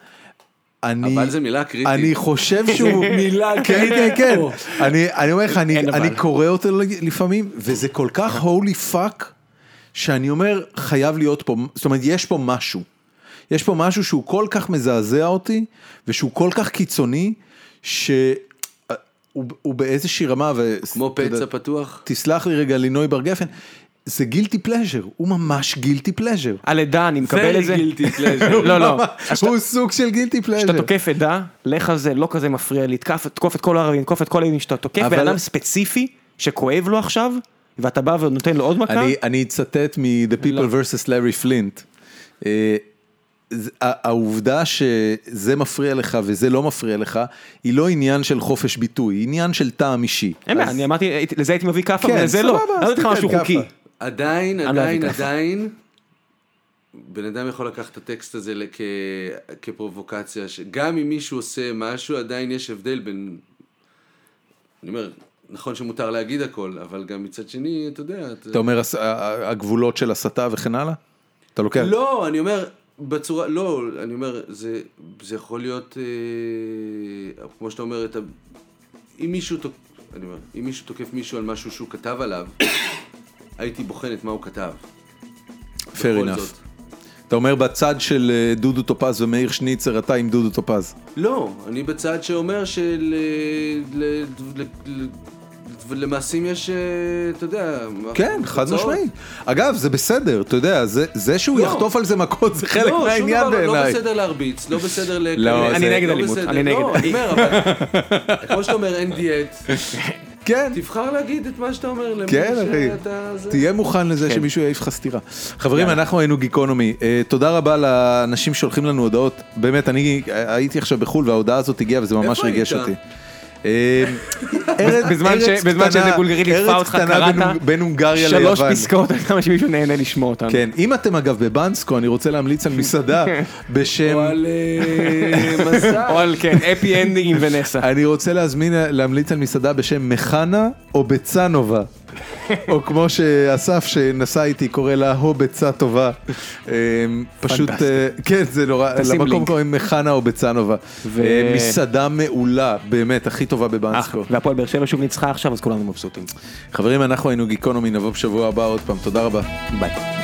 A: אני,
C: אבל זה מילה קריטית.
A: אני חושב
C: [LAUGHS]
A: שהוא, מילה, כן, כן, כן, אני, אני אומר לך, אני,
B: אין אבל.
A: אני קורא אותו לפעמים, וזה כל כך
C: נכון.
A: holy fuck, שאני אומר, חייב להיות פה, זאת אומרת, יש פה משהו. יש פה משהו שהוא כל כך מזעזע אותי, ושהוא כל כך קיצוני, שהוא אה, הוא באיזושהי רמה, ו...
C: כמו
A: אתה יודע-
C: פצע פתוח.
A: תסלח לי רגע, לינוי בר גפן, זה גילטי פלז'ר, הוא ממש גילטי פלז'ר.
B: הלידה, אני מקבל
C: Very
B: את זה.
C: guilty pleasure.
B: [LAUGHS] לא,
A: [LAUGHS]
B: לא.
A: הוא סוג של גילטי פלז'ר.
B: כשאתה תוקף עדה, לך על זה, לא כזה מפריע לי, תקף, תקוף את כל הערבים, תקוף את כל הימים שאתה תוקף,
A: אבל-
B: בן אדם ספציפי, שכואב לו עכשיו, ואתה בא ונותן לו עוד מכה,
A: אני, אני אצטט מ-The People
B: לא.
A: vs. Larry Flint. אה, זה- ה- העובדה שזה מפריע לך וזה לא מפריע לך, היא לא עניין של חופש ביטוי, היא עניין של טעם אישי.
B: אין בעיה,
A: אז-
B: אני אמרתי, הייתי- לזה הייתי מביא כאפה,
A: כן,
B: אבל לזה לא,
A: סבבה,
B: אני
A: אז
B: לא אתן לך
A: תיתן
B: משהו
A: כאפה.
B: חוקי.
C: עדיין,
B: לא
C: עדיין,
B: אוהב את
C: עדיין, בן אדם יכול לקחת את הטקסט הזה לכ... כפרובוקציה, שגם אם מישהו עושה משהו, עדיין יש הבדל בין... אני אומר, נכון שמותר להגיד הכל, אבל גם מצד שני, אתה יודע...
A: אתה אומר הס- ה- ה- הגבולות של הסתה וכן הלאה? אתה לוקח...
C: לא, אני אומר, בצורה, לא, אני אומר, זה, זה יכול להיות, אה, כמו שאתה אומר, אתה, אם מישהו, תוק, אני אומר, אם מישהו תוקף מישהו על משהו שהוא כתב עליו, [COUGHS] הייתי בוחן את מה הוא כתב.
A: Fair
C: בכל
A: enough.
C: זאת.
A: אתה אומר בצד של אה, דודו טופז ומאיר שניצר, אתה עם דודו טופז.
C: לא, אני בצד שאומר של... אה, ל- ל- ל- למעשים יש, אה, אתה יודע...
A: כן, חד
C: תוצאות.
A: משמעית. אגב, זה בסדר, אתה יודע, זה- זה שהוא
C: לא.
A: יחטוף על זה מכות זה חלק
C: לא, שום
A: מהעניין
C: דבר, לא
A: בעיניי.
C: בסדר להרביץ, לא בסדר ל...
A: לא, אני
B: נגד
C: לא
B: אלימות,
C: בסדר,
B: אני נגד.
C: לא, אני אומר, אבל... כמו שאתה אומר, אין דיאט.
A: כן.
C: תבחר להגיד את מה שאתה אומר למי
A: כן, אחי.
C: שאתה... זה.
A: תהיה מוכן לזה
B: כן.
A: שמישהו יעיף לך סטירה. חברים, אנחנו היינו גיקונומי. אה, תודה רבה לאנשים ששולחים לנו הודעות. באמת, אני הייתי עכשיו בחו"ל וההודעה הזאת הגיעה וזה ממש
C: איפה
A: ריגש
C: היית? [LAUGHS]
A: אותי. אה, ארץ-
B: בזמן ש-
A: ארץ
B: בזמן
A: קטנה-
B: שאיזה בולגרית ליטפה
A: ארץ
B: אותך,
A: קטנה
B: קראת
A: בין- בין הונגריה ליוון.
B: שלוש פסקאות, [LAUGHS] על כמה שמישהו נהנה לשמוע אותנו.
A: כן, אם אתם אגב בבנסקו, אני רוצה להמליץ על
B: [LAUGHS]
A: מסעדה
B: כן.
A: בשם...
C: או
A: [LAUGHS]
C: על אה, מסע.
B: או על כן, אפי אנדינג עם ונסה.
A: אני רוצה להזמין, להמליץ על מסעדה בשם מחנה או ביצה
B: [LAUGHS]
A: נובה. או כמו שאסף שנסע איתי קורא לה הו ביצה טובה. אמ, פשוט,
B: פנטסטי.
A: אה, כן זה נורא,
B: תשים
A: למקום
B: לינק.
A: קוראים מחנה או ביצה נובה.
B: ו-
A: אה, מסעדה מעולה, באמת, הכי טובה
B: אחלה.
A: בבנסקו.
B: והפועל באר שבע שוב ניצחה עכשיו, אז כולנו מבסוטים.
A: חברים, אנחנו היינו גיקונומי, נבוא בשבוע הבא עוד פעם, תודה רבה.
B: ביי.